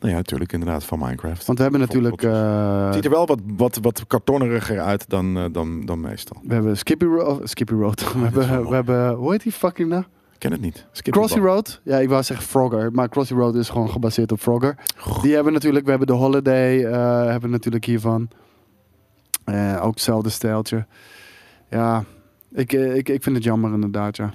S1: Nou ja, natuurlijk inderdaad van Minecraft.
S2: Want we hebben natuurlijk...
S1: Het
S2: eh,
S1: ziet er wel wat, wat, wat kartonneriger uit dan, eh, dan, dan meestal.
S2: we hebben Skippy, Ro- oh, Skippy Road. We
S1: is wel
S2: hebben,
S1: mooi.
S2: we hebben... Hoe heet die fucking nou?
S1: Ik ken het niet. Skip
S2: Crossy
S1: het wel.
S2: Road, ja, ik wou zeggen Frogger, maar Crossy Road is gewoon gebaseerd op Frogger. Die hebben natuurlijk, we hebben de Holiday, eh, hebben natuurlijk hiervan. Eh, ook hetzelfde stijltje. Ja, ik, eh, ik, ik vind het jammer inderdaad, ja.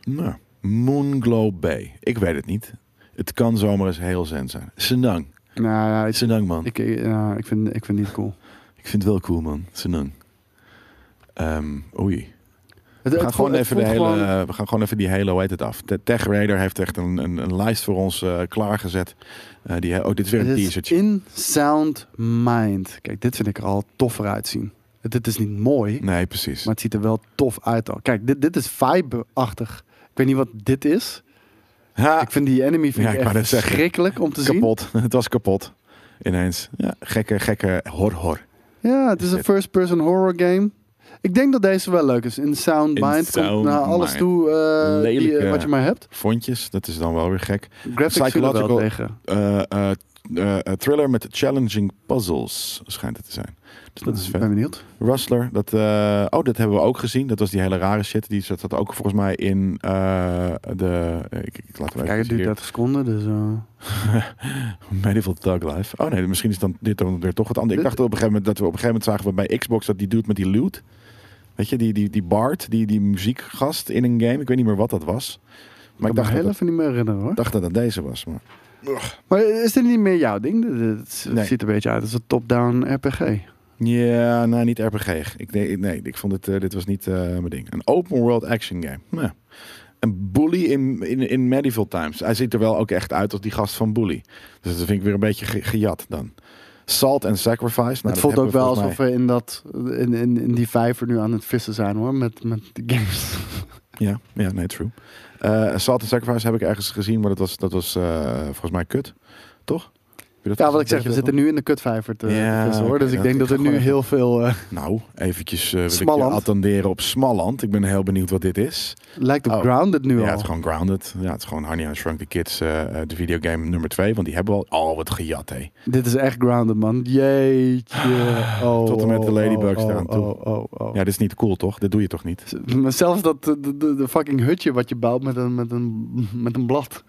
S1: Nou, Moonglow Bay. Ik weet het niet. Het kan zomaar eens heel zen zijn. Senang.
S2: Nou ja, ik,
S1: Senang, man.
S2: ik, eh, ja, ik, vind, ik vind het niet cool.
S1: Ik vind het wel cool, man. Senang. Ehm, oei.
S2: Het,
S1: We gaan,
S2: het voelt-
S1: gewoon
S2: het
S1: even de
S2: voelt
S1: hele,
S2: gewoon-
S1: eh, we gaan gewoon even die hele, hoe heet het af? De Tech Raider heeft echt een, een, een lijst voor ons eh, klaargezet. Eh, die, oh, dit is weer een
S2: het is
S1: teasertje.
S2: in sound mind. Kijk, dit vind ik er al toffer uitzien. Het, het is niet mooi,
S1: Nee, precies.
S2: Maar het ziet er wel tof uit al. Kijk, dit, dit is vibe-achtig. Ik weet niet wat dit is.
S1: ha,
S2: Ik vind die enemy vind
S1: Ah. Ja,
S2: ik
S1: ik wou
S2: echt
S1: net zeggen.
S2: verschrikkelijk om te zien.
S1: kapot. het was kapot. Ineens. Ja, gekke, gekke horror.
S2: Ja, het is
S1: Is
S2: een
S1: dit-
S2: first-person horror game. Ik denk dat deze wel leuk is. In sound
S1: In
S2: mind komt
S1: sound
S2: naar alles
S1: mind.
S2: toe eh, die, eh,
S1: Lelijke-
S2: wat je maar hebt.
S1: Vontjes, dat is dan wel weer gek.
S2: Graphics zullen wel
S1: Psychological-
S2: tegen.
S1: Eh, eh, eh, eh, thriller met challenging puzzles schijnt het te zijn. Dus dat is
S2: Ik
S1: vet.
S2: ben benieuwd.
S1: Rustler, dat, eh, oh, dat hebben we ook gezien. Dat was die hele rare shit. Die zat dat ook volgens mij in eh, de... Ik, ik laat hem
S2: Kijk, het
S1: even
S2: duurt
S1: hier.
S2: 30 seconden, dus... eh,
S1: Medieval Thug Life. Oh nee, misschien is dan dit dan weer toch wat anders. Ik
S2: Dit-
S1: dacht op een gegeven moment dat we op een gegeven moment zagen we bij Xbox dat die dude met die loot. Weet je, die, die, die Bart, die, die muziekgast in een game. Ik weet niet meer wat dat was. Maar ik
S2: kan
S1: dacht
S2: me
S1: dat,
S2: heel
S1: dat,
S2: even niet meer herinneren, hoor.
S1: dacht dat dat deze was. Maar.
S2: Maar is dit niet meer jouw ding? Dit- dit- Het
S1: Nee. Nou,
S2: ziet er een beetje uit als een top-down RPG.
S1: Ja, nou niet RPG. Ik, nee, nee, ik vond het, eh, dit was niet eh, mijn ding. Een open world action game. Nou, Een bully in, in, in medieval times. Hij ziet er wel ook echt uit als die gast van bully. Dus dat vind ik weer een beetje ge- gejat dan. Salt and Sacrifice. Nou, dat
S2: het voelt
S1: hebben we
S2: ook wel
S1: volgens mij-
S2: alsof we in, dat, in, in, in die vijver nu aan het vissen zijn hoor, met, met de games.
S1: Ja, ja, nee, true. Eh Salt and Sacrifice heb ik ergens gezien, maar dat was, dat was eh, volgens mij kut. Toch? Heb je dat
S2: Ja, wat
S1: gezien?
S2: ik
S1: Weet
S2: zeg,
S1: je dat
S2: we zitten nu in de kutvijver te
S1: Ja,
S2: te vissen hoor.
S1: oké,
S2: dus ik
S1: dat-
S2: denk dat
S1: ik
S2: er
S1: ga
S2: nu
S1: gewoon even-
S2: heel veel... eh,
S1: nog? Nou, eventjes eh, wil ik
S2: Smalland.
S1: je attenderen op Smalland. Ik ben heel benieuwd wat dit is.
S2: lijkt op
S1: Oh.
S2: Grounded nu
S1: ja,
S2: al.
S1: het is gewoon Grounded. Ja, het is gewoon Honey I Shrunk the Kids, eh, eh, de videogame nummer 2. Want die hebben we al. Oh, wat gejat, hé.
S2: Dit is echt Grounded man. Jeetje. Oh,
S1: Ah, Tot en met de
S2: oh,
S1: ladybugs
S2: oh,
S1: eraan toe.
S2: Oh, oh, oh.
S1: Ja, dit is niet cool, toch? Dit doe je toch niet?
S2: Maar Zelfs dat eh, de, de, de fucking hutje wat je bouwt met een, met een, met een blad.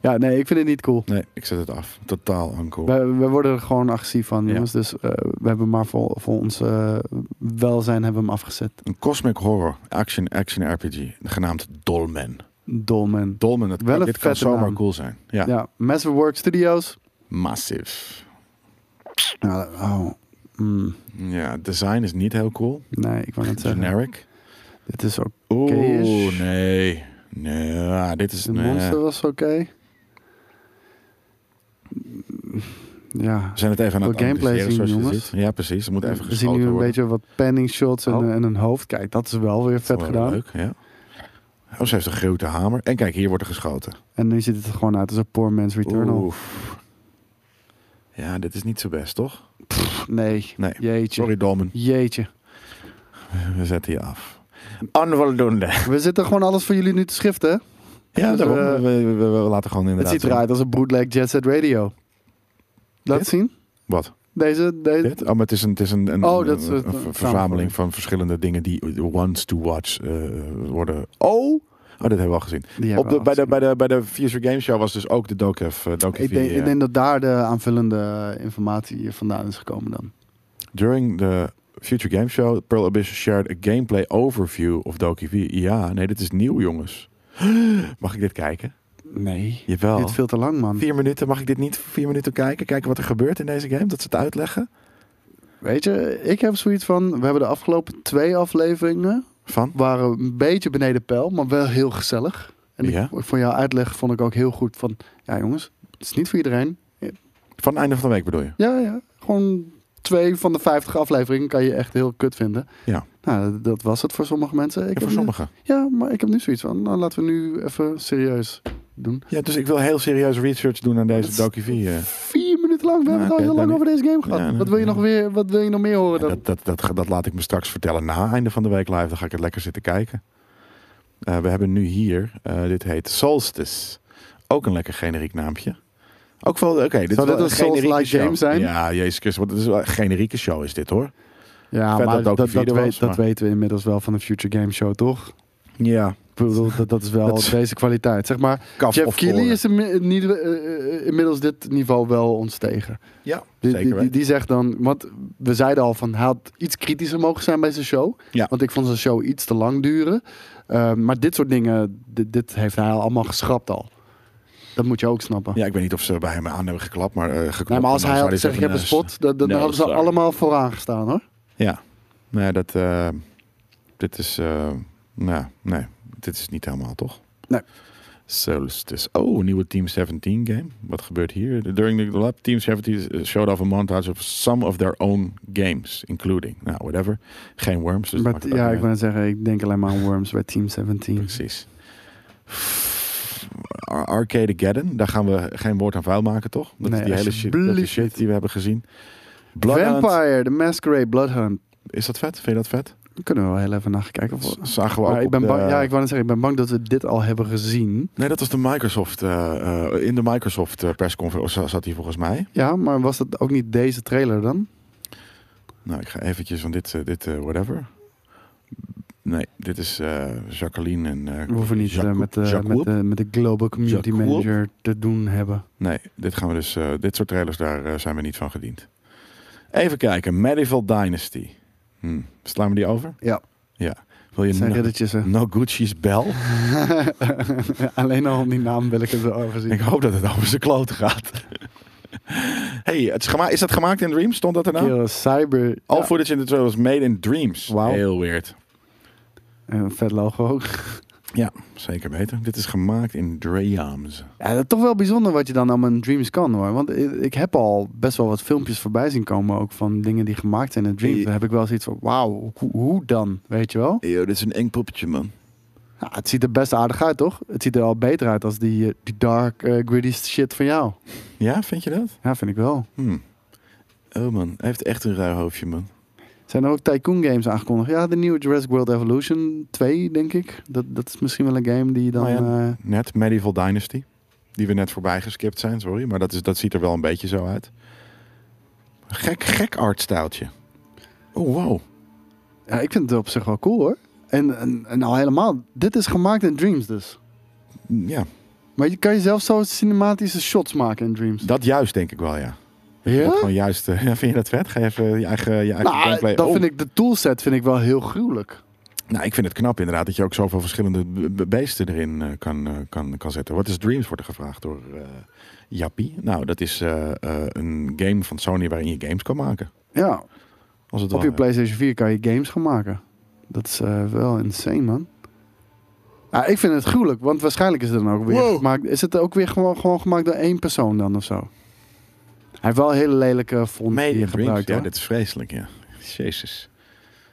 S2: Ja, nee, ik vind het niet cool.
S1: Nee, ik zet het af. Totaal uncool.
S2: We, we worden er gewoon agressief van,
S1: Ja.
S2: jongens. Dus eh, we hebben maar voor, voor ons eh, welzijn hebben we hem afgezet.
S1: Een cosmic horror action action RPG, genaamd Dolmen.
S2: Dolmen.
S1: Dolmen, dat
S2: Wel
S1: kan,
S2: een
S1: dit kan
S2: vette
S1: zomaar
S2: naam.
S1: cool zijn. Ja,
S2: Ja. Massive Work Studios.
S1: massief.
S2: Nou, oh. mm,
S1: Ja, design is niet heel cool.
S2: nee, ik wou net zeggen.
S1: Generic.
S2: Dit is ook.
S1: Oeh,
S2: Oké-ish.
S1: nee. Nee, ja, dit is...
S2: De
S1: nee.
S2: monster was oké. Ja.
S1: We zijn het even aan
S2: Wat
S1: het
S2: gameplay
S1: analyseren,
S2: zien,
S1: zoals je
S2: jongens.
S1: ziet. Ja, precies. Er moet even
S2: Eh, We zien
S1: geschoten
S2: nu een
S1: worden.
S2: beetje wat panning shots en, eh,
S1: Oh.
S2: en een hoofd. Kijk, dat is wel weer vet
S1: Wel
S2: gedaan.
S1: Leuk, ja. Oh, ze heeft een grote hamer. En kijk, hier wordt er geschoten.
S2: En nu ziet het er gewoon uit als een poor man's Returnal.
S1: Oef. Ja, dit is niet zo best, toch?
S2: Nee.
S1: Nee.
S2: Jeetje.
S1: Sorry, Dolmen.
S2: Jeetje.
S1: We zetten je af. Onvoldoende.
S2: We zitten gewoon alles voor jullie nu te schriften. hè?
S1: Ja,
S2: Dus,
S1: daarom.
S2: eh,
S1: we, we, we- we laten gewoon
S2: Het
S1: inderdaad... eh,
S2: ziet eruit als een bootleg Jet Set Radio. Laat
S1: Dit?
S2: zien.
S1: Wat?
S2: Deze. deze.
S1: Dit? Oh, maar het is een, het is een, een,
S2: Oh,
S1: een-
S2: dat is
S1: een-
S2: het,
S1: een
S2: eh,
S1: ver-
S2: samenvatting.
S1: verzameling van verschillende dingen die once to watch eh, worden... Oh! Oh, dit hebben we al gezien.
S2: Die hebben
S1: Op de,
S2: we
S1: bij, de,
S2: afgezien.
S1: bij, de, bij de Future Game Show was dus ook de Dokef. Uh,
S2: ik, denk, ik denk dat daar de aanvullende eh, informatie hier vandaan is gekomen dan.
S1: During the Future Game Show, Pearl Abyss shared a gameplay overview of Doki V. Ja, nee, dit is nieuw, jongens. Mag ik dit kijken?
S2: Nee.
S1: Jawel.
S2: Dit is veel te lang, man.
S1: Vier minuten, mag ik dit niet voor vier minuten kijken? Kijken wat er gebeurt in deze game, dat ze het uitleggen?
S2: Weet je, ik heb zoiets van... We hebben de afgelopen twee afleveringen...
S1: Van?
S2: waren een beetje beneden peil, maar wel heel gezellig. En ik-
S1: Ja?
S2: ik, voor jouw uitleg vond ik ook heel goed van... Ja, jongens, het is niet voor iedereen.
S1: Van het einde van de week bedoel je?
S2: Ja, ja. Gewoon twee van de vijftig afleveringen kan je echt heel kut vinden.
S1: Ja.
S2: Nou, dat was het voor sommige mensen. Ik
S1: Ja,
S2: heb
S1: voor
S2: nu-
S1: sommigen.
S2: Ja, maar ik heb nu zoiets van... Nou, laten we nu even serieus doen.
S1: Ja, dus ik wil heel serieus research doen aan deze
S2: Dat-
S1: Doki V. eh.
S2: Vier minuten lang. We
S1: Nou,
S2: hebben het
S1: oké,
S2: al heel
S1: dan
S2: lang
S1: niet.
S2: over deze game gehad.
S1: Ja, nee,
S2: wat, wil je
S1: ja.
S2: nog weer, wat wil je nog meer horen
S1: Ja,
S2: dan?
S1: dat, dat, dat, dat laat ik me straks vertellen na einde van de week live. Dan ga ik het lekker zitten kijken. Eh, we hebben nu hier, eh, dit heet Solstice. Ook een lekker generiek naampje. Ook wel, oké. dit
S2: Zou
S1: is wel
S2: dit een
S1: generieke
S2: Souls-like
S1: show.
S2: game zijn?
S1: Ja, jezus Christus. Want het is wel een generieke show is dit hoor.
S2: Ja,
S1: Vet
S2: maar
S1: dat het ook
S2: dat, dat,
S1: een vierde
S2: weet-
S1: was,
S2: dat
S1: maar-
S2: weten we inmiddels wel van de Future Game Show, toch?
S1: Ja.
S2: Ik bedoel, dat, dat is wel
S1: Dat is-
S2: deze kwaliteit. Zeg maar,
S1: Kaf
S2: Jeff
S1: of
S2: Keighley
S1: oren.
S2: is inmi- eh, niet, eh, eh, inmiddels dit niveau wel ontstegen.
S1: Ja,
S2: Die,
S1: zeker
S2: die, die,
S1: weten.
S2: die zegt dan, want we zeiden al van hij had iets kritischer mogen zijn bij zijn show.
S1: Ja.
S2: Want ik vond zijn show iets te lang duren. Eh, maar dit soort dingen, dit, dit heeft hij al allemaal geschrapt al. Dat moet je ook snappen.
S1: Ja, ik weet niet of ze bij hem aan hebben geklapt, maar eh geklopt.
S2: Nee, maar als
S1: En
S2: hij
S1: dan
S2: had
S1: zou
S2: gezegd, ik heb een
S1: zeggen,
S2: spot, dan, dan
S1: no,
S2: hadden ze
S1: sorry.
S2: allemaal vooraan gestaan hoor.
S1: eh, Ja. Nee, dat... eh, dit is... eh, nou, nee. Dit is niet helemaal, toch?
S2: Nee.
S1: Solstice. Oh, een nieuwe Team 17 game. Wat gebeurt hier? During the lab, Team 17 showed off a montage of some of their own games, including... Nou, whatever. Geen worms, dus dat
S2: Maar
S1: maakt
S2: t-
S1: het ook
S2: ja,
S1: niet
S2: ik
S1: uit.
S2: wou zeggen, ik denk alleen maar aan Worms bij Team 17.
S1: Precies. Ar- Arcade Gadden, daar gaan we geen woord aan vuil maken, toch? Dat
S2: Nee,
S1: is die hele shit, dat
S2: alsjeblieft
S1: is shit die we hebben gezien. Bloodhound,
S2: Vampire, The Masquerade, Bloodhound.
S1: is dat vet? Vind je dat vet?
S2: Daar kunnen we wel heel even naar kijken. Of...
S1: Z- Zagen we ook
S2: Maar ik
S1: op
S2: ben
S1: de-
S2: bang, ja, ik wou net zeggen, ik ben bang dat we dit al hebben gezien.
S1: Nee, dat was de Microsoft, eh, eh, in de Microsoft eh, persconferentie za- zat hij volgens mij.
S2: Ja, maar was dat ook niet deze trailer dan?
S1: Nou, ik ga eventjes van dit, eh, dit eh, whatever. Nee, dit is eh, Jacqueline en... eh,
S2: We hoeven niet eh,
S1: Jacob-
S2: met, de, met,
S1: Jacob.
S2: de, met de Global Community
S1: Jacob?
S2: Manager te doen hebben.
S1: Nee, dit gaan we dus. eh, dit soort trailers daar eh, zijn we niet van gediend. Even kijken, Medieval Dynasty. Hm. Slaan we die over?
S2: Ja.
S1: Ja. Wil je
S2: Het zijn
S1: no,
S2: riddertjes. hè.
S1: Noguchi's bel?
S2: Alleen al om die naam wil ik het wel over zien.
S1: Ik hoop dat het over zijn kloot gaat. hey, het is, gema- is dat gemaakt in Dreams? Stond dat er nou?
S2: Kerel, cyber.
S1: Al
S2: Ja,
S1: voor dit in de trailer was made in Dreams.
S2: Wauw.
S1: Heel weird.
S2: Een vet logo ook.
S1: Zeker weten. Dit is gemaakt in Dreams.
S2: Ja, dat is toch wel bijzonder wat je dan allemaal in Dreams kan hoor. Want i- ik heb al best wel wat filmpjes voorbij zien komen ook van dingen die gemaakt zijn in Dreams.
S1: Die-
S2: Daar heb ik wel zoiets van, wauw, hoe, hoe dan? Weet je wel?
S1: Yo, dit is een eng poppetje, man.
S2: Ja, Nou, het ziet er best aardig uit, toch? Het ziet er al beter uit als die, eh, die dark, eh, gritty shit van jou.
S1: Ja, vind je dat?
S2: Ja, vind ik wel.
S1: Hm. Oh man, hij heeft echt een ruig hoofdje, man.
S2: Zijn er ook tycoon games aangekondigd? Ja, de nieuwe Jurassic World Evolution 2, denk ik. Dat, dat is misschien wel een game die je dan...
S1: Oh ja.
S2: eh,
S1: Net, Medieval Dynasty. Die we net voorbij geskipt zijn, sorry. Maar dat, is, dat ziet er wel een beetje zo uit. Gek, gek artstijltje. Oh, wow.
S2: ja, ik vind het op zich wel cool, hoor. En, en, en al helemaal, dit is gemaakt in Dreams dus.
S1: Ja,
S2: Maar je kan je zelf zo cinematische shots maken in Dreams.
S1: dat juist denk ik wel, ja. Dat
S2: ja?
S1: Gewoon juist, eh, ja, vind je dat vet? Ga je even je eigen, je eigen
S2: Nou,
S1: gameplay...
S2: dat
S1: Oh,
S2: vind ik, de toolset vind ik wel heel gruwelijk.
S1: Nou, ik vind het knap inderdaad dat je ook zoveel verschillende be- be- beesten erin eh, kan, eh, kan, kan zetten. What is Dreams wordt er gevraagd door eh Jappie. Nou, dat is eh, eh, een game van Sony waarin je games kan maken.
S2: Ja,
S1: Als het
S2: op je
S1: ware.
S2: PlayStation 4 kan je games gaan maken. Dat is eh, wel insane, man. Ah, ik vind het gruwelijk, want waarschijnlijk is het dan ook weer
S1: Wow.
S2: gemaakt. Is het ook weer gewoon, gewoon gemaakt door één persoon dan of zo? Hij heeft wel een hele lelijke font die
S1: Media
S2: je
S1: Dreams.
S2: gebruikt.
S1: ja,
S2: hoor.
S1: dit is vreselijk, ja. Jezus.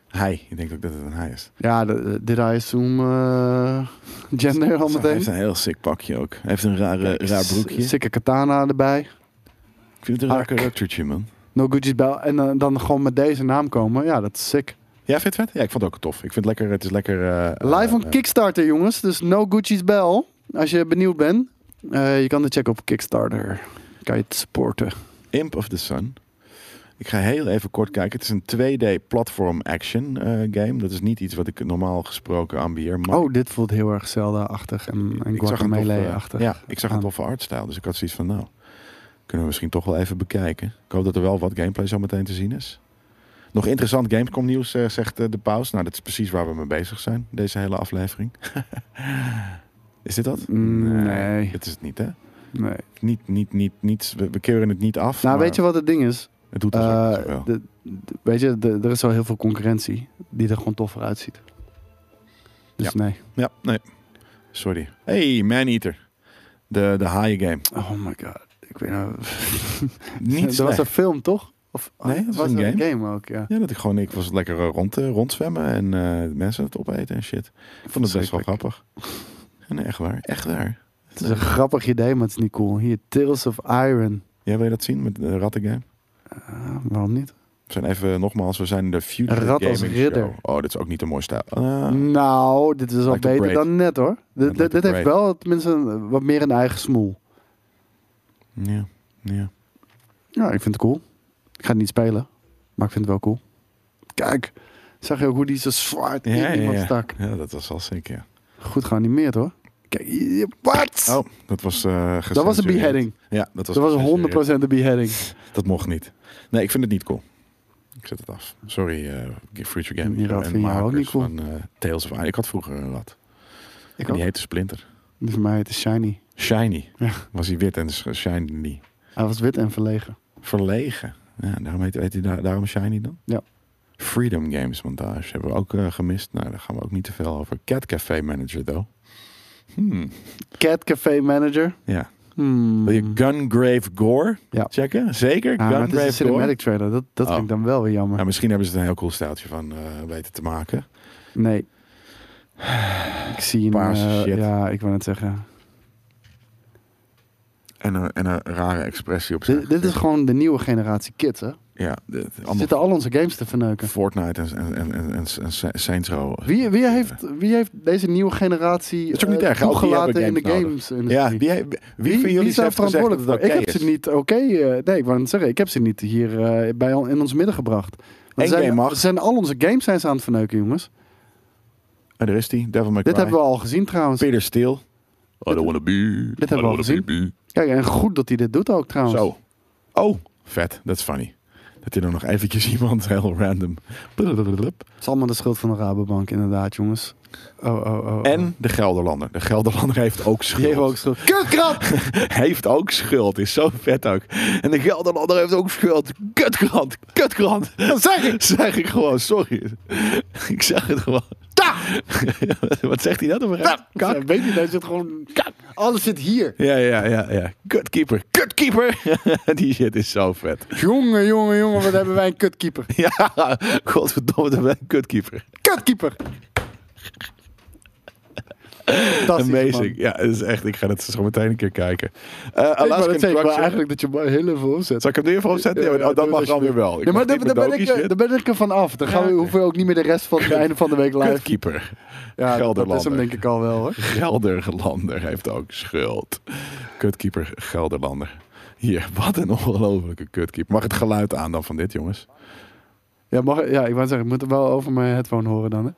S1: Hij. Ik denk ook dat het een hij is.
S2: Ja, de- did I assume eh, gender al
S1: Hij
S2: meteen?
S1: heeft een heel sick pakje ook. Hij heeft een rare, raar broekje.
S2: Sikke katana erbij.
S1: Ik vind het een raar
S2: Ark.
S1: karaktertje, man.
S2: No Gucci's bel. En dan- dan gewoon met deze naam komen. Ja, dat is sick.
S1: Ja, vind je het vet? Ja, ik vond het ook tof. Ik vind het lekker, het is lekker... eh,
S2: Live
S1: eh,
S2: on
S1: eh,
S2: Kickstarter, jongens. Dus No Gucci's Bell. Als je benieuwd bent, eh, je kan het checken op Kickstarter. Kan je het supporten.
S1: Imp of the Sun. Ik ga heel even kort kijken. Het is een 2D platform action eh, game. Dat is niet iets wat ik normaal gesproken ambieer. Maar
S2: oh, dit voelt heel erg Zelda-achtig en, en
S1: ik zag een toffe-
S2: Guacamele-achtig.
S1: Ja, ik zag een
S2: aan.
S1: toffe artstijl. Dus ik had zoiets van, nou, kunnen we misschien toch wel even bekijken. Ik hoop dat er wel wat gameplay zo meteen te zien is. Nog interessant Gamescom nieuws, eh, zegt eh, de paus. Nou, dat is precies waar we mee bezig zijn, deze hele aflevering. is dit dat?
S2: Mm, nee.
S1: Dat is het niet, hè?
S2: Nee.
S1: Niet, niet, niet, niet. We, we keuren het niet af.
S2: Nou,
S1: maar
S2: weet je wat het ding is?
S1: Het doet ons ook niet
S2: Eh,
S1: zoveel.
S2: de- de- weet je, de- er is al heel veel concurrentie die er gewoon toffer uitziet. Dus
S1: Ja.
S2: nee.
S1: Ja, nee. Sorry. Hey, Maneater. De, de haaien game.
S2: Oh my god. Ik weet nou...
S1: Niet
S2: Er was
S1: slecht.
S2: een film, toch? Of, oh,
S1: Nee, dat was een
S2: er
S1: game.
S2: ook, ja.
S1: Ja, dat ik gewoon, ik was lekker eh, rond, eh, rondzwemmen en eh, mensen het opeten en shit. Ik vond het best wel grappig. Ja, Nee, echt waar. Echt waar.
S2: Het is een grappig idee, maar het is niet cool. Hier, Tales of Iron.
S1: Ja, wil je dat zien met de rattengame?
S2: Ah, waarom niet?
S1: We zijn even, eh, nogmaals, we zijn de Future
S2: Een rat als
S1: Gaming
S2: ridder.
S1: Show. Oh, dit is ook niet een mooi stijl. Ah,
S2: Nou, dit is al
S1: Like the
S2: beter
S1: Braid.
S2: dan net hoor. Dit,
S1: Like
S2: dit-
S1: the
S2: dit heeft
S1: Braid.
S2: wel tenminste een- wat meer een eigen smoel.
S1: ja, ja.
S2: Ja, ik vind het cool. Ik ga het niet spelen, maar ik vind het wel cool. Kijk, zag je ook hoe die zijn zwaard in
S1: Ja, ja,
S2: iemand
S1: ja.
S2: stak?
S1: ja, dat was al zeker. ja.
S2: Goed geanimeerd hoor. Kijk, je- wat?
S1: Oh, dat was eh
S2: dat was een
S1: gecensureerd.
S2: beheading.
S1: Ja, dat was,
S2: Dat was
S1: gecensureerd.
S2: 100% een beheading.
S1: Dat mocht niet. Nee, ik vind het niet cool. Ik zet het af. Sorry, eh, Future Game.
S2: Die rat vind je ook niet cool.
S1: Van, eh, Tales of Iron. Ik had vroeger een rat.
S2: Ik
S1: en
S2: ook.
S1: die heette Splinter.
S2: Dus voor mij het is shiny.
S1: Shiny.
S2: Ja.
S1: Was hij wit en sch- shiny niet.
S2: Hij was wit en verlegen.
S1: Verlegen. Ja, daarom heet, heet hij da- daarom Shiny dan?
S2: Ja.
S1: Freedom Games montage hebben we ook eh, gemist. Nou, daar gaan we ook niet te veel over. Cat Café Manager, though. Hmm.
S2: Cat Café Manager.
S1: Ja.
S2: Hmm.
S1: Wil je Gungrave Gore
S2: Ja.
S1: checken? Zeker.
S2: Ah, maar het is een
S1: Gungrave Gore.
S2: cinematic trailer. Dat, dat
S1: Oh.
S2: vind ik dan wel weer jammer.
S1: Nou, misschien hebben ze er een heel cool stijltje van eh, weten te maken.
S2: Nee. Ik zie een...
S1: Paarse
S2: eh,
S1: shit.
S2: ja, ik wou net zeggen.
S1: En een, en een rare expressie op zijn
S2: Dit, dit is
S1: gezicht.
S2: gewoon de nieuwe generatie kids, hè?
S1: Ja, dit-
S2: Ze
S1: allemaal
S2: zitten al onze games te verneuken.
S1: Fortnite en, en, en, en, en Sa- Saints Row.
S2: Wie, wie, heeft, wie heeft deze nieuwe generatie
S1: Is ook niet
S2: eh,
S1: erg, hè? Ook die
S2: toegelaten in
S1: hebben
S2: de
S1: games
S2: games?
S1: Ja, wie, wie, van jullie
S2: is daar
S1: heeft gezegd dat het oké
S2: Ik heb
S1: is?
S2: ze niet oké... eh, nee, ik wou net zeggen. Ik heb ze niet hier eh, bij, on- in ons midden gebracht. Want
S1: Eén
S2: zijn,
S1: game mag.
S2: zijn al onze games zijn ze aan het verneuken, jongens.
S1: Ah, daar is die, Devil May Cry.
S2: Dit hebben we al gezien trouwens.
S1: Peter Steele. I don't wanna be.
S2: Dit hebben we al gezien. Kijk, en goed dat hij dit doet ook trouwens.
S1: Zo. Oh, vet. Dat is funny. Dat hij dan nog eventjes iemand heel random... Blablabla.
S2: Het is allemaal de schuld van de Rabobank, inderdaad, jongens. Oh, oh, oh. oh.
S1: En de Gelderlander. De Gelderlander heeft ook
S2: Die
S1: schuld.
S2: hebben ook schuld. Kutkrap!
S1: heeft ook schuld. Is zo vet ook. En de Gelderlander heeft ook schuld. Kutkrant. Kutkrant.
S2: Dat zeg ik!
S1: zeg ik gewoon, sorry. Ik zeg het gewoon.
S2: Da!
S1: Wat zegt hij nou dat over?
S2: Da!
S1: Kak?
S2: Ja, Weet je, daar zit gewoon... Kak! Alles zit hier.
S1: Ja, ja, ja, ja. Kutkeeper, kutkeeper. Die shit is zo vet.
S2: Jongen, jongen, jongen, wat hebben wij een kutkeeper.
S1: Ja, godverdomme, dat ben ik kutkeeper.
S2: Kutkeeper! Fantastisch,
S1: Amazing.
S2: man.
S1: Ja, dat is echt. Ik ga het zo meteen een keer kijken. Eh
S2: Ik wou
S1: Alaskan
S2: net zeggen, maar
S1: Crusher.
S2: eigenlijk dat je maar heel even opzet.
S1: Zal ik hem nu even opzetten? Ja, maar- oh, dat mag dan weer wel. Ik
S2: Nee, maar
S1: mag
S2: daar
S1: niet
S2: daar
S1: met
S2: ben, ik,
S1: Doki's
S2: eh, daar ben ik er van af. Dan gaan we,
S1: Ja.
S2: hoeven we ook niet meer de rest van het einde van de week
S1: shit.
S2: live.
S1: Kutkeeper.
S2: Ja, dat- dat is
S1: Gelderlander.
S2: hem denk ik al wel hoor.
S1: Gelderlander heeft ook schuld. Kutkeeper Gelderlander. Hier, wat een ongelofelijke kutkeeper. Mag het geluid aan dan van dit, jongens?
S2: Ja, mag, ja ik wou zeggen, ik moet hem wel over mijn headphone horen dan. Hè?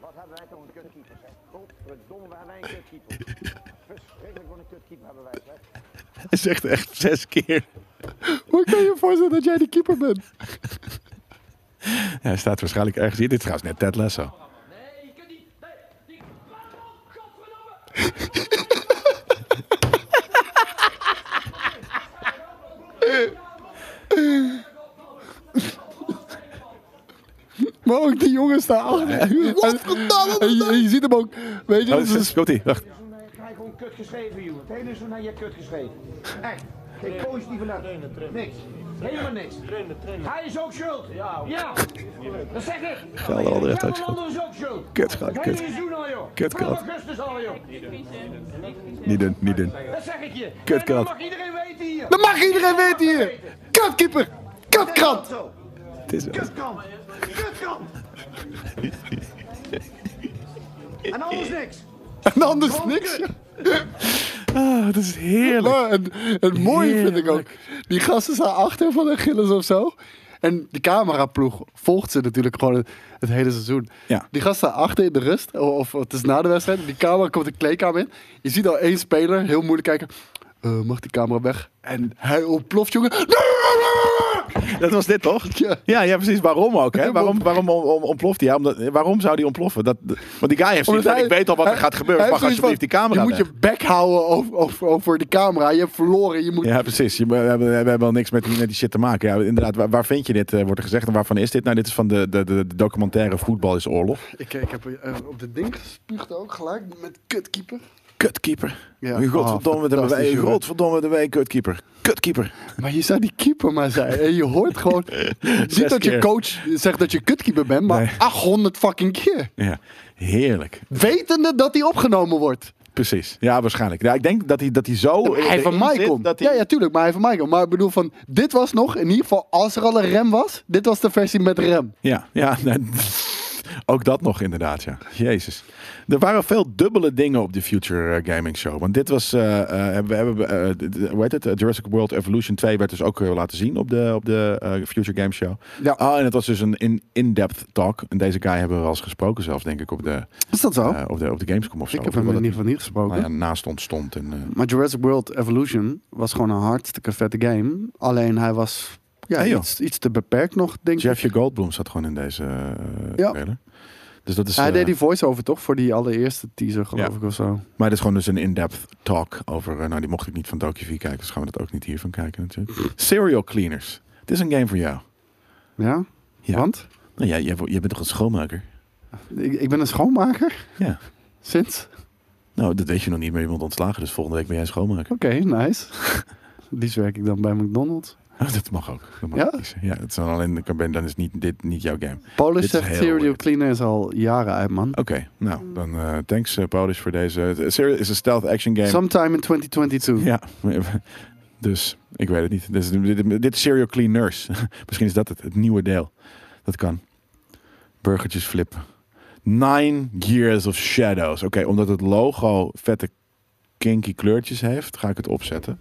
S4: Wat hebben wij toch een kutkeeper, zeg? Godverdomme, we hebben wij een kutkeeper. Verschrikkelijk wat een kutkeeper hebben wij, zeg.
S1: Hij zegt echt zes keer.
S2: Hoe kan je je voorstellen dat jij die keeper bent?
S1: Ja, hij staat waarschijnlijk ergens hier. Dit is trouwens net Ted Lasso.
S5: Nee, je kunt niet. Nee, die. Waarom? Godverdomme!
S2: Maar ook Oh, die jongens daar achter. En je, en je ziet hem ook. Weet je,
S1: Oh,
S2: dat is een
S1: komt ie. Wacht.
S4: Ik krijg gewoon kut geschreven, joh. Het hele seizoen heb je kut geschreven. Echt. Geen positieve letter. Niks. Helemaal niks. Hij is ook schuld. Ja. Dat zeg ik.
S1: Gelder al de recht ook schuld.
S4: Gelderlander is ook schuld.
S1: Kut, gaat,
S4: Het
S1: kut.
S4: hele seizoen al, joh.
S1: Kut,
S4: Vanaf
S1: kat.
S4: augustus al, joh.
S1: Niet doen, niet doen.
S4: Dat zeg ik je.
S1: Kut,
S4: En dat
S1: kat.
S4: mag iedereen weten hier.
S2: Dat mag iedereen weten hier! Katkeeper! Katkrant!
S4: Zo.
S1: Het is wel.
S4: Kutkant. Kutkant. En anders niks.
S2: En anders niks. Nou,
S1: Ah, dat is heerlijk.
S2: Maar het, het mooie vind ik ook. Die gasten staan achter van Achilles of zo. En die cameraploeg volgt ze natuurlijk gewoon het, het hele seizoen.
S1: Ja.
S2: Die gasten staan achter in de rust. Of, of het is na de wedstrijd. Die camera komt de kleedkamer in. Je ziet al één speler heel moeilijk kijken. Eh, mag die camera weg? En hij ontploft, jongen.
S1: Dat was dit toch?
S2: Ja.
S1: ja, ja, precies. Waarom ook? Hè? Waarom, waarom om- om- ontploft hij? Ja, omdat, waarom zou die ontploffen? Dat, want die guy heeft zoiets
S2: Omdat
S1: van,
S2: hij-
S1: ik weet al wat er
S2: hij-
S1: gaat gebeuren.
S2: hij
S1: Mag
S2: heeft
S1: alsjeblieft
S2: zoiets
S1: die
S2: van,
S1: camera
S2: Je moet
S1: weg.
S2: je bek houden over, over, over de camera. Je hebt verloren. Je moet
S1: Ja, precies. Je, we, hebben, we hebben al niks met die, met die shit te maken. Ja, inderdaad, waar, waar vind je dit, eh, wordt er gezegd. En waarvan is dit? Nou, dit is van de, de, de, de documentaire Voetbal is Oorlog.
S2: Ik, ik heb eh, op dit ding gespuugd ook gelijk met kutkeeper.
S1: Kutkeeper.
S2: Ja.
S1: Godverdomme,
S2: Ah,
S1: de
S2: fantastisch,
S1: wij-
S2: jongen.
S1: godverdomme de wij, kutkeeper. Kutkeeper.
S2: Maar je zou die keeper maar zijn. En je hoort gewoon. niet dat je
S1: keer.
S2: coach zegt dat je kutkeeper bent, maar
S1: Nee.
S2: 800 fucking keer.
S1: Ja, heerlijk.
S2: Wetende dat hij opgenomen wordt.
S1: Precies. Ja, waarschijnlijk. Ja, ik denk dat hij, dat hij zo...
S2: hij van
S1: erin
S2: mij
S1: zit
S2: komt.
S1: dat hij-
S2: Ja, ja, tuurlijk, maar hij van mij komt. Maar ik bedoel van, dit was nog, in ieder geval, als er al een rem was, dit was de versie met rem.
S1: Ja, ja. nee, Ook dat nog inderdaad, ja. Jezus. Er waren veel dubbele dingen op de Future eh, Gaming Show. Want dit was, eh, eh, we hebben, eh, d- d- hoe heet het? Eh, Jurassic World Evolution 2 werd dus ook eh, laten zien op de, op de eh, Future Game Show.
S2: Ja.
S1: Ah, en het was dus een in- in-depth talk. En deze guy hebben we wel eens gesproken zelfs, denk ik, op de,
S2: Is dat zo?
S1: eh, op de, op de Gamescom of zo.
S2: Oh. ik heb
S1: Of
S2: hem
S1: wat
S2: in ieder
S1: het-
S2: geval niet gesproken.
S1: nou ja, naast ons stond. En, eh,
S2: Maar Jurassic World Evolution was gewoon een hartstikke vette game. Alleen hij was ja,
S1: Hey, joh.
S2: iets, iets te beperkt nog, denk ik.
S1: Jeffrey Goldblum zat gewoon in deze eh,
S2: Ja.
S1: trailer. Dus dat is,
S2: Hij
S1: eh,
S2: deed die voice-over toch voor die allereerste teaser, geloof
S1: Ja.
S2: ik of zo.
S1: Maar het is gewoon dus een in-depth talk over... eh, nou, die mocht ik niet van Doki 4 kijken, dus gaan we dat ook niet hiervan kijken natuurlijk. Serial Cleaners. Het is een game voor jou.
S2: Ja?
S1: Ja.
S2: Want
S1: Nou, jij, jij, wo- jij bent toch een schoonmaker?
S2: ik, ik ben een schoonmaker
S1: Ja.
S2: sinds.
S1: Nou, dat weet je nog niet, maar je bent ontslagen, dus volgende week ben jij schoonmaker.
S2: Oké, nice. Liefst werk ik dan bij McDonald's.
S1: Oh, dat mag ook. Dat mag
S2: Ja?
S1: ik kiezen. Ja, het is dan alleen, dan ben- dan is niet, dit niet jouw game.
S2: Paulus
S1: Dit is
S2: zegt
S1: heel
S2: serial
S1: weird.
S2: cleaner is al jaren uit, man.
S1: Oké, nou, dan eh, thanks eh, Paulus voor deze... Het Serial is een stealth action game.
S2: Sometime in 2022.
S1: Ja, dus ik weet het niet. Dus, dit, dit, dit is Serial Cleaners. Misschien is dat het, het nieuwe deel. Dat kan. Burgertjes flippen. Nine Years of Shadows. Oké, omdat het logo vette kinky kleurtjes heeft, ga ik het opzetten.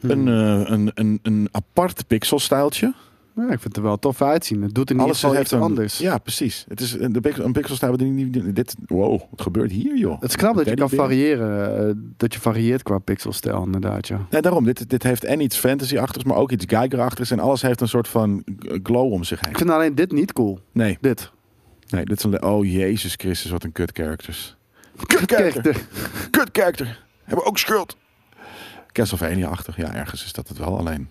S2: Hmm.
S1: Een, eh, een, een, een apart pixelstijltje.
S2: Ja, ik vind het er wel tof uitzien. Het doet in ieder
S1: Alles
S2: geval
S1: heeft
S2: iets
S1: een,
S2: anders.
S1: Ja, precies. Het is een, de pix- een pixelstijl die niet... die- Dit, wow, wat gebeurt hier, joh?
S2: Het is knap dat je kan
S1: Teddybeer.
S2: variëren. eh, dat je varieert qua pixelstijl, inderdaad, ja.
S1: Nee, daarom. Dit, dit heeft en iets fantasy-achtigs, maar ook iets Geiger-achtigs. En alles heeft een soort van eh, glow om zich heen.
S2: Ik vind alleen dit niet cool.
S1: Nee,
S2: Dit.
S1: nee dit is een... Oh, Jezus Christus, wat een kut characters.
S2: Kijk,
S1: Kut
S2: de-
S1: character. Hebben ook schuld. Castlevania-achtig. Ja, ergens is dat het wel. Alleen,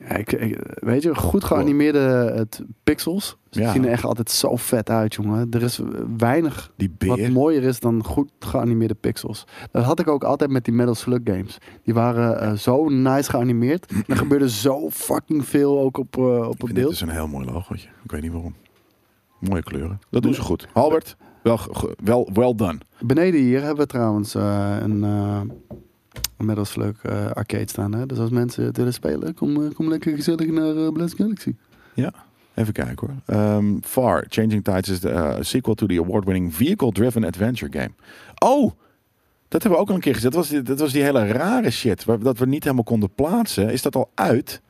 S2: Ja, ik, ik- weet je, goed geanimeerde eh, het, pixels. Ze
S1: Ja.
S2: zien er echt altijd zo vet uit, jongen. Er is eh, weinig
S1: die
S2: wat
S1: beer.
S2: mooier is dan goed geanimeerde pixels. Dat had ik ook altijd met die Metal Slug games. Die waren eh, zo nice geanimeerd. Er gebeurde zo fucking veel ook op, eh, op
S1: Ik
S2: het
S1: vind dit
S2: beeld.
S1: is een heel mooi logootje. Ik weet niet waarom. Mooie kleuren. Dat doen ze goed. Halbert, wel, ge- ge- wel well done.
S2: Beneden hier hebben we trouwens eh, een eh, een Metal Slug eh, arcade staan. Hè? Dus als mensen het willen spelen, kom, eh, kom lekker gezellig naar eh Blast Galaxy.
S1: Ja, even kijken hoor. Ehm, Far, Changing Tides is de eh, sequel to the award-winning vehicle-driven adventure game. Oh, dat hebben we ook al een keer gezet. Dat was die, dat was die hele rare shit, waar, dat we niet helemaal konden plaatsen. Is dat al uit?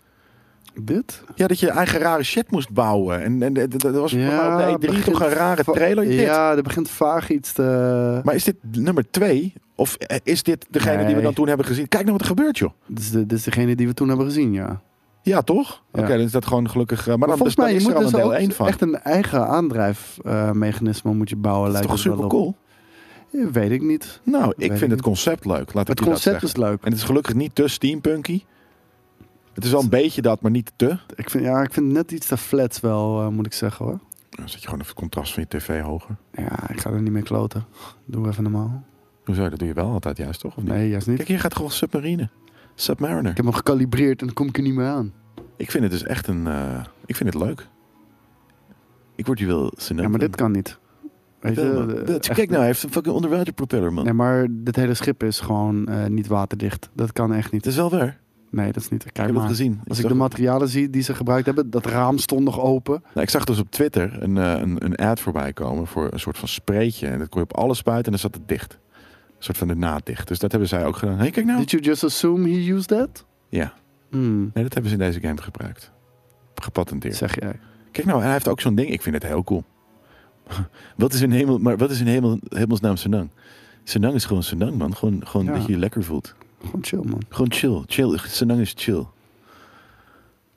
S2: Dit?
S1: Ja, dat je eigen rare shit moest bouwen. En, en, en dat was volgens mij op de E3
S2: begint
S1: toch een rare
S2: va-
S1: trailer? Dit.
S2: Ja, er begint vaag iets te...
S1: Maar is dit nummer twee? Of eh, is dit degene die we
S2: Nee. Dus
S1: dan toen hebben gezien? Kijk nou wat er gebeurt, joh.
S2: Dit is, de, dit is degene die we toen hebben gezien, ja.
S1: Ja, toch?
S2: Ja.
S1: Oké, dan is dat gewoon gelukkig. eh, maar
S2: Maar
S1: dan,
S2: volgens
S1: dus, dan
S2: mij, je
S1: is
S2: moet
S1: er al
S2: dus
S1: een deel
S2: ook
S1: 1 van.
S2: echt een eigen aandrijfmechanisme moet je bouwen.
S1: dat is
S2: lijkt
S1: toch
S2: het wel
S1: super
S2: op.
S1: cool?
S2: Ja, weet ik niet.
S1: Nou,
S2: Weet
S1: ik
S2: ik
S1: vind het
S2: niet.
S1: concept leuk. Laat ik
S2: Het
S1: je dat
S2: concept
S1: zeggen.
S2: is leuk.
S1: En het is gelukkig niet te steampunky. Het is al een beetje dat, maar niet te.
S2: Ik vind, ja, ik vind het net iets te flat wel, eh, moet ik zeggen hoor.
S1: Dan zet je gewoon even het contrast van je tv hoger.
S2: Ja, ik ga er niet mee kloten. Doe even normaal.
S1: Hoezo? Dat doe je wel altijd juist, toch? Of niet?
S2: Nee, juist niet.
S1: Kijk, hier gaat gewoon Submarine. Submariner.
S2: Ik heb hem gekalibreerd en dan kom ik er niet meer aan.
S1: Ik vind het dus echt een... eh, ik vind het leuk. Ik word hier wel zin
S2: Ja, maar dit kan niet. Weet je, de- echt-
S1: Kijk nou, hij heeft een fucking onderwaterpropeller, man.
S2: Nee, maar dit hele schip is gewoon eh, niet waterdicht. Dat kan echt niet.
S1: Het is wel waar. Ik
S2: Nee, dat is niet. Kijk
S1: heb het
S2: maar.
S1: gezien.
S2: Als ik
S1: zag-
S2: de materialen zie die ze gebruikt hebben, dat raam stond nog open.
S1: Nou, ik zag dus op Twitter een, eh, een, een ad voorbij komen voor een soort van spreetje. En dat kon je op alles spuiten en dan zat het dicht. Een soort van de naad dicht. Dus dat hebben zij ook gedaan. Hé, kijk nou.
S2: Did you just assume he used that?
S1: Ja,
S2: Hmm,
S1: nee, dat hebben ze in deze game gebruikt. Gepatenteerd.
S2: zeg jij.
S1: Kijk nou, en hij heeft ook zo'n ding. Ik vind het heel cool. wat is in hemel, maar wat is in hemel, hemelsnaam Senang? Senang is gewoon Senang, man. Gewoon, gewoon
S2: Ja.
S1: dat je je lekker voelt.
S2: Gewoon chill, man.
S1: Gewoon chill. chill. Senang is chill.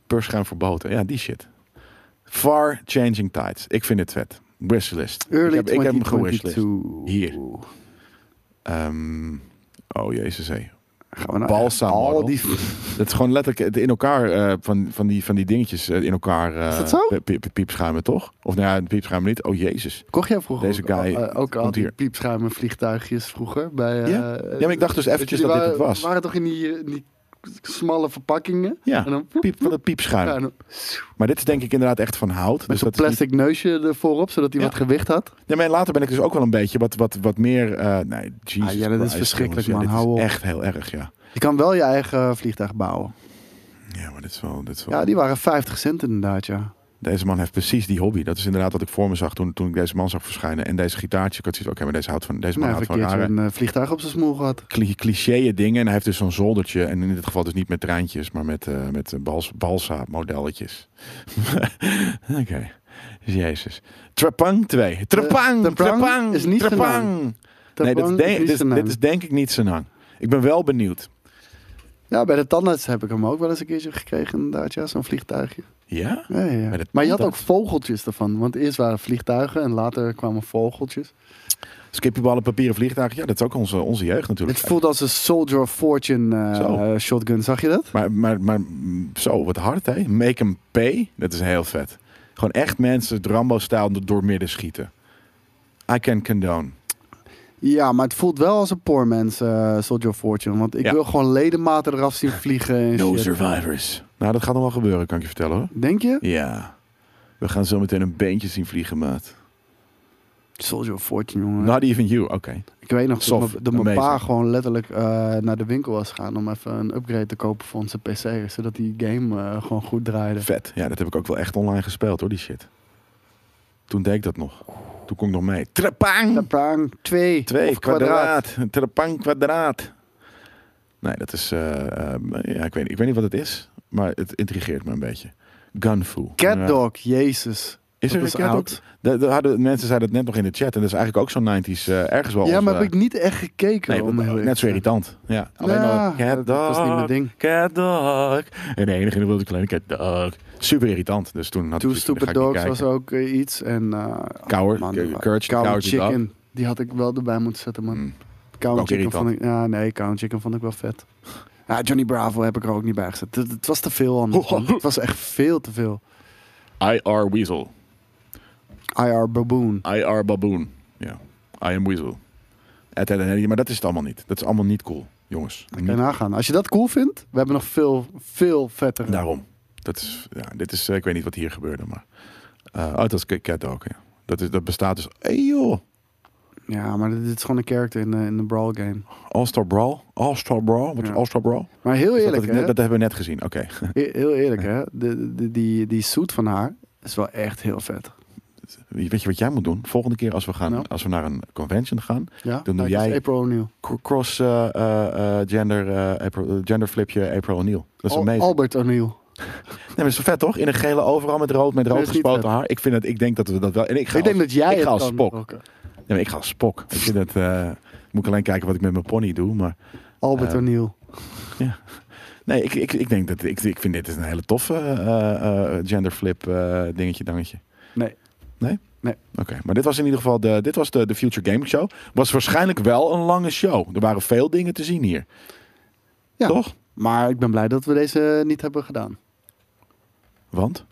S1: Perschuim verboden. Ja, die shit. Far Changing Tides. Ik vind het vet. Wishlist.
S2: Early
S1: ik heb, ik heb hem
S2: 2022.
S1: gewishlist. Hier. Ehm, oh jezus, hé.
S2: Gaan we nou
S1: Balsam
S2: echt al
S1: model.
S2: die...
S1: Dat is gewoon letterlijk het in elkaar eh, van, van, die, van die dingetjes eh, in elkaar eh,
S2: Is dat zo?
S1: pe- pe- piepschuimen, toch? Of nou ja, piepschuimen niet. Oh jezus.
S2: Kocht jij vroeger
S1: Deze
S2: ook,
S1: guy
S2: al- eh, ook al
S1: komt
S2: die
S1: hier.
S2: piepschuimen vliegtuigjes vroeger? Bij, eh,
S1: Ja? Ja, maar ik dacht dus
S2: eh,
S1: eventjes
S2: jullie
S1: dat dit het
S2: waren-
S1: was.
S2: waren toch in die, die smalle verpakkingen?
S1: Ja,
S2: En dan...
S1: piep, van dat piepschuim.
S2: Ja, en dan-
S1: Maar dit is denk ik inderdaad echt van hout.
S2: Met
S1: dus
S2: zo'n
S1: dat is niet-
S2: plastic neusje ervoor op, zodat hij
S1: Ja.
S2: wat gewicht had.
S1: Ja, maar later ben ik dus ook wel een beetje wat, wat, wat meer... eh, nee, Jesus
S2: Ah, ja, dat is
S1: Christ,
S2: verschrikkelijk,
S1: jongens. Ja,
S2: man.
S1: dit
S2: Hou
S1: is
S2: op.
S1: echt heel erg, ja.
S2: Je kan wel je eigen vliegtuig bouwen.
S1: Ja, maar dit is wel... Dit is wel...
S2: Ja, die waren 50 cent inderdaad, ja.
S1: Deze man heeft precies die hobby. Dat is inderdaad wat ik voor me zag toen, toen ik deze man zag verschijnen. En deze gitaartje. Ik had zoiets van, oké, maar deze, houdt van, deze man
S2: Nou, even
S1: houdt
S2: een
S1: van
S2: keertje
S1: rare
S2: een eh, vliegtuig op zijn smoel gehad.
S1: cli- cliché dingen. En hij heeft dus zo'n zoldertje. En in dit geval dus niet met treintjes, maar met, eh met eh, bals, balsa-modelletjes. oké. Jezus. Trapang 2. Trapang!
S2: Eh, Trapang
S1: Trapang!
S2: is niet
S1: Trapang! Nee, dit is,
S2: Tapang
S1: de-
S2: is niet
S1: dit, is-
S2: zijn naam.
S1: dit is denk ik niet zijn hang. Ik ben wel benieuwd.
S2: Ja, bij de tandarts heb ik hem ook wel eens een keertje gekregen inderdaad, ja. Zo'n vliegtuigje.
S1: Ja?
S2: Ja, ja, ja.
S1: Bij de
S2: Maar je had ook
S1: tandarts?
S2: vogeltjes ervan. Want eerst waren vliegtuigen en later kwamen vogeltjes.
S1: Skippyballen, papieren vliegtuigen. Ja, dat is ook onze, onze jeugd natuurlijk.
S2: Het voelt als een Soldier of Fortune eh,
S1: Zo.
S2: eh, shotgun. Zag je dat?
S1: Maar, maar, maar mm, zo, wat hard hè. Make hem pay. Dat is heel vet. Gewoon echt mensen het Rambo-stijl door- doormidden schieten. I can condone.
S2: Ja, maar het voelt wel als een poor man's eh, Soldier of Fortune. Want ik
S1: Ja.
S2: wil gewoon ledematen eraf zien vliegen en shit.
S1: survivors. Nou, dat gaat nog wel gebeuren, kan ik je vertellen hoor.
S2: Denk je?
S1: Ja. We gaan zo meteen een beentje zien vliegen, maat.
S2: Soldier of Fortune, jongen.
S1: Not even you, oké.
S2: Ik weet nog
S1: Sof,
S2: dat mijn- dat mijn pa
S1: amazing.
S2: gewoon letterlijk eh, naar de winkel was gegaan om even een upgrade te kopen voor onze PC. Zodat die game eh, gewoon goed draaide.
S1: Vet. Ja, dat heb ik ook wel echt online gespeeld hoor, die shit. Toen deed ik dat nog. Toen kon ik nog mee. Trapang!
S2: Tapang 2.
S1: Twee
S2: of
S1: kwadraat. Een Trapang kwadraat. Nee, dat is. eh, eh, ja, ik, weet, niet- ik weet niet wat het is, maar het intrigeert me een beetje. Gunfu.
S2: Cat Dog, jezus.
S1: Is
S2: dat
S1: er
S2: is
S1: een cat dog?
S2: oud.
S1: De, de- hadden, mensen zeiden het net nog in de chat. En dat is eigenlijk ook zo'n 90s eh, ergens wel.
S2: Ja,
S1: onze-
S2: maar heb ik niet echt gekeken.
S1: Nee,
S2: om heel
S1: dat-
S2: eerlijk
S1: net
S2: te
S1: zo
S2: zijn.
S1: irritant. Ja, alleen
S2: Nou,
S1: maar cat
S2: dat- dat was niet mijn
S1: dog,
S2: ding.
S1: Cat dog. En de enige in de wilde kleine cat dog. Super irritant. Dus toen had
S2: Two
S1: ik zoiets van,
S2: Stupid
S1: daar ga ik
S2: Dogs
S1: niet
S2: was
S1: kijken.
S2: ook eh, iets. En eh
S1: Coward,
S2: man,
S1: Courage,
S2: eh,
S1: Courage
S2: Coward
S1: the Dog.
S2: Chicken. Die had ik wel erbij moeten zetten, man.
S1: Mm.
S2: Cow
S1: Ook
S2: Chicken vond
S1: irritant.
S2: ik... Ja, nee, Cow Chicken vond ik wel vet. Ja, Johnny Bravo heb ik er ook niet bij gezet. Het, het was te veel anders, man. Het was echt veel te veel.
S1: IR Weasel.
S2: IR Baboon.
S1: IR Baboon. Ja. I am Weasel. Et, et, et, et, maar dat is het allemaal niet. Dat is allemaal niet cool, jongens.
S2: Kan je nagaan. Als je dat cool vindt, we hebben nog veel, veel vettere.
S1: Daarom. Dat is, ja, dit is, eh, ik weet niet wat hier gebeurde, maar. eh oh, dat is Kit Kat ook. Ja. Dat, is, dat bestaat dus. Hey joh.
S2: Ja, maar dit is gewoon een character in de, in de Brawl game.
S1: All-Star Brawl. All-Star Brawl. Wat is
S2: Ja.
S1: All-Star Brawl? Is
S2: Maar heel
S1: dat,
S2: eerlijk,
S1: dat, ik net-
S2: hè?
S1: dat hebben we net gezien. Oké.
S2: He- Heel eerlijk, hè? De, de, die, die suit van haar is wel echt heel vet.
S1: Weet je wat jij moet doen? Volgende keer als we, gaan,
S2: Nou?
S1: als we naar een convention gaan,
S2: Ja?
S1: doe
S2: Kijk, dat is
S1: jij-
S2: April O'Neil.
S1: cro- cross eh, eh, eh, gender, eh, April, eh, gender flipje April O'Neil. Dat is
S2: Al-
S1: amazing.
S2: Albert O'Neil.
S1: Nee, maar is zo vet toch? In een gele overal met rood, met
S2: Nee,
S1: rood
S2: is niet
S1: gespoten
S2: vet.
S1: haar. Ik, vind dat, ik denk dat we dat wel. En ik ga
S2: Ik denk
S1: als,
S2: dat jij
S1: ik
S2: het
S1: ga als
S2: kan
S1: spok.
S2: rocken.
S1: Nee, maar ik ga als spok. Ik vind dat. eh, moet ik alleen kijken wat ik met mijn pony doe. Maar
S2: Albert
S1: Eh,
S2: O'Neil.
S1: Nee, ik, ik, ik denk dat ik, ik vind dit is een hele toffe eh, eh, genderflip eh, dingetje dangetje.
S2: Nee.
S1: Nee?
S2: Nee.
S1: Oké, maar dit was in ieder geval de, dit was de, de Future Gaming Show. Was waarschijnlijk wel een lange show. Er waren veel dingen te zien hier.
S2: Ja.
S1: Toch?
S2: Maar ik ben blij dat we deze eh, niet hebben gedaan.
S1: Want?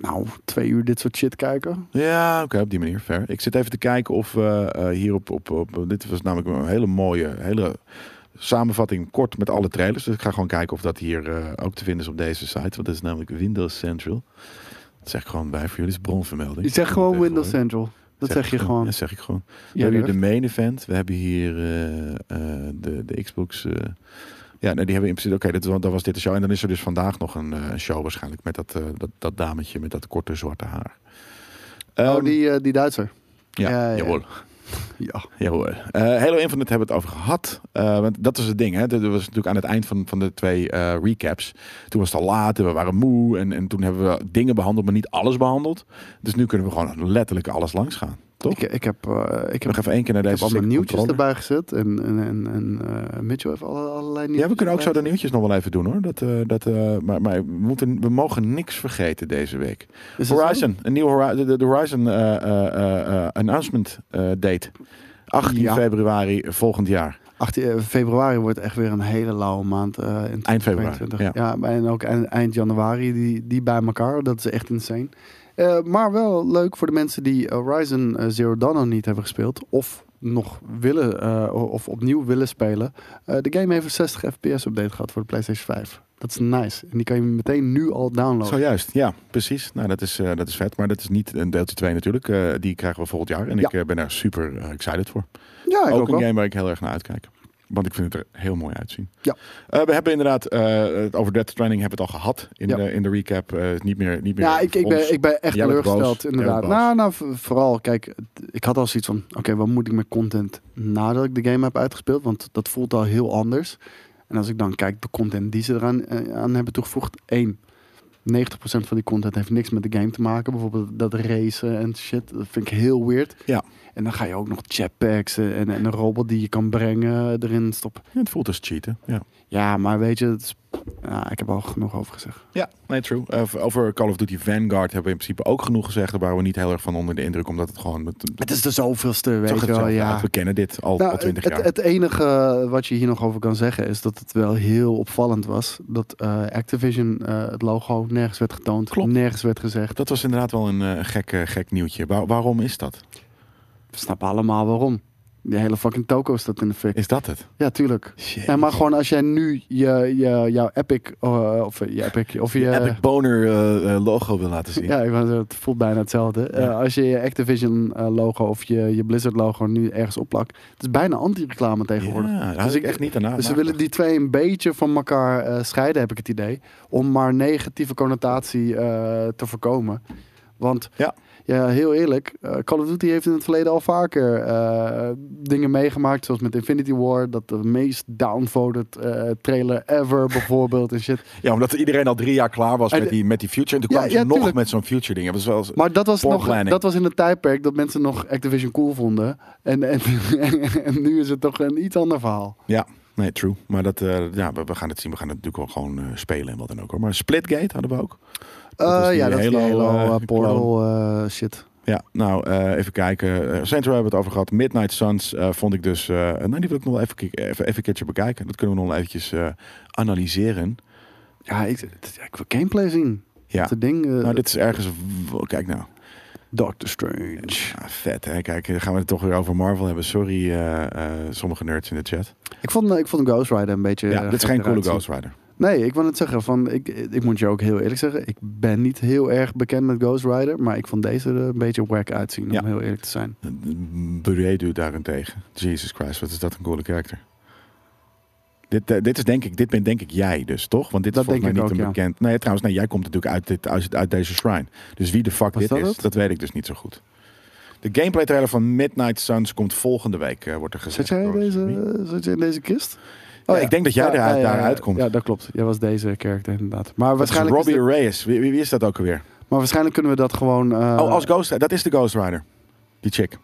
S2: Nou, twee uur dit soort shit kijken.
S1: Ja, oké, op die manier. Ver. Ik zit even te kijken of eh, eh, hier op, op, op. Dit was namelijk een hele mooie, hele samenvatting kort met alle trailers. Dus ik ga gewoon kijken of dat hier eh, ook te vinden is op deze site. Want dat is namelijk Windows Central. Dat zeg ik gewoon bij voor jullie, dat is bronvermelding.
S2: Je zegt gewoon Windows
S1: Tegenwoordig.
S2: Central. Dat zeg je gewoon.
S1: Dat zeg ik gewoon. We
S2: Ja,
S1: hebben hier
S2: durft.
S1: de main event. We hebben hier eh, eh, de, de Xbox. eh, ja, nee, die hebben in principe. Oké, dat wa- dan was dit de show. En dan is er dus vandaag nog een, eh, een show waarschijnlijk. Met dat, eh, dat, dat dametje met dat korte zwarte haar.
S2: Oh,
S1: Ehm,
S2: die, eh, die Duitser.
S1: ja,
S2: ja, ja.
S1: jawohl.
S2: Ja.
S1: Jawohl. Eh Halo Infinite hebben we het over gehad. Eh, want dat is het ding. Hè? Dat was natuurlijk aan het eind van, van de twee eh, recaps. Toen was het al laat en we waren moe. En, en toen hebben we dingen behandeld, maar niet alles behandeld. Dus nu kunnen we gewoon letterlijk alles langs gaan. Toch?
S2: Ik, ik heb, eh, ik heb,
S1: nog even één keer naar
S2: ik
S1: deze
S2: heb allemaal
S1: slick
S2: nieuwtjes
S1: controller.
S2: erbij gezet. En, en, en, en eh, Mitchell heeft alle, allerlei nieuwtjes
S1: Ja, we kunnen ook zo de
S2: erbij
S1: nieuwtjes nog wel even doen hoor. Dat, eh, dat, eh, maar maar we, moeten, we mogen niks vergeten deze week.
S2: gezet. Is dat zo?
S1: Horizon, een nieuw Hori- de, de Horizon eh, eh, eh, eh, announcement eh, date. 18
S2: Ja.
S1: februari volgend jaar.
S2: 18 eh, februari wordt echt weer een hele lauwe maand. eh, in
S1: Eind februari,
S2: 2022.
S1: ja.
S2: Ja. maar en ook eind, eind januari, die, die bij elkaar. Dat is echt insane. Eh, maar wel leuk voor de mensen die Horizon eh, Zero Dawn nog niet hebben gespeeld. Of nog willen, eh, of opnieuw willen spelen. Eh, de game heeft een 60 fps update gehad voor de PlayStation 5. Dat is nice. En die kan je meteen nu al downloaden.
S1: Zojuist, ja, precies. Nou, dat is, eh, dat is vet. Maar dat is niet een deeltje 2 natuurlijk. Eh, die krijgen we volgend jaar. En
S2: Ja.
S1: ik eh, ben daar super eh, excited voor.
S2: Ja, ik
S1: ook,
S2: ook,
S1: een
S2: wel.
S1: game waar ik heel erg naar uitkijk. Want ik vind het er heel mooi uitzien.
S2: Ja.
S1: Eh, we hebben inderdaad eh, het over Death Stranding hebben we het al gehad in,
S2: Ja.
S1: de, in de recap. Eh, niet meer, niet meer
S2: Ja, ik, ik,
S1: ons.
S2: ben, ik ben echt
S1: Jij bent boos.
S2: teleurgesteld,
S1: Jij
S2: inderdaad.
S1: bent boos.
S2: Nou, nou, v- vooral, kijk, t- ik had al zoiets van... Oké, wat moet ik met content nadat ik de game heb uitgespeeld? Want dat voelt al heel anders. En als ik dan kijk, de content die ze eraan eh, aan hebben toegevoegd... één, 90% van die content heeft niks met de game te maken. Bijvoorbeeld dat racen en shit. Dat vind ik heel weird.
S1: Ja.
S2: En dan ga je ook nog jetpacks en, en een robot die je kan brengen eh, erin stoppen.
S1: Ja, het voelt als cheaten. Ja,
S2: Ja, maar weet je, het is- ja, ik heb al genoeg over gezegd.
S1: ja nee, true. Eh, over Call of Duty Vanguard hebben we in principe ook genoeg gezegd. Daar waren we niet heel erg van onder de indruk, omdat het gewoon... Het,
S2: Het is de zoveelste,
S1: zag
S2: weet je
S1: er
S2: wel.
S1: hetzelfde
S2: Ja.
S1: uit. We kennen dit al
S2: Nou,
S1: al 20
S2: het,
S1: jaar.
S2: het enige eh, wat je hier nog over kan zeggen is dat het wel heel opvallend was dat eh, Activision eh, het logo nergens werd getoond,
S1: Klopt.
S2: nergens werd gezegd.
S1: dat was inderdaad wel een eh, gek, eh, gek nieuwtje. Waar- waarom is dat?
S2: We snappen allemaal waarom. Die hele fucking toko staat in de fik.
S1: Is dat het?
S2: Ja, tuurlijk. Ja, maar gewoon als jij nu je, je, jouw Epic, eh, of eh, je Epic, of je...
S1: je Epic Boner eh, eh, logo wil laten zien.
S2: Ja, ik wou zeggen, het voelt bijna hetzelfde. Eh, als je je Activision eh, logo of je, je Blizzard logo nu ergens opplakt, het is bijna anti-reclame tegenwoordig.
S1: Ja, daar had
S2: Dus
S1: ik
S2: ik-
S1: echt niet aan
S2: Dus ze
S1: nagedacht.
S2: willen die twee een beetje van elkaar eh, scheiden, heb ik het idee. Om maar negatieve connotatie eh, te voorkomen. Want
S1: Ja.
S2: ja, heel eerlijk, eh, Call of Duty heeft in het verleden al vaker eh, dingen meegemaakt. Zoals met Infinity War, dat de meest downvoted eh, trailer ever bijvoorbeeld en shit.
S1: Ja, omdat iedereen al drie jaar klaar was
S2: En
S1: met
S2: de-
S1: die, met die future. En toen
S2: Ja,
S1: kwamen ze
S2: ja,
S1: nog
S2: tuurlijk.
S1: met zo'n future ding. Dat was wel...
S2: Maar dat was,
S1: Poor
S2: nog,
S1: planning.
S2: dat was in het tijdperk dat mensen nog Activision cool vonden. En, en, en nu is het toch een iets ander verhaal.
S1: Ja, nee, true. Maar dat, eh, ja, we, we gaan het zien. We gaan het natuurlijk wel gewoon eh, spelen en wat dan ook. Hoor. Maar Splitgate hadden we ook. Dat was
S2: Eh,
S1: die
S2: ja, dat is die
S1: Halo,
S2: Halo,
S1: eh,
S2: eh,
S1: die
S2: Portal eh, shit.
S1: Ja, nou, eh, even kijken. Eh, Saints Row hebben we het over gehad. Midnight Suns eh, vond ik dus... eh nou, die wil ik nog even, ki- even, even een keertje bekijken. Dat kunnen we nog wel eventjes eh, analyseren.
S2: Ja, ik, t- ja, ik wil gameplay zien.
S1: Ja.
S2: Dat ding. eh,
S1: Nou, dit is ergens... w- Kijk nou.
S2: Doctor Strange.
S1: Ja, vet, hè? Kijk, dan gaan we het toch weer over Marvel hebben. Sorry, eh, eh, sommige nerds in de chat.
S2: Ik vond, eh, ik vond Ghost Rider een beetje.
S1: Ja,
S2: eh,
S1: dit is
S2: gek
S1: geen coole
S2: eruit zien.
S1: Ghost Rider.
S2: Nee, ik wil het zeggen. Van, ik, ik moet je ook heel eerlijk zeggen. Ik ben niet heel erg bekend met Ghost Rider. Maar ik vond deze er een beetje wack uitzien. Om
S1: Ja.
S2: heel eerlijk te zijn.
S1: Buredu daarentegen. Jesus Christ, wat is dat een coole karakter. Dit, eh, dit is denk ik, dit ben denk ik jij dus, toch? Want dit is
S2: Dat
S1: volgens mij
S2: denk
S1: niet
S2: ik
S1: een
S2: ook, ja.
S1: bekend... Nee, trouwens, nee, jij komt natuurlijk uit, dit, uit, uit deze shrine. Dus wie de fuck
S2: Was
S1: dit
S2: dat
S1: is,
S2: het?
S1: dat weet ik dus niet zo goed. De gameplay trailer van Midnight Suns komt volgende week, eh, wordt er gezegd.
S2: Zit jij,
S1: door Jimmy.
S2: deze, zit jij in deze kist?
S1: Ja, Oh, ik denk dat jij daaruit- daaruit komt.
S2: Ja, dat klopt. Jij was deze karakter inderdaad. Maar
S1: Dat is
S2: waarschijnlijk, is
S1: Robbie
S2: dit-
S1: Reyes. Wie, wie, wie is dat ook alweer?
S2: maar waarschijnlijk kunnen we dat gewoon... eh,
S1: oh, als Ghost Rider. Dat is de Ghost Rider. Die chick,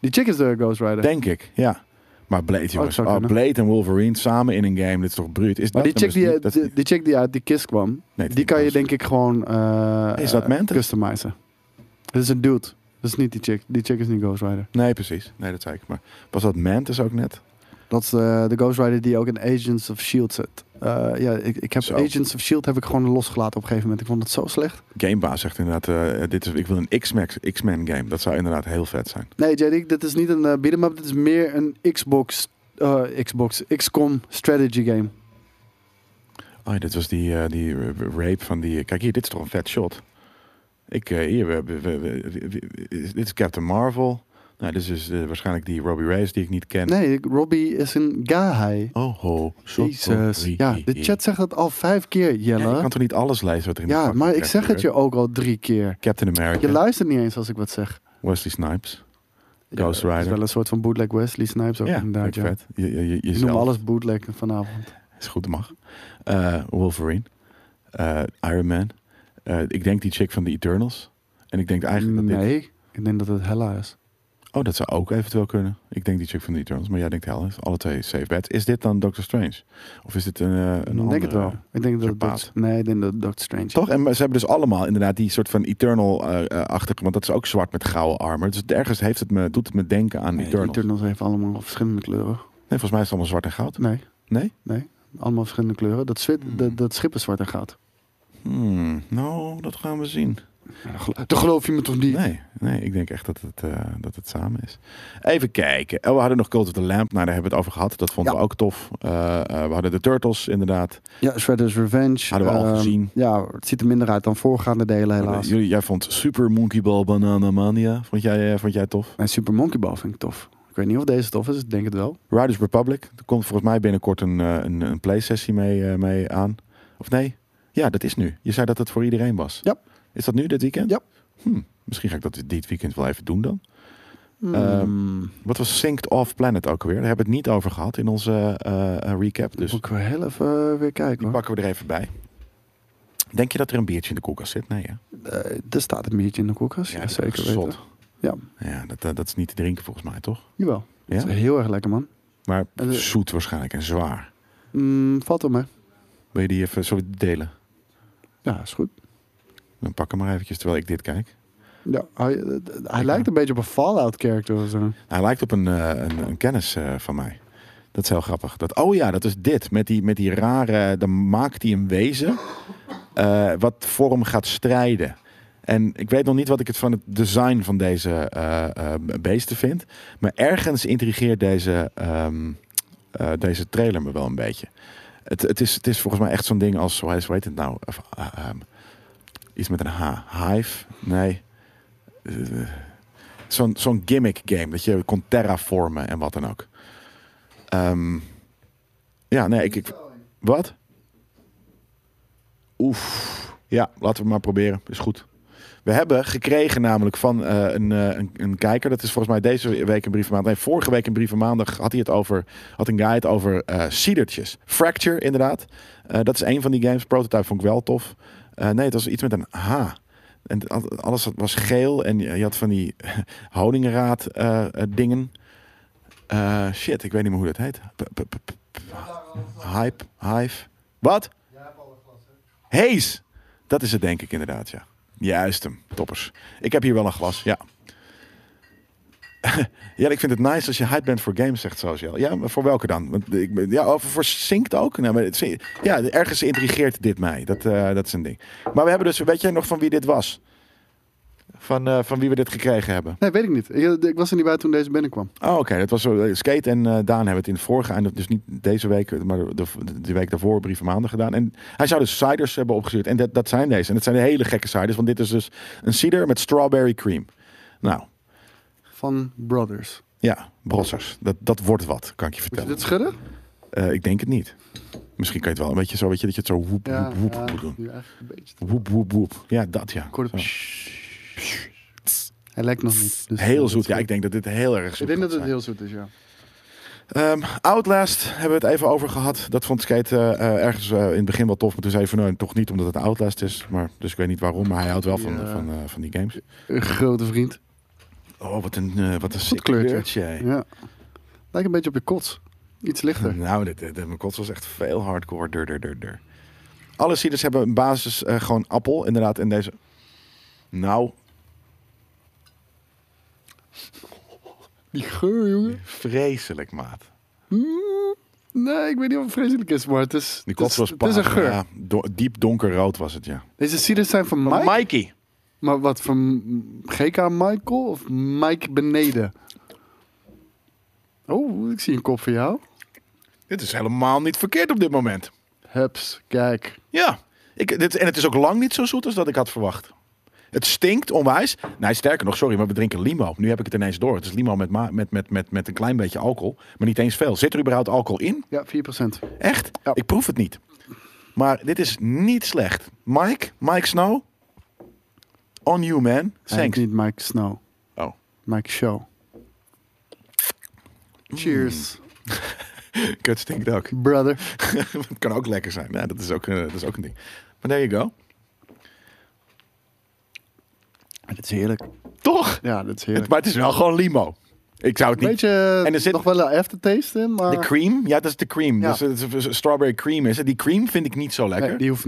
S2: Die chick is de Ghost Rider.
S1: denk ik. Ja. Maar Blade, jongens.
S2: zou
S1: Oh,
S2: kunnen.
S1: Blade en Wolverine samen in een game. Dit is toch bruut? Is
S2: Maar die
S1: dat dus
S2: chick die, eh,
S1: niet- dat-
S2: die, die chick die uit die kist kwam,
S1: Nee,
S2: die kan je denk ik gewoon eh,
S1: Is dat
S2: eh,
S1: Mantis?
S2: customizen. Het is een dude. Dat is niet die chick. Die chick is niet Ghost Rider.
S1: Nee, precies. Nee, dat zei ik. Maar was dat Mantis ook net?
S2: Dat is eh, de Ghost Rider die ook in Agents of S.H.I.E.L.D. zit. Eh, ja, ik, ik heb
S1: Zo.
S2: Agents of S.H.I.E.L.D. E heb ik gewoon losgelaten op een gegeven moment. Ik vond het zo slecht.
S1: Gamebaas zegt inderdaad, eh, dit is, ik wil een X-Men X-Men game. Dat zou inderdaad heel vet zijn.
S2: Nee, JD, dit is niet een eh, beat 'em up. Dit is meer een Xbox, eh, Xbox, XCOM strategy game.
S1: Oh, ja, dit was die, eh, die eh, rape van die... Kijk hier, dit is toch een vet shot. Ik, eh, hier, we- we- we- we- we- is- dit is Captain Marvel. Nou, dit is dus, eh, waarschijnlijk die Robbie Reyes die ik niet ken.
S2: Nee, ik- Robbie is een guy.
S1: Oh, ho. sorry.
S2: Jezus. Ja, de chat zegt dat al vijf keer,
S1: eh. Ja, je
S2: Jelle.
S1: kan toch niet alles lezen wat er in de
S2: Ja,
S1: fucking
S2: maar ik
S1: chat
S2: zeg het je
S1: gebeurt?
S2: ook al drie keer.
S1: Captain
S2: Je
S1: America,
S2: luistert niet eens als ik wat zeg.
S1: Wesley Snipes.
S2: Ja,
S1: Ghost
S2: Het is
S1: Rider.
S2: wel een soort van bootleg Wesley Snipes ook
S1: Ja,
S2: inderdaad.
S1: vind ik
S2: Ja.
S1: vet. Je, je, je,
S2: Je
S1: jezelf.
S2: noemt alles bootleg vanavond.
S1: Is goed, mag. Eh, Wolverine. Eh, Iron Man. Eh, ik denk die chick van de Eternals. En ik denk eigenlijk dat dit...
S2: Nee, ik denk dat het Hella is.
S1: Oh, dat zou ook eventueel kunnen. Ik denk die chick van de Eternals. Maar jij denkt hel, is alle twee safe bets. Is dit dan Doctor Strange? Of is dit een, eh, een
S2: ik
S1: andere...
S2: denk het wel. Ik denk dat het
S1: Serpaat.
S2: Doctor- nee, ik denk dat het Doctor Strange.
S1: Toch? En ze hebben dus allemaal inderdaad die soort van Eternal-achtige... want dat is ook zwart met gouden armor. Dus ergens heeft het me, doet het me denken aan
S2: Nee,
S1: Eternals.
S2: Eternals heeft allemaal verschillende kleuren.
S1: Nee, volgens mij is het allemaal zwart en goud.
S2: Nee.
S1: Nee?
S2: Nee. Allemaal verschillende kleuren. Dat, zwi- dat, dat schip is zwart en goud.
S1: Hmm, nou, dat gaan we zien.
S2: Dat geloof je me toch niet?
S1: Nee, nee ik denk echt dat het, eh, dat het samen is. Even kijken. Oh, we hadden nog Cult of the Lamp. Nou, daar hebben we het over gehad. Dat vonden
S2: Ja.
S1: we ook tof. Eh, eh, we hadden de Turtles inderdaad.
S2: Ja, Shredder's Revenge.
S1: Hadden we al
S2: ehm,
S1: gezien.
S2: Ja, het ziet er minder uit dan voorgaande delen helaas.
S1: Jullie, jij vond Super Monkey Ball Banana Mania. Vond jij, eh, vond jij tof?
S2: En Super Monkey Ball vind ik tof. Ik weet niet of deze tof is, ik denk het wel.
S1: Riders Republic. Er komt volgens mij binnenkort een, eh, een, een play-sessie mee, eh, mee aan. Of nee? Ja, dat is nu. Je zei dat het voor iedereen was.
S2: Ja.
S1: Is dat nu, dit weekend?
S2: Ja.
S1: Hm, misschien ga ik dat dit weekend wel even doen dan.
S2: Hmm.
S1: Ehm, Wat was Synced Off Planet ook alweer? Daar hebben we het niet over gehad in onze eh, eh, recap. Dus
S2: Dus moet ik wel heel even eh, weer kijken
S1: die
S2: hoor.
S1: pakken we er even bij. Denk je dat er een biertje in de koelkast zit? Nee, hè?
S2: Eh, er staat een biertje in de koelkast. Ja,
S1: dat is
S2: zeker
S1: ook
S2: weten.
S1: zot.
S2: Ja.
S1: Ja, dat, eh, dat, dat is niet te drinken volgens mij, toch?
S2: Jawel.
S1: Ja?
S2: Dat is heel erg lekker man.
S1: Maar
S2: Eh,
S1: zoet waarschijnlijk en zwaar.
S2: Mm, valt wel mee.
S1: Wil je die even zo delen?
S2: Ja, is goed.
S1: Dan pak hem maar eventjes terwijl ik dit kijk.
S2: Ja, hij eh, hij lijkt een beetje op een Fallout character of zo.
S1: Hij lijkt op een, eh, een, een kennis eh, van mij. Dat is heel grappig. Dat, oh ja, dat is dit. Met die, met die rare... Dan maakt hij een wezen eh, wat voor hem gaat strijden. En ik weet nog niet wat ik het van het design van deze eh, eh, beesten vind. Maar ergens intrigeert deze, ehm, eh, deze trailer me wel een beetje. Het, het, is, het is volgens mij echt zo'n ding als... Hoe heet hoe heet het nou? Of, eh, ehm, iets met een H. Hive? Nee. Eh, zo'n zo'n gimmick game. Dat je kon terraformen en wat dan ook. Ehm, ja, nee, ik, ik... Wat? Oef. Ja, laten we maar proberen. Is goed. We hebben gekregen namelijk van eh, een, eh, een, een kijker. Dat is volgens mij deze week een brief van maandag. Nee, vorige week een brief van maandag had hij het over. Had een guy het over eh cidertjes. Fracture, inderdaad. Eh, dat is een van die games. Prototype vond ik wel tof. Eh, nee, het was iets met een H. En al- alles was geel. En je je had van die honingraad eh, eh, dingen. Eh, shit, ik weet niet meer hoe dat heet. P- p- p- p- Hype, hive. Wat? Hees! Dat is het denk ik inderdaad, ja. Juist hem, toppers. Ik heb hier wel een glas, ja. ja, ik vind het nice als je hype bent voor games, zegt Social. Ja, maar voor welke dan? Want ik, ben- ja, over voor Sinkt ook? Nou, maar het, zin- ja, ergens intrigeert dit mij. Dat, eh, dat is een ding. Maar we hebben dus, weet jij nog van wie dit was? Van, eh, van wie we dit gekregen hebben?
S2: Nee, weet ik niet. Ik, ik was er niet bij toen deze binnenkwam.
S1: Oh, oké. Dat was zo. Skate en eh, Daan hebben het in de vorige, en dat- dus niet deze week, maar de, de, de week daarvoor, brieven maanden gedaan. En hij zou dus ciders hebben opgestuurd. En dat, dat zijn deze. En dat zijn hele gekke ciders, want dit is dus een cider met strawberry cream. Nou,
S2: Van Brothers.
S1: ja, brossers. Dat, dat wordt wat, kan ik je
S2: Moet je
S1: vertellen.
S2: dit schudden?
S1: Eh, ik denk het niet. Misschien kan je het wel een beetje zo, weet je, dat je het zo woep, woep, woep moet doen.
S2: nu eigenlijk een beetje.
S1: Woep, woep, woep. Ja, dat ja.
S2: Ik hoorde
S1: Zo.
S2: pssch. Hij lijkt nog niet. Dus
S1: Heel zoet. Ja, ik denk dat dit heel erg zoet
S2: Ik
S1: gaat
S2: denk dat het
S1: zijn.
S2: heel zoet is, ja.
S1: Ehm, Outlast hebben we het even over gehad. Dat vond Skate eh, eh, ergens eh, in het begin wel tof. Maar toen zei hij van, nee, toch niet omdat het Outlast is. Maar, dus ik weet niet waarom, maar hij houdt wel van,
S2: Ja.
S1: van, eh, van die games.
S2: Een grote vriend.
S1: Oh, wat een, eh wat een sick
S2: kleurtje.
S1: kleurtje, hè.
S2: Ja. Lijkt een beetje op je kots. Iets lichter.
S1: Nou, dit, dit, mijn kots was echt veel hardcore. Dur, dur, dur, dur. Alle ciders hebben een basis eh, gewoon appel, inderdaad. En deze... Nou,
S2: Die geur, jongen.
S1: vreselijk, maat.
S2: Nee, ik weet niet of het vreselijk is, maar het is,
S1: Die
S2: het
S1: kots was
S2: is, het is een
S1: paars,
S2: geur.
S1: ja. Do- diep donkerrood was het, ja.
S2: Deze ciders zijn van Mike.
S1: Mikey.
S2: Maar wat, van GK Michael of Mike beneden? Oh, ik zie een kop van jou.
S1: Dit is helemaal niet verkeerd op dit moment.
S2: Hups, kijk.
S1: Ja, ik, dit, en het is ook lang niet zo zoet als dat ik had verwacht. Het stinkt onwijs. Nee, sterker nog, sorry, maar we drinken limo. Nu heb ik het ineens door. Het is limo met, ma- met, met, met, met een klein beetje alcohol, maar niet eens veel. Zit er überhaupt alcohol in?
S2: Ja, 4%.
S1: Echt?
S2: Ja.
S1: Ik proef het niet. Maar dit is niet slecht. Mike, Mike Snow, on you man.
S2: Hij
S1: Thanks.
S2: heet niet Mike Snow.
S1: Oh.
S2: Mike Show.
S1: Mm.
S2: Cheers,
S1: Kut stinkt ook.
S2: brother.
S1: Het kan ook lekker zijn. Ja, dat, is ook, eh, dat is ook een ding. Maar there you go.
S2: Dat is heerlijk.
S1: Toch?
S2: Ja, dat is
S1: Het,
S2: heerlijk.
S1: maar het is wel gewoon limo. Ik zou het
S2: Een
S1: niet...
S2: beetje
S1: En er zit-
S2: nog wel een aftertaste in, maar
S1: De cream? Ja, dat is de cream.
S2: Ah. Ja.
S1: Dus het is- is- strawberry cream is het. Die cream vind ik niet zo lekker.
S2: nee,
S1: die...
S2: die hoeft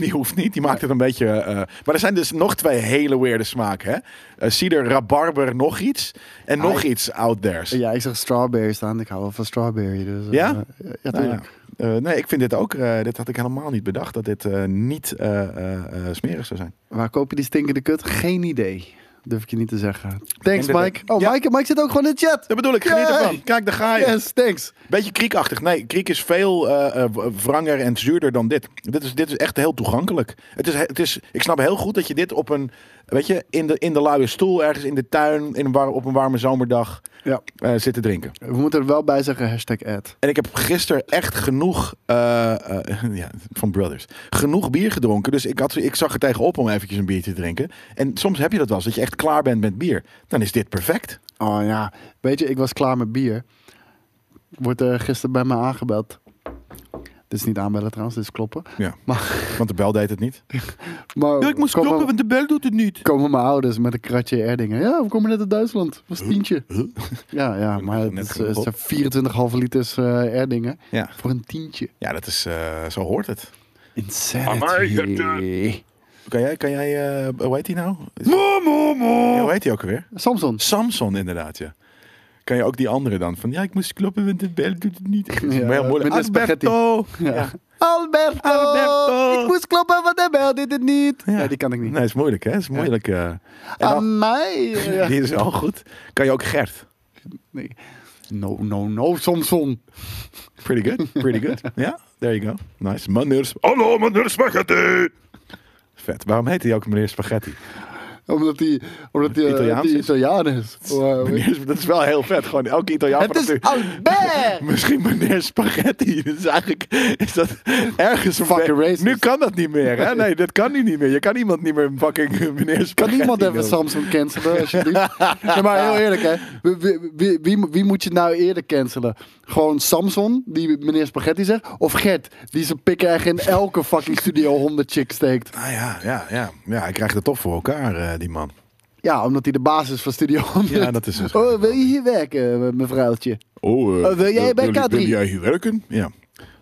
S2: niet.
S1: hoeft niet. Die maakt het een beetje... eh, maar er zijn dus nog twee hele weirde smaken. Hè? Eh, cider, rabarber, nog iets. En nog iets out there's.
S2: Ah, Ja, ik zeg strawberry staan. Ik hou wel van strawberry. Dus, eh,
S1: Ja?
S2: ja,
S1: Nou ja.
S2: tuurlijk.
S1: Eh, nee, ik vind dit ook... eh, dit had ik helemaal niet bedacht. Dat dit eh, niet eh, eh, eh, smerig zou zijn.
S2: Waar koop je die stinkende kut? Geen idee. Durf ik je niet te zeggen. Thanks,
S1: denk dat
S2: Mike.
S1: ik-
S2: Oh,
S1: Ja.
S2: Mike, Mike zit ook gewoon in de chat.
S1: Dat bedoel ik. Geniet
S2: Yay!
S1: ervan. Kijk, daar ga je.
S2: Yes, thanks.
S1: Beetje kriekachtig. Nee, kriek is veel eh, eh, wranger en zuurder dan dit. Dit is, dit is echt heel toegankelijk. Het is, het is, ik snap heel goed dat je dit op een, weet je, in de, in de luie stoel, ergens in de tuin, in een war- op een warme zomerdag
S2: Ja.
S1: eh, zit te drinken.
S2: We moeten er wel bij zeggen, hashtag ad.
S1: En ik heb gisteren echt genoeg eh, eh, ja, van Brothers. Genoeg bier gedronken. Dus ik, had, ik zag er tegenop om eventjes een biertje te drinken. En soms heb je dat wel eens, dat je echt klaar bent met bier. Dan is dit perfect.
S2: Oh ja, weet je, ik was klaar met bier. Wordt eh gisteren bij mij aangebeld. Dit is niet aanbellen trouwens, dit is kloppen.
S1: Ja.
S2: Maar,
S1: Want de bel deed het niet.
S2: maar
S1: Ja, ik moest
S2: komen-
S1: kloppen, want de bel doet het niet.
S2: Komen mijn ouders met een kratje Erdingen. Ja, we komen net uit Duitsland. was tientje. Ja, ja, maar het
S1: Net
S2: is,
S1: genoeg op.
S2: het zijn 24,5 liters eh Erdingen.
S1: Ja.
S2: Voor een tientje.
S1: Ja, dat is, eh, zo hoort het.
S2: Insanity.
S1: Kan jij, kan jij eh, hoe heet hij nou? Momo, hoe heet hij ook alweer?
S2: Samson.
S1: Samson, inderdaad, ja. Kan je ook die andere dan? Van ja, ik moest kloppen, want de bel doet het niet. Dat is
S2: Ja,
S1: maar heel moeilijk.
S2: met de spaghetti.
S1: Alberto! Ja.
S2: Alberto!
S1: Alberto!
S2: Ik moest kloppen, want hij belde dit het niet.
S1: Ja.
S2: Ja, die kan ik niet.
S1: Nee, is moeilijk, hè? Is moeilijk. eh. En dan-
S2: Aan mij? Ja.
S1: Die is al goed. Kan je ook Gert?
S2: Nee. No, no, no, Samson.
S1: Pretty good, pretty good. Ja, there you go. Nice. Meneer... Hallo, meneer Spaghetti! Vet. Waarom heet hij ook meneer Spaghetti?
S2: Omdat hij omdat die, eh,
S1: Italiaans
S2: die
S1: is?
S2: Italiaan is. Wow.
S1: Meneer, dat is wel heel vet. Gewoon elke Italiaan
S2: Het
S1: van
S2: is
S1: natuurlijk-
S2: Albert!
S1: Misschien meneer Spaghetti. Dus eigenlijk is dat ergens een
S2: Fucking
S1: be-
S2: racist.
S1: Nu kan dat niet meer, hè? Nee, dat kan nu niet meer. Je kan iemand niet meer een fucking meneer Spaghetti
S2: Kan iemand even
S1: noemen.
S2: Samson cancelen, alsjeblieft? Nee, maar heel eerlijk, hè. Wie, wie, wie, wie- wie moet je nou eerder cancelen? Gewoon Samson, die meneer Spaghetti zegt? Of Gert, die zijn pik echt in elke fucking Studio 100 chick steekt?
S1: Ah ja, ja, ja. Ja, hij krijgt het toch voor elkaar, eh, die man.
S2: Ja, omdat hij de basis van Studio 100...
S1: Ja, dat is dus het.
S2: Oh, wil je hier werken, eh, me- mevrouwtje?
S1: Oh,
S2: Eh, wil jij eh, bij wil- K3? wil jij
S1: hier werken? Ja.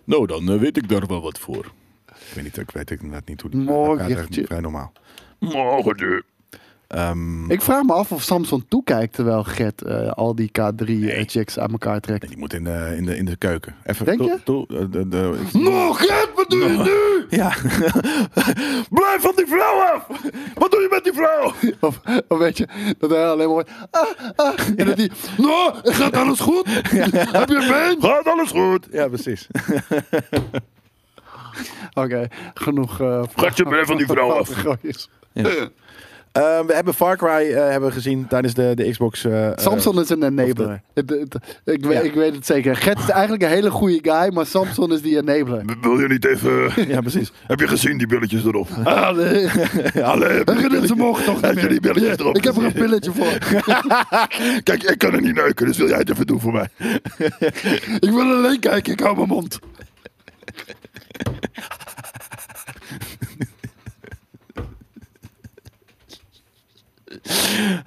S1: Nou, dan weet ik daar wel wat voor. Ik weet, niet, ik weet inderdaad niet hoe die
S2: Morgen.
S1: Ja, dat is Vrij normaal.
S3: Morgen.
S1: Ehm,
S2: Ik vraag me af of Samson toekijkt terwijl Gert eh, al die K3-chicks aan elkaar trekt.
S1: die moet in de, in de, in de keuken. Even,
S2: Denk je?
S1: doe- doe- eh, de- de-
S2: Nog Gert, wat doe je nu?
S1: Ja. Blijf van die vrouw af! Wat doe je met die vrouw?
S2: Of, of weet je, dat hij alleen maar hoort, ah, ah, en dat hij, nou, gaat alles goed? Heb je een been?
S1: Gaat alles goed? Ja, precies.
S2: Oké, genoeg. eh,
S3: Gaat je bij van die vrouw af.
S2: grapjes.
S1: Eh, we hebben Far Cry eh, hebben we gezien tijdens de, de Xbox. eh,
S2: Samson is een enabler. Het, het- ik, weet, ik weet het zeker. Gert is eigenlijk een hele goede guy, maar Samson is die enabler.
S3: Wil je niet even...
S1: eh, ja, precies.
S3: Heb je gezien die billetjes erop?
S2: Ah, nee.
S3: Allee,
S2: Ze mogen toch niet
S3: heb je die billetjes erop?
S2: Ik heb er een
S3: gezien?
S2: pilletje voor.
S3: Kijk, ik kan er niet neuken, dus wil jij het even doen voor mij?
S2: Ik wil alleen kijken, ik hou mijn mond.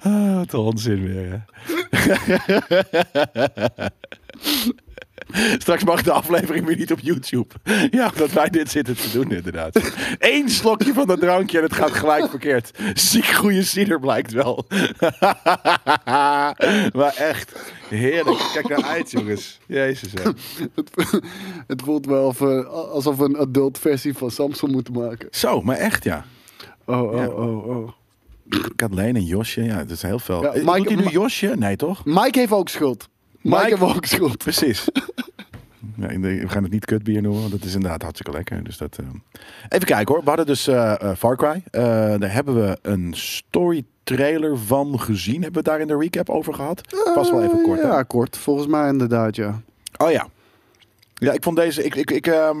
S1: Ah, wat een onzin weer. hè. Straks mag de aflevering weer niet op YouTube. Ja, omdat wij dit zitten te doen, inderdaad. Eén slokje van dat drankje en het gaat gelijk verkeerd. Ziek goede cider blijkt wel. maar echt, heerlijk. Kijk naar uit, jongens. Jezus. hè.
S2: Het voelt wel of, eh, alsof we een adult versie van Samsung moeten maken.
S1: Zo, maar echt, ja.
S2: Oh, oh,
S1: Ja.
S2: oh, oh.
S1: Kathleen en Josje, ja, dat is heel veel.
S2: Ja,
S1: Eh,
S2: Mike-
S1: Doet hij nu
S2: Ma-
S1: Josje? Nee, toch?
S2: Mike heeft ook schuld. Mike,
S1: Mike-
S2: heeft ook schuld.
S1: Precies. Ja, in de- we gaan het niet kutbier noemen, want dat is inderdaad hartstikke lekker. Dus dat, eh. Even kijken hoor. We hadden dus eh, eh, Far Cry. Eh, daar hebben we een story trailer van gezien. Hebben we het daar in de recap over gehad? Pas wel even
S2: Eh,
S1: kort. hè?
S2: Ja, kort. Volgens mij inderdaad, ja.
S1: Oh ja. Ja, ik vond deze. Ik, ik, ik, ehm,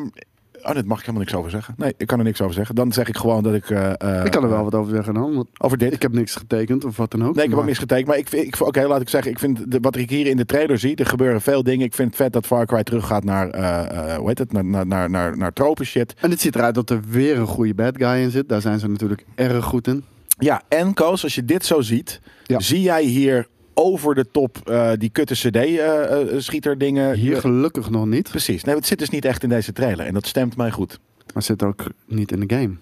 S1: oh, dat mag ik helemaal niks over zeggen. Nee, ik kan er niks over zeggen. Dan zeg ik gewoon dat ik. eh, eh,
S2: ik kan er wel wat over zeggen dan. Want
S1: Over dit.
S2: ik heb niks getekend of wat dan
S1: Nee,
S2: ook.
S1: ik heb ook
S2: maar-
S1: niks getekend. Maar ik, vind- ik, oké, laat ik zeggen, ik vind de, wat ik hier in de trailer zie, er gebeuren veel dingen. Ik vind het vet dat Far Cry teruggaat naar, eh, eh, hoe heet het, naar, naar, naar, naar, naar tropen shit.
S2: En het ziet eruit dat er weer een goede bad guy in zit. Daar zijn ze natuurlijk erg goed in.
S1: Ja, en Koos, als je dit zo ziet,
S2: Ja.
S1: zie jij hier over de top eh, die kutte CD-schieter dingen.
S2: Hier
S1: Eh,
S2: gelukkig nog niet.
S1: precies. Nee, het zit dus niet echt in deze trailer en dat stemt mij goed.
S2: Maar zit ook niet in de game.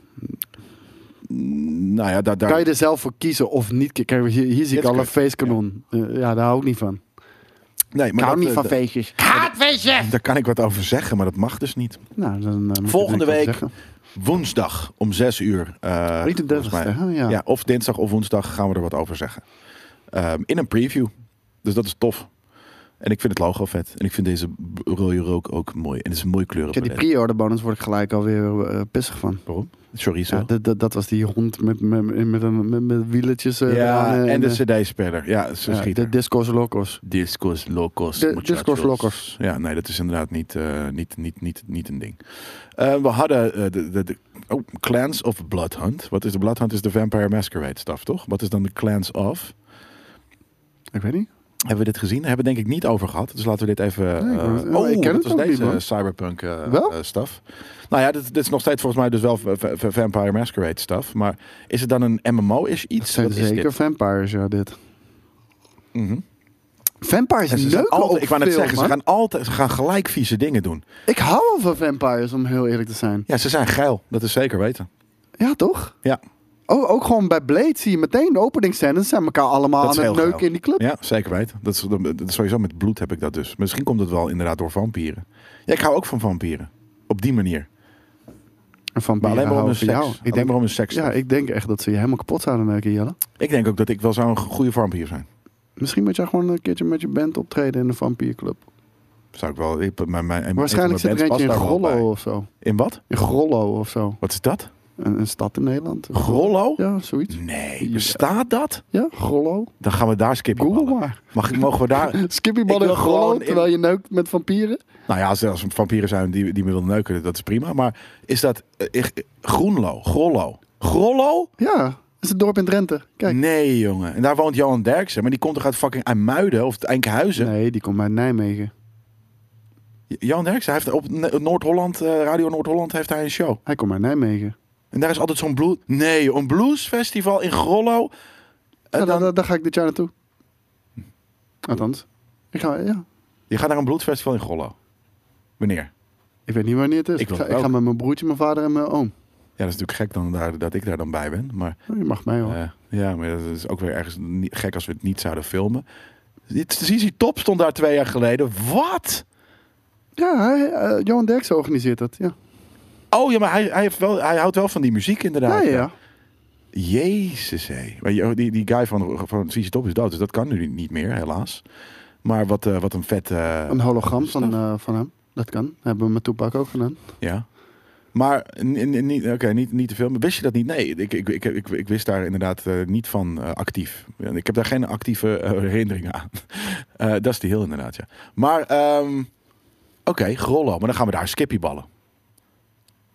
S1: Nou ja, daar, daar,
S2: Kan je er zelf voor kiezen of niet? Kijk, hier, hier zie ik
S1: Dit
S2: al
S1: kan-
S2: een feestkanon. Ja. ja, daar hou ik niet van.
S1: nee,
S2: ik
S1: maar
S2: hou
S1: dat,
S2: niet
S1: eh,
S2: van
S1: dat-
S2: feestjes.
S1: daar kan ik wat over zeggen, maar dat mag dus niet.
S2: Nou, dan, eh, moet je er
S1: Volgende
S2: niks over
S1: week,
S2: zeggen.
S1: woensdag om 6 uur. eh,
S2: 33ste,
S1: volgens mij.
S2: hè? Ja.
S1: Of dinsdag of woensdag gaan we er wat over zeggen. Ehm, in een preview. Dus dat is tof. En ik vind het logo vet. En ik vind deze b- rode rook ook mooi. En het is een mooie kleur.
S2: Ik heb die pre-order bonus word ik gelijk alweer eh, pissig van.
S1: Waarom? Sorry zo.
S2: Ja, dat, dat, dat was die hond met, met, met, een- met, met wieletjes.
S1: Ja,
S2: eh, eraan, eh,
S1: en de
S2: eh,
S1: cd-speler. Ja, ze
S2: ja,
S1: schieten.
S2: de discos locos.
S1: Discos locos.
S2: De-
S1: muchachos.
S2: discos locos.
S1: Ja, nee, dat is inderdaad niet, eh, niet, niet, niet, niet een ding. Eh, we hadden eh, de, de, de oh, Clans of Bloodhunt. Wat is de Bloodhunt? Is de Vampire Masquerade stuff, toch? Wat is dan de Clans of?
S2: Ik weet niet.
S1: Hebben we dit gezien? Hebben we denk ik niet over gehad. Dus laten we dit even...
S2: Nee, ik
S1: eh,
S2: hoor het-
S1: oh,
S2: ik
S1: dat
S2: ken het
S1: was
S2: ook niet,
S1: deze
S2: man.
S1: cyberpunk eh
S2: Wel?
S1: eh, stuff. Nou ja, dit, dit is nog steeds volgens mij dus wel v- v- v- Vampire Masquerade stuff. Maar is het dan een MMO is
S2: Het
S1: iets?
S2: zijn
S1: Wat is
S2: zeker
S1: dit?
S2: vampires, ja, dit.
S1: Mhm.
S2: Vampires
S1: En ze zijn
S2: neuken
S1: altijd-
S2: ook
S1: ik wou net
S2: veel,
S1: zeggen, ze
S2: man.
S1: gaan, altijd, ze gaan gelijk vieze dingen doen.
S2: Ik hou wel van vampires, om heel eerlijk te zijn.
S1: Ja, ze zijn geil. Dat is zeker weten.
S2: Ja, toch?
S1: Ja,
S2: Oh, ook gewoon bij Blade zie je meteen de openingscènes. Zijn elkaar allemaal
S1: dat is
S2: aan het
S1: heel
S2: neuken
S1: geil.
S2: in die club.
S1: Ja, zeker weten. Dat is, dat is sowieso met bloed heb ik dat dus. Misschien komt het wel inderdaad door vampieren. Ja, ik hou ook van vampieren. Op die manier.
S2: En van
S1: Maar alleen maar om hun
S2: houden van
S1: seks.
S2: jou.
S1: Alleen
S2: Ik denk,
S1: maar om hun seks.
S2: ja, ik denk echt dat ze je helemaal kapot zouden neuken, Jelle.
S1: Ik denk ook dat ik wel zou een goede vampier zijn.
S2: Misschien moet jij gewoon een keertje met je band optreden in een vampierclub.
S1: Zou ik wel. Ik, mijn, mijn, een
S2: Waarschijnlijk
S1: van
S2: zit
S1: mijn
S2: er
S1: bands
S2: eentje in
S1: past daar wel
S2: Grollo
S1: bij.
S2: of zo.
S1: In wat?
S2: In Grollo of zo.
S1: Wat is dat?
S2: Een, een stad in Nederland.
S1: Grollo?
S2: Ja, zoiets.
S1: Nee. Bestaat dat?
S2: Ja, Grollo.
S1: Dan gaan we daar skippen.
S2: Google
S1: ballen.
S2: maar.
S1: Mag ik, mogen we daar.
S2: Skippy
S1: Ik
S2: man
S1: wil
S2: in Grollo,
S1: gewoon in-
S2: terwijl je neukt met vampieren.
S1: Nou ja, als er als er vampieren zijn die, die me willen neuken, dat is prima. Maar is dat. eh, ik- Groenlo? Grollo? Grollo?
S2: Ja, dat is het dorp in Drenthe. Kijk.
S1: Nee, jongen. En daar woont Johan Derksen. Maar die komt toch uit fucking IJmuiden of Enkhuizen?
S2: Nee, die komt uit Nijmegen.
S1: Johan Derksen heeft op Ne- Noord-Holland, eh, Radio Noord-Holland, heeft hij een show.
S2: Hij komt uit Nijmegen.
S1: En daar is altijd zo'n blues... Nee, een bluesfestival in Grollo. En
S2: Ja,
S1: dan,
S2: daar, daar- daar Nou, ga ik dit jaar naartoe. Hm. Althans. Ik, ga, ja.
S1: je gaat naar een bluesfestival in Grollo. Wanneer?
S2: ik weet niet wanneer het is.
S1: Ik wil
S2: ga,
S1: het
S2: ik
S1: ook.
S2: ga met mijn broertje, mijn vader en mijn oom.
S1: Ja, dat is natuurlijk gek dan, daar, dat ik daar dan bij ben. Maar,
S2: Oh, je mag mij hoor.
S1: eh, ja, maar dat is ook weer ergens ni- gek als we het niet zouden filmen. Dit- ZZ Top stond daar twee jaar geleden. Wat?
S2: Ja, hij, eh, Johan Derksen organiseert dat. Ja,
S1: Oh ja, maar hij, hij, heeft wel, hij houdt wel van die muziek
S2: ja,
S1: inderdaad.
S2: ja. ja.
S1: Jezus, hé. Maar joh, die, die guy van, van CC Top is dood, dus dat kan nu niet meer, helaas. Maar wat, eh, wat een vet... eh,
S2: Een hologram van, eh, van hem. Dat kan. Dat hebben we met Toepak ook gedaan.
S1: ja. Maar n- n- niet- oké, niet, niet te veel. Maar wist je dat niet? Nee, ik, ik, ik, ik, ik wist daar inderdaad eh, niet van eh, actief. Ik heb daar geen actieve eh, herinneringen aan. Eh, dat is die heel inderdaad, ja. Maar, ehm, oké, Grollo. Maar dan gaan we daar skippyballen.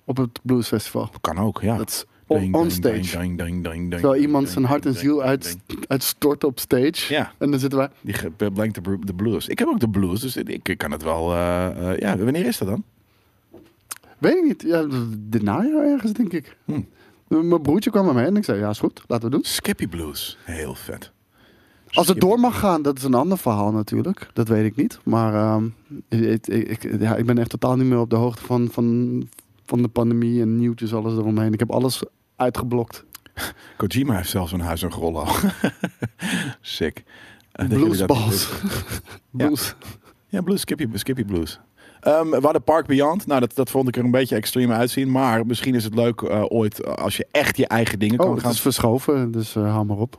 S2: Op het Bluesfestival.
S1: Kan ook, ja.
S2: Dat is on-
S1: Ding,
S2: on
S1: ding,
S2: stage.
S1: ding, ding, ding, ding,
S2: Terwijl
S1: ding,
S2: iemand
S1: ding,
S2: zijn hart en
S1: ding,
S2: ziel
S1: ding,
S2: uit,
S1: ding.
S2: uitstort op stage.
S1: Ja.
S2: En dan zitten wij...
S1: Die ge- brengt de bru- de blues. Ik heb ook de blues, dus ik ik kan het wel. eh, eh, ja, wanneer is dat dan?
S2: Weet ik niet. Ja, dit najaar ergens, denk ik.
S1: Hm.
S2: M- Mijn broertje kwam naar mij en ik zei, ja, is goed. Laten we doen.
S1: Skippy Blues. Heel vet.
S2: Als het door mag gaan, dat is een ander verhaal natuurlijk. Dat weet ik niet. Maar ehm, ik, ik, ik- ja, ik ben echt totaal niet meer op de hoogte van, van, van de pandemie en nieuwtjes, alles eromheen. Ik heb alles uitgeblokt.
S1: Kojima heeft zelfs een huis en rollo. Sick. Eh, dat jullie dat-
S2: Bluesballs. Blues.
S1: Ja, blues, skippy, skippy blues. Ehm, we hadden Park Beyond. Nou, dat, dat vond ik er een beetje extreem uitzien. Maar misschien is het leuk eh, ooit eh, als je echt je eigen dingen
S2: Oh,
S1: kan
S2: het
S1: gaan...
S2: is verschoven, dus eh, hou maar op.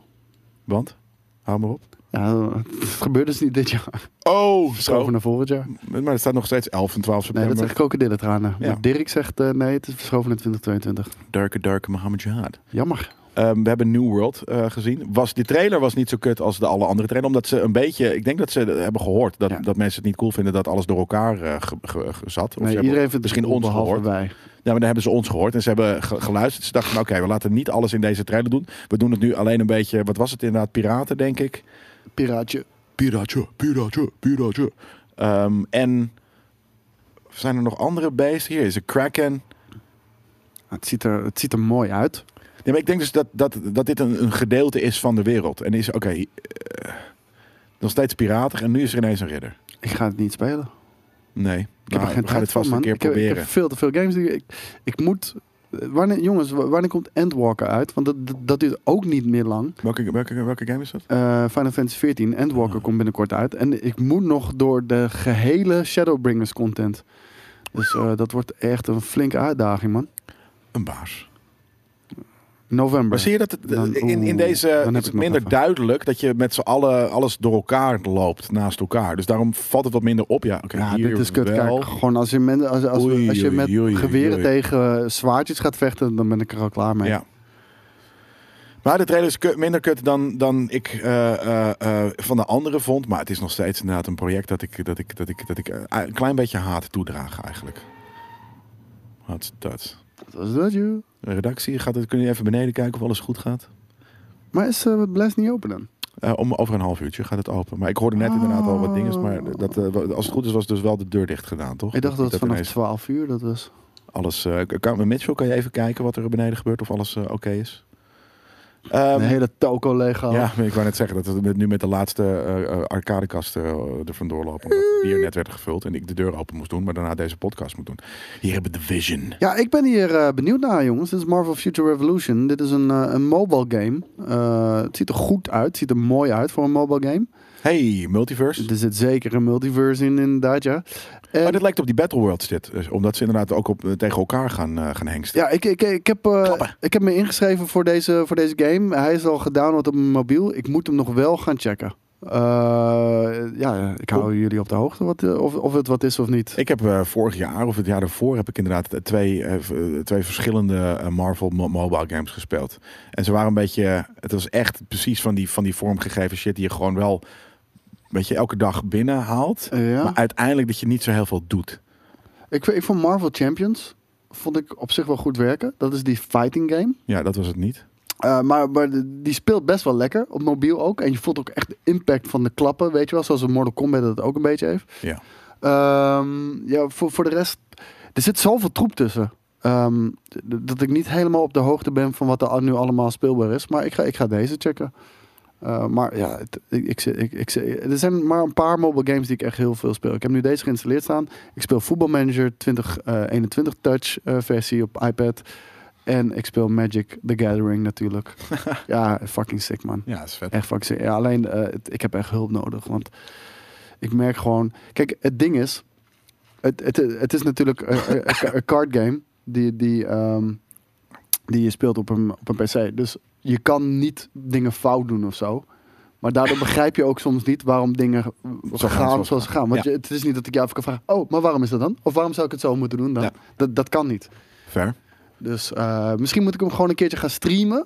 S1: Want? Hou maar op.
S2: Ja, het gebeurt dus niet dit jaar.
S1: Oh,
S2: Verschoven
S1: zo.
S2: naar volgend jaar.
S1: Maar er staat nog steeds 11 en 12
S2: Nee,
S1: september.
S2: dat zijn krokodillentranen.
S1: Ja.
S2: Maar Dirk zegt eh, nee, het is verschoven naar 2022.
S1: Darke, darke Mohammed Jihad.
S2: Jammer.
S1: Ehm, we hebben New World eh, gezien. Was, de trailer was niet zo kut als de alle andere trailer. Omdat ze een beetje... Ik denk dat ze eh, hebben gehoord dat,
S2: Ja.
S1: dat mensen het niet cool vinden dat alles door elkaar eh, ge- ge- ge- zat. Of ze
S2: Nee,
S1: hebben
S2: iedereen vindt het
S1: misschien
S2: cool,
S1: ons
S2: behalve
S1: gehoord.
S2: wij.
S1: Ja, maar dan hebben ze ons gehoord en ze hebben ge- geluisterd. Ze dachten, van, oké, we laten niet alles in deze trailer doen. We doen het nu alleen een beetje, wat was het inderdaad, piraten, denk ik.
S2: Piraatje.
S1: Piraatje, piraatje, piraatje. Ehm, en zijn er nog andere beesten? Hier is een kraken.
S2: Het ziet, er, het ziet er mooi uit.
S1: Nee, maar ik denk dus dat, dat, dat dit een, een gedeelte is van de wereld. En is, oké, eh, nog steeds piratig en nu is er ineens een ridder.
S2: Ik ga het niet spelen.
S1: Nee, nou,
S2: Ik heb er geen
S1: we gaan
S2: tijd
S1: het
S2: voor,
S1: vast
S2: man.
S1: een keer
S2: ik, heb, ik heb
S1: proberen.
S2: veel te veel games. Die, ik, ik moet... eh, Wanneer, jongens, wa- wanneer komt Endwalker uit? Want dat, dat, dat duurt ook niet meer lang.
S1: Welke, welke, welke game is dat?
S2: Eh, Final Fantasy 14 Endwalker komt binnenkort uit. En ik moet nog door de gehele Shadowbringers content. Dus eh, dat wordt echt een flinke uitdaging, man.
S1: Een baas.
S2: November.
S1: Maar zie je dat het eh,
S2: Dan-
S1: in, in
S2: oeh,
S1: deze
S2: dan heb
S1: is het
S2: ik nog
S1: minder
S2: even.
S1: duidelijk dat je met z'n allen alles door elkaar loopt naast elkaar. Dus daarom valt het wat minder op. Ja, oké,
S2: Ja,
S1: hier
S2: dit is kut.
S1: wel.
S2: Kijk, gewoon als je, men, als, als,
S1: Oei,
S2: als je
S1: oei,
S2: met
S1: oei,
S2: geweren
S1: oei.
S2: tegen eh, zwaardjes gaat vechten, dan ben ik er al klaar mee.
S1: Ja. Maar de trailer is kut- minder kut dan, dan ik eh, eh, eh, van de anderen vond. Maar het is nog steeds inderdaad een project dat ik, dat ik, dat ik, dat ik eh, een klein beetje haat toedraag eigenlijk. Wat dat.
S2: Was dat je?
S1: De redactie, gaat het, kun je even beneden kijken of alles goed gaat?
S2: Maar is eh, het Blast niet open dan?
S1: Eh, om over een half uurtje gaat het open. Maar ik hoorde net inderdaad al wat dingen. Maar dat, eh, wa- als het goed is, was dus wel de deur dicht gedaan, toch?
S2: Oh. Ik dacht dat het vanaf
S1: ineens
S2: 12 uur dat was.
S1: alles. eh, kan, Mitchell, kan je even kijken wat er beneden gebeurt? Of alles eh, oké is? Ehm,
S2: Een hele toko legaal.
S1: Ja, maar ik wou net zeggen dat we met- nu met de laatste eh, eh, arcadekasten eh, er vandoor lopen. Omdat het bier net werd gevuld en ik de deur open moest doen, maar daarna deze podcast moet doen. Hier hebben we The Vision.
S2: Ja, ik ben hier eh, benieuwd naar, jongens. Dit is Marvel Future Revolution. Dit is een, eh, een mobile game. Eh, het ziet er goed uit. Het ziet er mooi uit voor een mobile game.
S1: Hey, Multiverse.
S2: Er zit zeker een multiverse in, inderdaad, ja. En-
S1: Oh, dit lijkt op die Battleworlds dit. Dus omdat ze inderdaad ook op, tegen elkaar gaan, eh, gaan hengsten.
S2: Ja, ik, ik, ik, heb, eh,
S1: Klappen.
S2: ik heb me ingeschreven voor deze, voor deze game. Hij is al gedownload op mijn mobiel. Ik moet hem nog wel gaan checken. Eh, ja, ik hou jullie op de hoogte wat, eh, of, of het wat is of niet.
S1: Oh. Ik heb eh, vorig jaar of het jaar daarvoor heb ik inderdaad eh, twee, eh, v- eh, twee verschillende eh, Marvel mo- mobile games gespeeld. En ze waren een beetje, het was echt precies van die, van die vormgegeven shit die je gewoon wel, weet je, elke dag binnenhaalt.
S2: Eh, ja.
S1: Maar uiteindelijk dat je niet zo heel veel doet.
S2: ik, ik vond Marvel Champions vond ik op zich wel goed werken. Dat is die fighting game.
S1: Ja, dat was het niet.
S2: Eh, maar, maar de- die speelt best wel lekker. Op mobiel ook. En je voelt ook echt de impact van de klappen. Weet je wel, zoals in Mortal Kombat dat ook een beetje heeft.
S1: Ja.
S2: Ehm, ja, voor, voor de rest. Er zit zoveel troep tussen. Ehm, d- dat ik niet helemaal op de hoogte ben van wat er al- nu allemaal speelbaar is. Maar ik ga, ik ga deze checken. Eh, maar ja, het- ik, ik, zit- ik, ik, zit- er zijn maar een paar mobile games die ik echt heel veel speel. Ik heb nu deze geïnstalleerd staan. Ik speel voetbalmanager 2021 eh, Touch eh, versie op iPad. En ik speel Magic the Gathering natuurlijk. ja, fucking sick man.
S1: Ja, dat is vet.
S2: Echt fucking sick. Ja, alleen eh, het- ik heb echt hulp nodig. Want ik merk gewoon. Kijk, het ding is. Het, het, het is natuurlijk een- een- een een card game die, die, ehm, die je speelt op een, op een PC. Dus je kan niet dingen fout doen of zo. Maar daardoor begrijp je ook soms niet waarom dingen
S1: gaan
S2: gaan
S1: zoals
S2: zoals ze gaan. Want je, het is niet dat ik jou even kan vragen: Oh, maar waarom is dat dan? Of waarom zou ik het zo moeten doen dan?
S1: Ja.
S2: Dat, dat kan niet.
S1: Ver.
S2: Dus eh, misschien moet ik hem gewoon een keertje gaan streamen.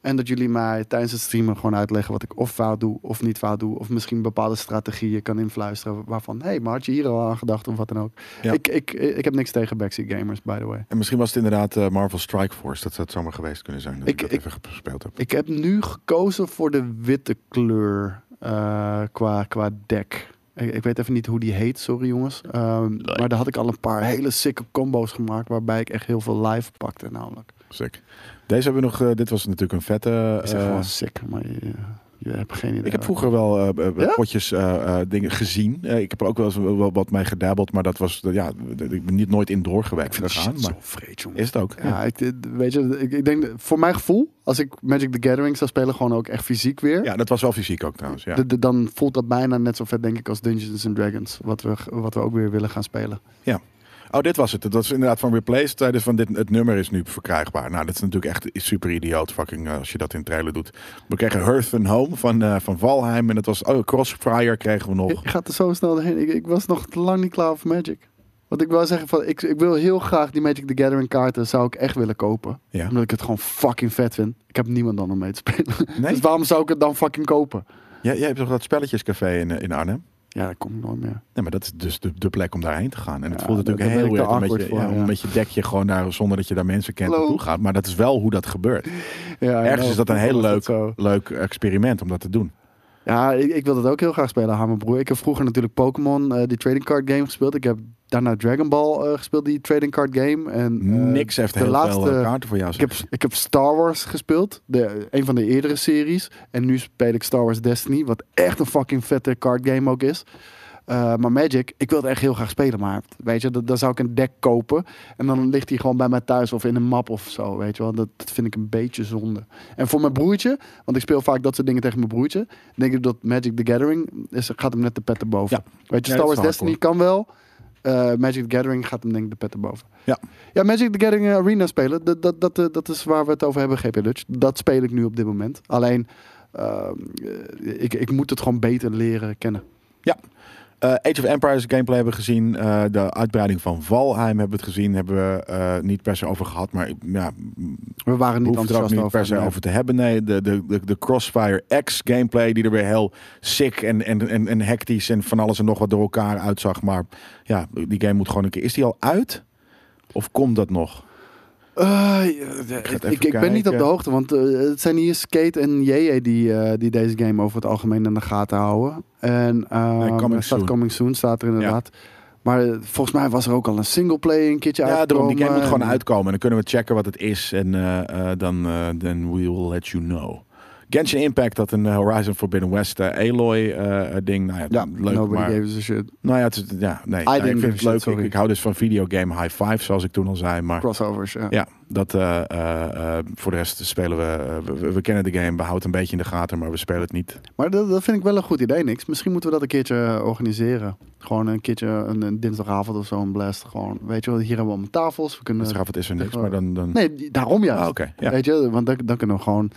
S2: En dat jullie mij tijdens het streamen gewoon uitleggen wat ik of fout doe of niet fout doe. Of misschien bepaalde strategieën kan influisteren waarvan... hé, hey, maar had je hier al aan gedacht of wat dan ook.
S1: Ja.
S2: Ik, ik, ik heb niks tegen backseat gamers, by the way.
S1: En misschien was het inderdaad eh, Marvel Strike Force. Dat zou het zomaar geweest kunnen zijn. Dat ik,
S2: Ik-
S1: dat
S2: ik-
S1: even gespeeld heb.
S2: Ik heb nu gekozen voor de witte kleur eh, qua, qua deck. Ik, ik weet even niet hoe die heet, sorry jongens. Ehm, maar daar had ik al een paar hele sikke combo's gemaakt... waarbij ik echt heel veel live pakte namelijk.
S1: Sick. Deze hebben we nog. eh, dit was natuurlijk een vette.
S2: Ik zeg
S1: eh,
S2: gewoon sick, maar je, je Ik heb geen idee.
S1: Ik heb vroeger wel eh, eh,
S2: Ja?
S1: potjes eh, eh, dingen gezien. Eh, ik heb er ook wel eens wel- wel wat mee gedabeld, maar dat was, eh, ja, d- ik ben niet nooit in doorgewerkt gegaan.
S2: Shit,
S1: Maar
S2: zo vreed, jongen.
S1: is het ook? Ja.
S2: Ja, ik, eh, weet je, ik, ik denk, dat- voor mijn gevoel, als ik Magic the Gathering zou spelen, gewoon ook echt fysiek weer.
S1: Ja, dat was wel fysiek ook trouwens. Ja.
S2: de- de- dan voelt dat bijna net zo vet, denk ik, als Dungeons and Dragons. Wat we, wat we ook weer willen gaan spelen.
S1: ja. Oh, dit was het. Dat is inderdaad van Replaced. Zeiden ze van dit, het nummer is nu verkrijgbaar. Nou, dat is natuurlijk echt super idioot fucking eh, als je dat in trailer doet. We kregen Hearth and Home van, eh, van Valheim. En dat was, oh, Crossfire kregen we nog.
S2: Ik ga er zo snel heen. Ik, ik was nog lang niet klaar voor Magic. Want ik wou zeggen, van, ik, ik wil heel graag die Magic the Gathering kaarten, zou ik echt willen kopen.
S1: Ja.
S2: Omdat ik het gewoon fucking vet vind. Ik heb niemand dan om mee te spelen.
S1: Nee?
S2: Dus waarom zou ik het dan fucking kopen?
S1: Jij, jij hebt toch dat spelletjescafé in, eh, in Arnhem?
S2: Ja, dat komt nooit meer.
S1: Nee, maar dat is dus de, de plek om daarheen te gaan. En het
S2: Ja,
S1: voelt natuurlijk
S2: daar- daar
S1: heel
S2: ben
S1: weird.
S2: ik te
S1: Een beetje,
S2: awkward voor,
S1: ja,
S2: ja.
S1: een beetje dek je gewoon daar zonder dat je daar mensen kent
S2: Hallo.
S1: naartoe gaat. Maar dat is wel hoe dat gebeurt.
S2: Ja, nou,
S1: Ergens is dat een heel
S2: was
S1: leuk,
S2: zo.
S1: leuk experiment om dat te doen.
S2: Ja, ik, ik wil dat ook heel graag spelen, Hamerbroer. broer. Ik heb vroeger natuurlijk Pokémon, eh, die trading card game gespeeld. Ik heb daarna Dragon Ball eh, gespeeld, die trading card game. En, eh,
S1: Niks heeft
S2: de
S1: heel
S2: laatste-
S1: veel eh, kaarten voor jou.
S2: Ik heb,
S1: zeg.
S2: ik heb Star Wars gespeeld, de, een van de eerdere series. En nu speel ik Star Wars Destiny, wat echt een fucking vette card game ook is. Eh, maar Magic, ik wil het echt heel graag spelen. Maar weet je, dat- dan zou ik een deck kopen. En dan ligt die gewoon bij mij thuis of in een map of zo. Weet je wel, dat, dat vind ik een beetje zonde. En voor mijn broertje, want ik speel vaak dat soort dingen tegen mijn broertje. Denk ik dat Magic the Gathering is, gaat hem net de pet erboven.
S1: Ja.
S2: Weet je,
S1: Ja,
S2: Star
S1: dat
S2: Wars
S1: is
S2: Destiny
S1: hardcore.
S2: kan wel. Eh, Magic the Gathering gaat hem denk ik de pet erboven.
S1: Ja.
S2: Ja, Magic the Gathering eh, Arena spelen, dat, dat, dat, eh, dat is waar we het over hebben, GP Dutch. Dat speel ik nu op dit moment. Alleen, ehm, eh, ik, ik moet het gewoon beter leren kennen.
S1: Ja. Eh, Age of Empires gameplay hebben we gezien. Eh, de uitbreiding van Valheim hebben we het gezien. Hebben we eh, niet per se over gehad. Maar ja,
S2: We waren niet
S1: hoeft er ook
S2: enthousiast
S1: niet
S2: over.
S1: per se
S2: nee.
S1: over te hebben. Nee, de, de, de, de Crossfire X gameplay die er weer heel sick en, en, en, en hectisch en van alles en nog wat door elkaar uitzag. Maar ja, die game moet gewoon een keer... Is die al uit? Of komt dat nog?
S2: Eh, ja, ik,
S1: even
S2: ik, ik ben niet op de
S1: kijken.
S2: hoogte, want eh, het zijn hier Skate en JJ die, eh, die deze game over het algemeen in de gaten houden. En ehm,
S1: Nee, Coming
S2: er staat
S1: Soon.
S2: Coming Soon, staat er inderdaad. Maar eh, volgens mij was er ook al een singleplay een keertje
S1: Ja, daarom, die game moet gewoon
S2: en-
S1: uitkomen. En dan kunnen we checken wat het is. En eh, eh, dan eh, then we will let you know. Genshin Impact had een eh, Horizon Forbidden West eh, Aloy eh, ding. Nou ja,
S2: Ja,
S1: leuk,
S2: nobody
S1: maar...
S2: gives a shit.
S1: Nou ja, het, is- ja nee, nou, ik
S2: didn't give
S1: vind
S2: a
S1: het
S2: shit,
S1: leuk. Ik,
S2: sorry.
S1: ik hou dus van videogame high five, zoals ik toen al zei. Maar
S2: Crossovers, ja.
S1: Ja, dat, eh, eh, eh, voor de rest spelen we, eh, we- we. We kennen de game, we houden het een beetje in de gaten, maar we spelen het niet.
S2: Maar dat, dat vind ik wel een goed idee, niks. Misschien moeten we dat een keertje eh, organiseren. Gewoon een keertje, eh, een, een dinsdagavond of zo, een blast. Gewoon, weet je wel, hier hebben we allemaal tafels. We kunnen...
S1: Straf, Dus het is er niks,
S2: waar.
S1: maar dan. dan...
S2: Oh. Nee, die- daarom juist.
S1: Ah, oké, ja.
S2: Weet je, want dan, dan kunnen we gewoon...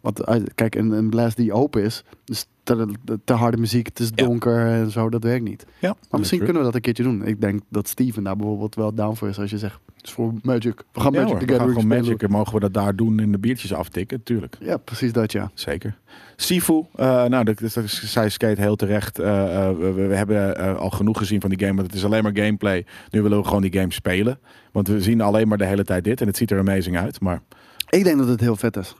S2: Want eh, kijk, een, een blast die open is, dus te, te harde muziek, het is
S1: Ja.
S2: donker en zo, dat werkt niet.
S1: Ja,
S2: Maar misschien kunnen we dat een keertje doen. Ik denk dat Steven daar bijvoorbeeld wel down voor is als je zegt, het is voor Magic. We gaan
S1: ja,
S2: Magic
S1: hoor, we
S2: together
S1: gaan gewoon
S2: spelen.
S1: Magic. en Mogen we dat daar doen en de biertjes aftikken? Tuurlijk.
S2: Ja, precies dat ja.
S1: Zeker. Sifu, eh, nou, dat, dat, dat zei Skate heel terecht. eh, eh, we, we hebben eh, al genoeg gezien van die game, want het is alleen maar gameplay. Nu willen we gewoon die game spelen. Want we zien alleen maar de hele tijd dit en het ziet er amazing uit. Maar
S2: Ik denk dat het heel vet is.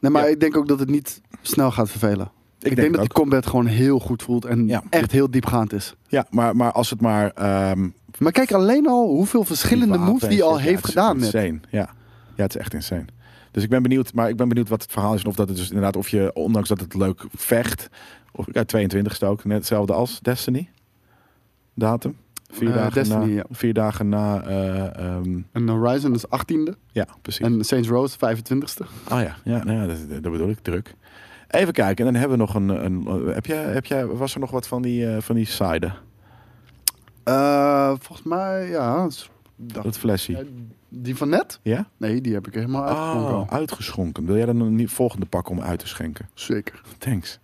S2: Nee, maar
S1: Ja.
S2: ik denk ook dat het niet snel gaat vervelen. Ik, denk,
S1: denk
S2: dat
S1: het
S2: die combat gewoon heel goed voelt en
S1: Ja.
S2: echt heel diepgaand is.
S1: ja, maar, maar als het maar. ehm,
S2: Maar kijk alleen al hoeveel verschillende
S1: Die
S2: moves die
S1: wapens,
S2: al
S1: ja,
S2: heeft
S1: het is
S2: gedaan net.
S1: Insane. Ja. ja, het is echt insane. Dus ik ben benieuwd, maar ik ben benieuwd wat het verhaal is. En of dat het dus inderdaad, of je, ondanks dat het leuk vecht. Of, ja, 22 e ook, net hetzelfde als Destiny. Datum. Vier,
S2: Eh,
S1: dagen,
S2: Destiny,
S1: na,
S2: ja.
S1: vier dagen na. eh, ehm,
S2: En Horizon is 18e
S1: ja, precies.
S2: en Saints Row is 25e.
S1: Oh ja, ja, nou ja dat, dat bedoel ik, druk. Even kijken, en dan hebben we nog een. een heb jij, heb jij, was er nog wat van die, eh van die side?
S2: Eh, volgens mij, ja. is- dat-
S1: Dat flesje.
S2: eh, Die van net?
S1: Ja?
S2: Nee, die heb ik helemaal uitgevonden.
S1: Oh, uitgeschonken. Wil jij dan een nie- volgende pak om uit te schenken?
S2: Zeker.
S1: Thanks.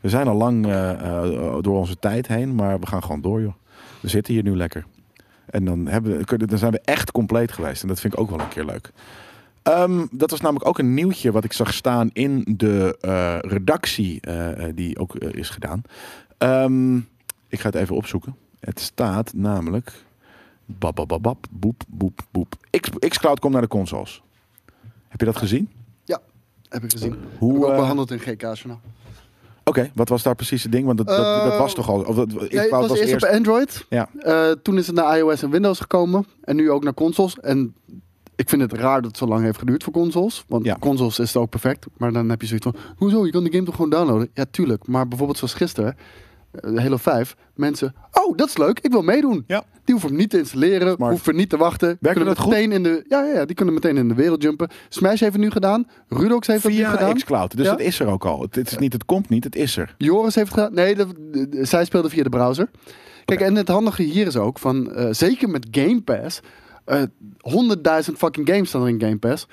S1: We zijn al lang eh, eh, door onze tijd heen, maar we gaan gewoon door, joh. We zitten hier nu lekker. En dan, hebben, we- kunnen- dan zijn we echt compleet geweest. En dat vind ik ook wel een keer leuk. Ehm, dat was namelijk ook een nieuwtje wat ik zag staan in de eh, redactie eh, eh, die ook eh, is gedaan. Ehm, ik ga het even opzoeken. Het staat namelijk... Babababab, boep, boep, boep. X, Xcloud komt naar de consoles. Heb je dat gezien?
S2: Ja, heb ik gezien.
S1: Hoe,
S2: Hoe heb ik ook
S1: eh,
S2: behandeld in GK's nou?
S1: Oké, wat was daar precies het ding? Want dat, dat, dat
S2: Eh,
S1: was toch al. Of dat, ik
S2: Nee, het
S1: wou-
S2: was eerst op Android.
S1: Ja,
S2: Eh, toen is het naar iOS en Windows gekomen. En nu ook naar consoles. En Ik vind het raar dat het zo lang heeft geduurd voor consoles. Want
S1: Ja.
S2: consoles is het ook perfect. Maar dan heb je zoiets van, hoezo, je kan de game toch gewoon downloaden? Ja, tuurlijk. Maar bijvoorbeeld zoals gisteren, eh, Halo 5. Mensen, oh, dat is leuk, ik wil meedoen.
S1: Ja.
S2: Die hoeven hem niet te installeren,
S1: Smart.
S2: hoeven niet te wachten. kunnen
S1: dat goed?
S2: meteen In de, ja, ja, ja, die kunnen meteen in de wereld jumpen. Smash heeft het nu gedaan. Rudox heeft het nu
S1: Via
S2: gedaan.
S1: xCloud. Dus
S2: Ja.
S1: het is er ook al. Het, het is niet, het komt niet, het is er.
S2: Joris heeft gedaan. Nee, dat- de- de- zij speelde via de browser. Kijk, en het handige hier is ook van, eh, zeker met Game Pass, eh, 100.000 fucking games staan er in Game Pass.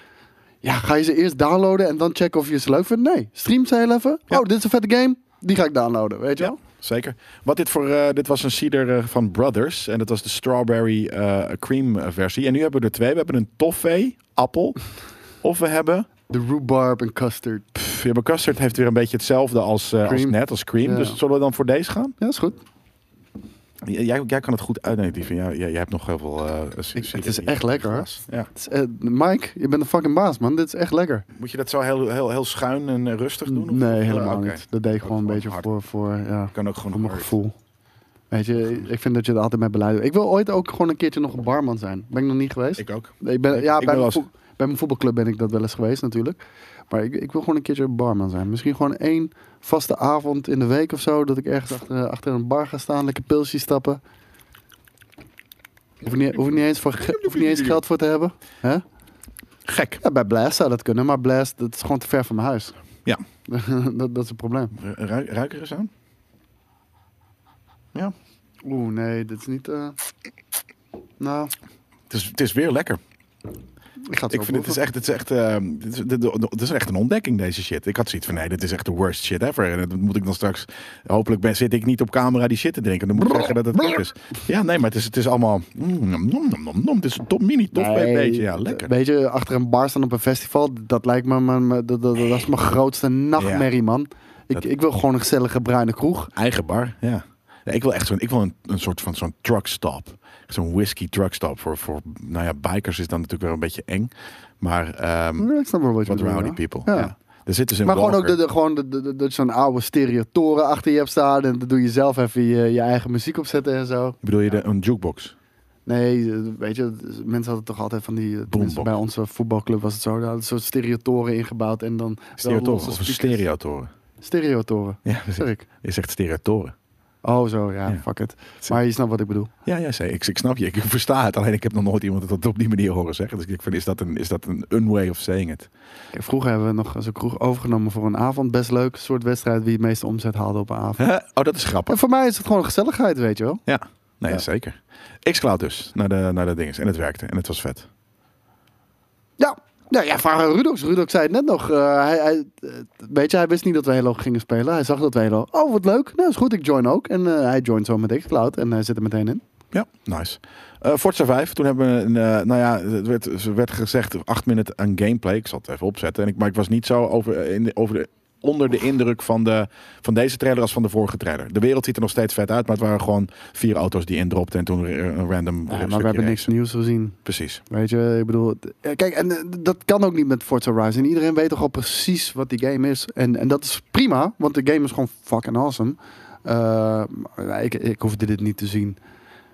S2: Ja, ga je ze eerst downloaden en dan checken of je ze leuk vindt? Nee, stream ze heel even.
S1: Ja.
S2: Oh, dit is een vette game. Die ga ik downloaden, weet je wel?
S1: Zeker. Wat dit voor, eh, dit was een cider eh, van Brothers. En dat was de strawberry eh, cream eh, versie. En nu hebben we er twee. We hebben een toffee, appel. Of we hebben,
S2: De rhubarb en custard.
S1: pff, ja, maar custard heeft weer een beetje hetzelfde als, eh, als
S2: Cream.
S1: net, als cream.
S2: Ja.
S1: Dus zullen we dan voor deze gaan?
S2: Ja, is goed.
S1: J- Jij, jij kan het goed uit. Nee, die van jou, jij, jij hebt nog heel veel... eh, cider
S2: het is
S1: hier.
S2: echt lekker, hoor.
S1: Ja.
S2: Het is, eh, Mike, je bent een fucking baas, man. Dit is echt lekker.
S1: Moet je dat zo heel, heel, heel schuin en eh, rustig doen? Of- Ah, Oh,
S2: Nee, helemaal
S1: Oké.
S2: niet. Dat deed ik gewoon een
S1: gewoon
S2: beetje
S1: hard.
S2: voor, voor, ja,
S1: Kan ook gewoon
S2: voor mijn
S1: hard.
S2: gevoel. Weet je, ik vind dat je er altijd mee beleid doet. Ik wil ooit ook gewoon een keertje nog een barman zijn. Ben ik nog niet geweest?
S1: Ik ook.
S2: Ik ben,
S1: ik-
S2: ja,
S1: ik ben
S2: bij,
S1: wel
S2: mijn
S1: eens-
S2: voet- bij mijn voetbalclub ben ik dat wel eens geweest natuurlijk. Maar ik, ik wil gewoon een keertje een barman zijn. Misschien gewoon één vaste avond in de week of zo. Dat ik ergens achter, achter een bar ga staan, lekker pilsje stappen. Hoef ik niet, hoef ik niet, eens, voor, ge- hoef ik niet eens geld voor te hebben. hè?
S1: Gek.
S2: Ja, bij Blast zou dat kunnen, maar Blast dat is gewoon te ver van mijn huis.
S1: Ja.
S2: dat, dat is een probleem.
S1: Ru- Ruik, ruik er eens aan. Ja.
S2: Oeh, nee, dit is niet. eh, Nou,
S1: Het is, het is weer lekker.
S2: ik ga het
S1: Ik vind het is echt, het is echt, ehm, dit is- dit- dit is echt een ontdekking deze shit. Ik had zoiets van nee, dit is echt de worst shit ever. En dat moet ik dan straks. Hopelijk ben, zit ik niet op camera die shit te drinken. Dan moet ik zeggen dat het lekker is. Ja, nee, maar het is, het is allemaal. Mm, nom, nom, nom, nom, nom. Het is een top mini top
S2: Nee,
S1: beetje. Ja, lekker.
S2: Weet je, achter een bar staan op een festival, dat lijkt me, mijn, mijn- dat, dat, dat is mijn grootste nachtmerrie, man. Ik,
S1: Dat-
S2: ik wil gewoon een gezellige bruine kroeg.
S1: Eigen bar. Ja. Nee, ik wil echt zo'n, ik wil een, een soort van zo'n truckstop. Zo'n whisky truckstop voor, voor, nou ja, bikers is dan natuurlijk wel een beetje eng. Maar ehm
S2: Ja, Ik snap wel wat je
S1: what
S2: bedoelt,
S1: rowdy
S2: Mm. ja.
S1: people.
S2: Ja.
S1: Ja. Er zitten ze in
S2: Maar gewoon ook
S1: Walker.
S2: dat- dat- gewoon dat- dat- dat- dat je zo'n oude stereotoren achter je hebt staan. En dan doe je zelf even je, je eigen muziek opzetten en zo.
S1: Bedoel je de, een jukebox?
S2: Nee, eh, weet je, dat is- mensen hadden toch altijd van die... eh, tenminste, Bij onze voetbalclub was het zo, daar hadden ze soort stereotoren ingebouwd en dan... wel
S1: Stereotoren
S2: losse
S1: of een
S2: speakers.
S1: stereotoren?
S2: Stereotoren,
S1: Ja, precies.
S2: zeg ik.
S1: Je zegt stereotoren.
S2: Oh zo, ja,
S1: Ja.
S2: fuck it. Maar je snapt wat ik bedoel.
S1: Ja, ja zei, ik, ik snap je. Ik versta het. Alleen ik heb nog nooit iemand het op die manier horen zeggen. Dus ik denk van, is dat een, is dat een unway of saying it?
S2: Kijk, vroeger hebben we nog zo'n kroeg overgenomen voor een avond. Best leuk, soort wedstrijd wie het meeste omzet haalde op een avond.
S1: Huh? Oh, dat is grappig.
S2: En voor mij is het gewoon gezelligheid, weet je wel.
S1: Ja, nee,
S2: Ja.
S1: zeker. Xcloud dus, naar de, naar de dinges. En het werkte. En het was vet.
S2: Ja, nou ja, vraag aan Rudox. Rudox zei het net nog. eh, hij, hij, eh, weet je, hij wist niet dat we Halo gingen spelen. Hij zag dat we Halo... Oh, wat leuk. Nou, is goed, ik join ook. En eh, hij joint zo met Xcloud en hij zit er meteen in.
S1: Ja, nice. Eh Forza 5, toen hebben we, een, eh, nou ja, het werd, er werd gezegd acht minuten aan gameplay. Ik zal het even opzetten. En ik, maar ik was niet zo over, eh, in de- over de, onder de indruk van, de, van deze trailer als van de vorige trailer. De wereld ziet er nog steeds vet uit, maar het waren gewoon vier auto's die indropten en toen er een random
S2: Ja, maar
S1: stukje
S2: we hebben niks
S1: race.
S2: nieuws gezien.
S1: Precies.
S2: Weet je, ik bedoel... d- eh, Kijk, en eh, dat kan ook niet met Forza Horizon. Iedereen weet toch al precies wat die game is. En, en dat is prima, want de game is gewoon fucking awesome. Eh, maar ik, ik hoefde dit niet te zien.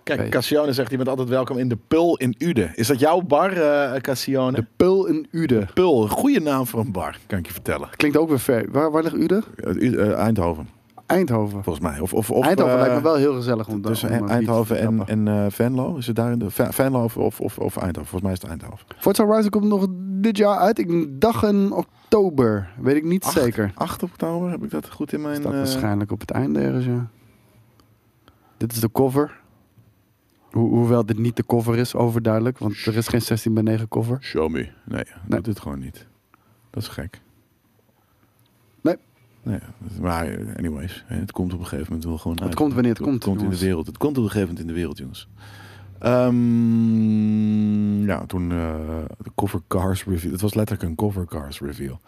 S1: Kijk,
S2: Oké.
S1: Cassione zegt, je bent altijd welkom in de Pul in Uden. Is dat jouw bar, eh Cassione?
S2: De Pul in Uden.
S1: Pul, goede naam voor een bar, kan ik je vertellen.
S2: Klinkt ook weer ver. Waar, waar ligt Uden?
S1: Eh, U- eh, Eindhoven,
S2: Eindhoven.
S1: volgens mij. Of, of, of,
S2: Eindhoven
S1: eh,
S2: lijkt me wel heel gezellig om
S1: Tussen
S2: om, eh,
S1: E- Eindhoven
S2: fiets te
S1: en,
S2: stappen.
S1: en eh, Venlo? Is het daar in de Ve- Venlo of, of, of, of Eindhoven? Volgens mij is het Eindhoven.
S2: Forza Horizon komt nog dit jaar uit. Ik dacht in oktober. Weet ik niet
S1: Acht?
S2: zeker.
S1: 8 oktober, heb ik dat goed in mijn...
S2: Staat
S1: eh,
S2: waarschijnlijk op het einde ergens, ja. Dit is de cover. Ho- hoewel dit niet de cover is, overduidelijk. Want er is geen 16 bij 9 cover.
S1: Show me. Nee,
S2: Nee.
S1: doet het gewoon niet. Dat is gek.
S2: Nee.
S1: Nee, maar eh, anyways, hè, het komt op een gegeven moment wel gewoon uit.
S2: komt wanneer het komt,
S1: komt in de
S2: jongens.
S1: wereld. Het komt op een gegeven moment in de wereld, jongens. Ehm, ja, toen eh, de cover cars reveal. Het was letterlijk een cover cars reveal.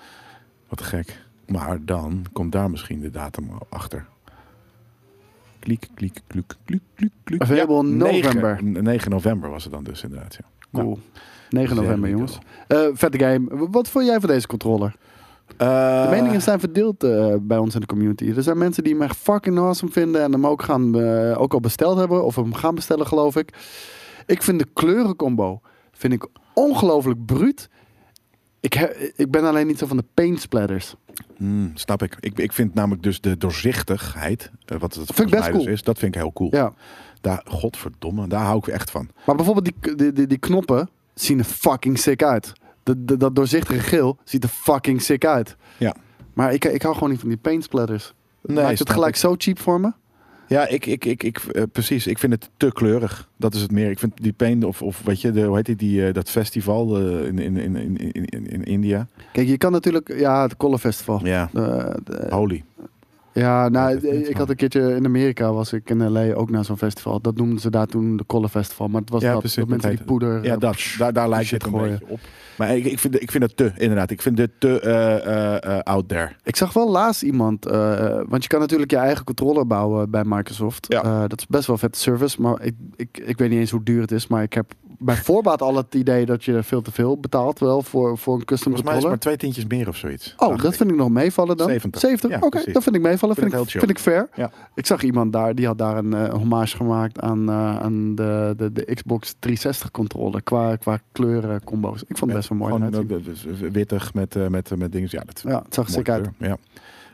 S1: Wat gek. Maar dan komt daar misschien de datum achter. Klik, klik, klik, klik, klik, klik.
S2: Available november.
S1: 9, november was het dan dus inderdaad, ja.
S2: Cool.
S1: Nou,
S2: 9 november,
S1: Zeker
S2: jongens. Eh, vette game. W- Wat vond jij van deze controller? De
S1: eh,
S2: meningen zijn verdeeld eh, bij ons in de community. Er zijn mensen die hem echt fucking awesome vinden en hem ook, gaan, eh, ook al besteld hebben. Of hem gaan bestellen, geloof ik. Ik vind de kleurencombo vind ik ongelooflijk bruut. Ik, he- ik ben alleen niet zo van de paint splatters.
S1: Hmm, snap ik. ik. Ik vind namelijk dus de doorzichtigheid, eh, wat het
S2: ik
S1: volgens
S2: best
S1: mij dus
S2: cool.
S1: is, dat vind ik heel cool.
S2: Ja.
S1: Daar, godverdomme, daar hou ik echt van.
S2: Maar bijvoorbeeld die, die, die, die knoppen zien er fucking sick uit. De, de- dat doorzichtige geel ziet er fucking sick uit.
S1: Ja.
S2: Maar ik, ik hou gewoon niet van die paint splatters.
S1: Nee,
S2: Maakt het
S1: snap
S2: gelijk
S1: ik.
S2: zo cheap voor me?
S1: Ja, ik, ik, ik, ik, eh, precies. Ik vind het te kleurig. Dat is het meer. Ik vind die paint of, of weet je, de, hoe heet die, die, eh, dat festival eh, in, in, in, in, in, in- in India?
S2: Kijk, je kan natuurlijk... Ja, het Color Festival.
S1: Ja,
S2: Eh, de-
S1: holy.
S2: ja, nou,
S1: dat is niet
S2: ik had
S1: van.
S2: een keertje in Amerika was ik in L.A. ook naar zo'n festival. Dat noemden ze daar toen de Color Festival. Maar het was
S1: Ja,
S2: dat,
S1: precies,
S2: dat
S1: dat
S2: mensen die
S1: heet-
S2: poeder...
S1: Ja,
S2: eh,
S1: dat, daar, daar lijkt
S2: shit
S1: het een
S2: gooien.
S1: beetje op. Maar ik, ik, vind, ik vind het te, inderdaad. Ik vind het te eh, eh, eh, out there.
S2: Ik zag wel laatst iemand, eh, want je kan natuurlijk je eigen controller bouwen bij Microsoft.
S1: Ja.
S2: Eh, dat is best wel vette service, maar ik, ik, ik weet niet eens hoe duur het is. Maar ik heb bij voorbaat al het idee dat je veel te veel betaalt wel voor, voor een custom
S1: Volgens mij is het
S2: controller.
S1: maar twee tientjes meer of zoiets.
S2: Oh, dat vind ik nog meevallen dan?
S1: 70. Ja,
S2: Oké,
S1: precies.
S2: dat vind ik meevallen.
S1: Vind
S2: Vind,
S1: het
S2: ik,
S1: heel
S2: vind ik fair.
S1: Ja.
S2: Ik zag iemand daar, die had daar een eh, hommage gemaakt aan, eh, aan de, de, de Xbox 360 controller. Qua, qua kleuren combo's. Ik vond het best wel mooi.
S1: Gewoon,
S2: eruit zien.
S1: eh, dus, eh, wittig met, eh, met, eh, met dingen. Ja, dat
S2: ja, het zag er
S1: Mooi
S2: sick uit.
S1: kleur, Ja.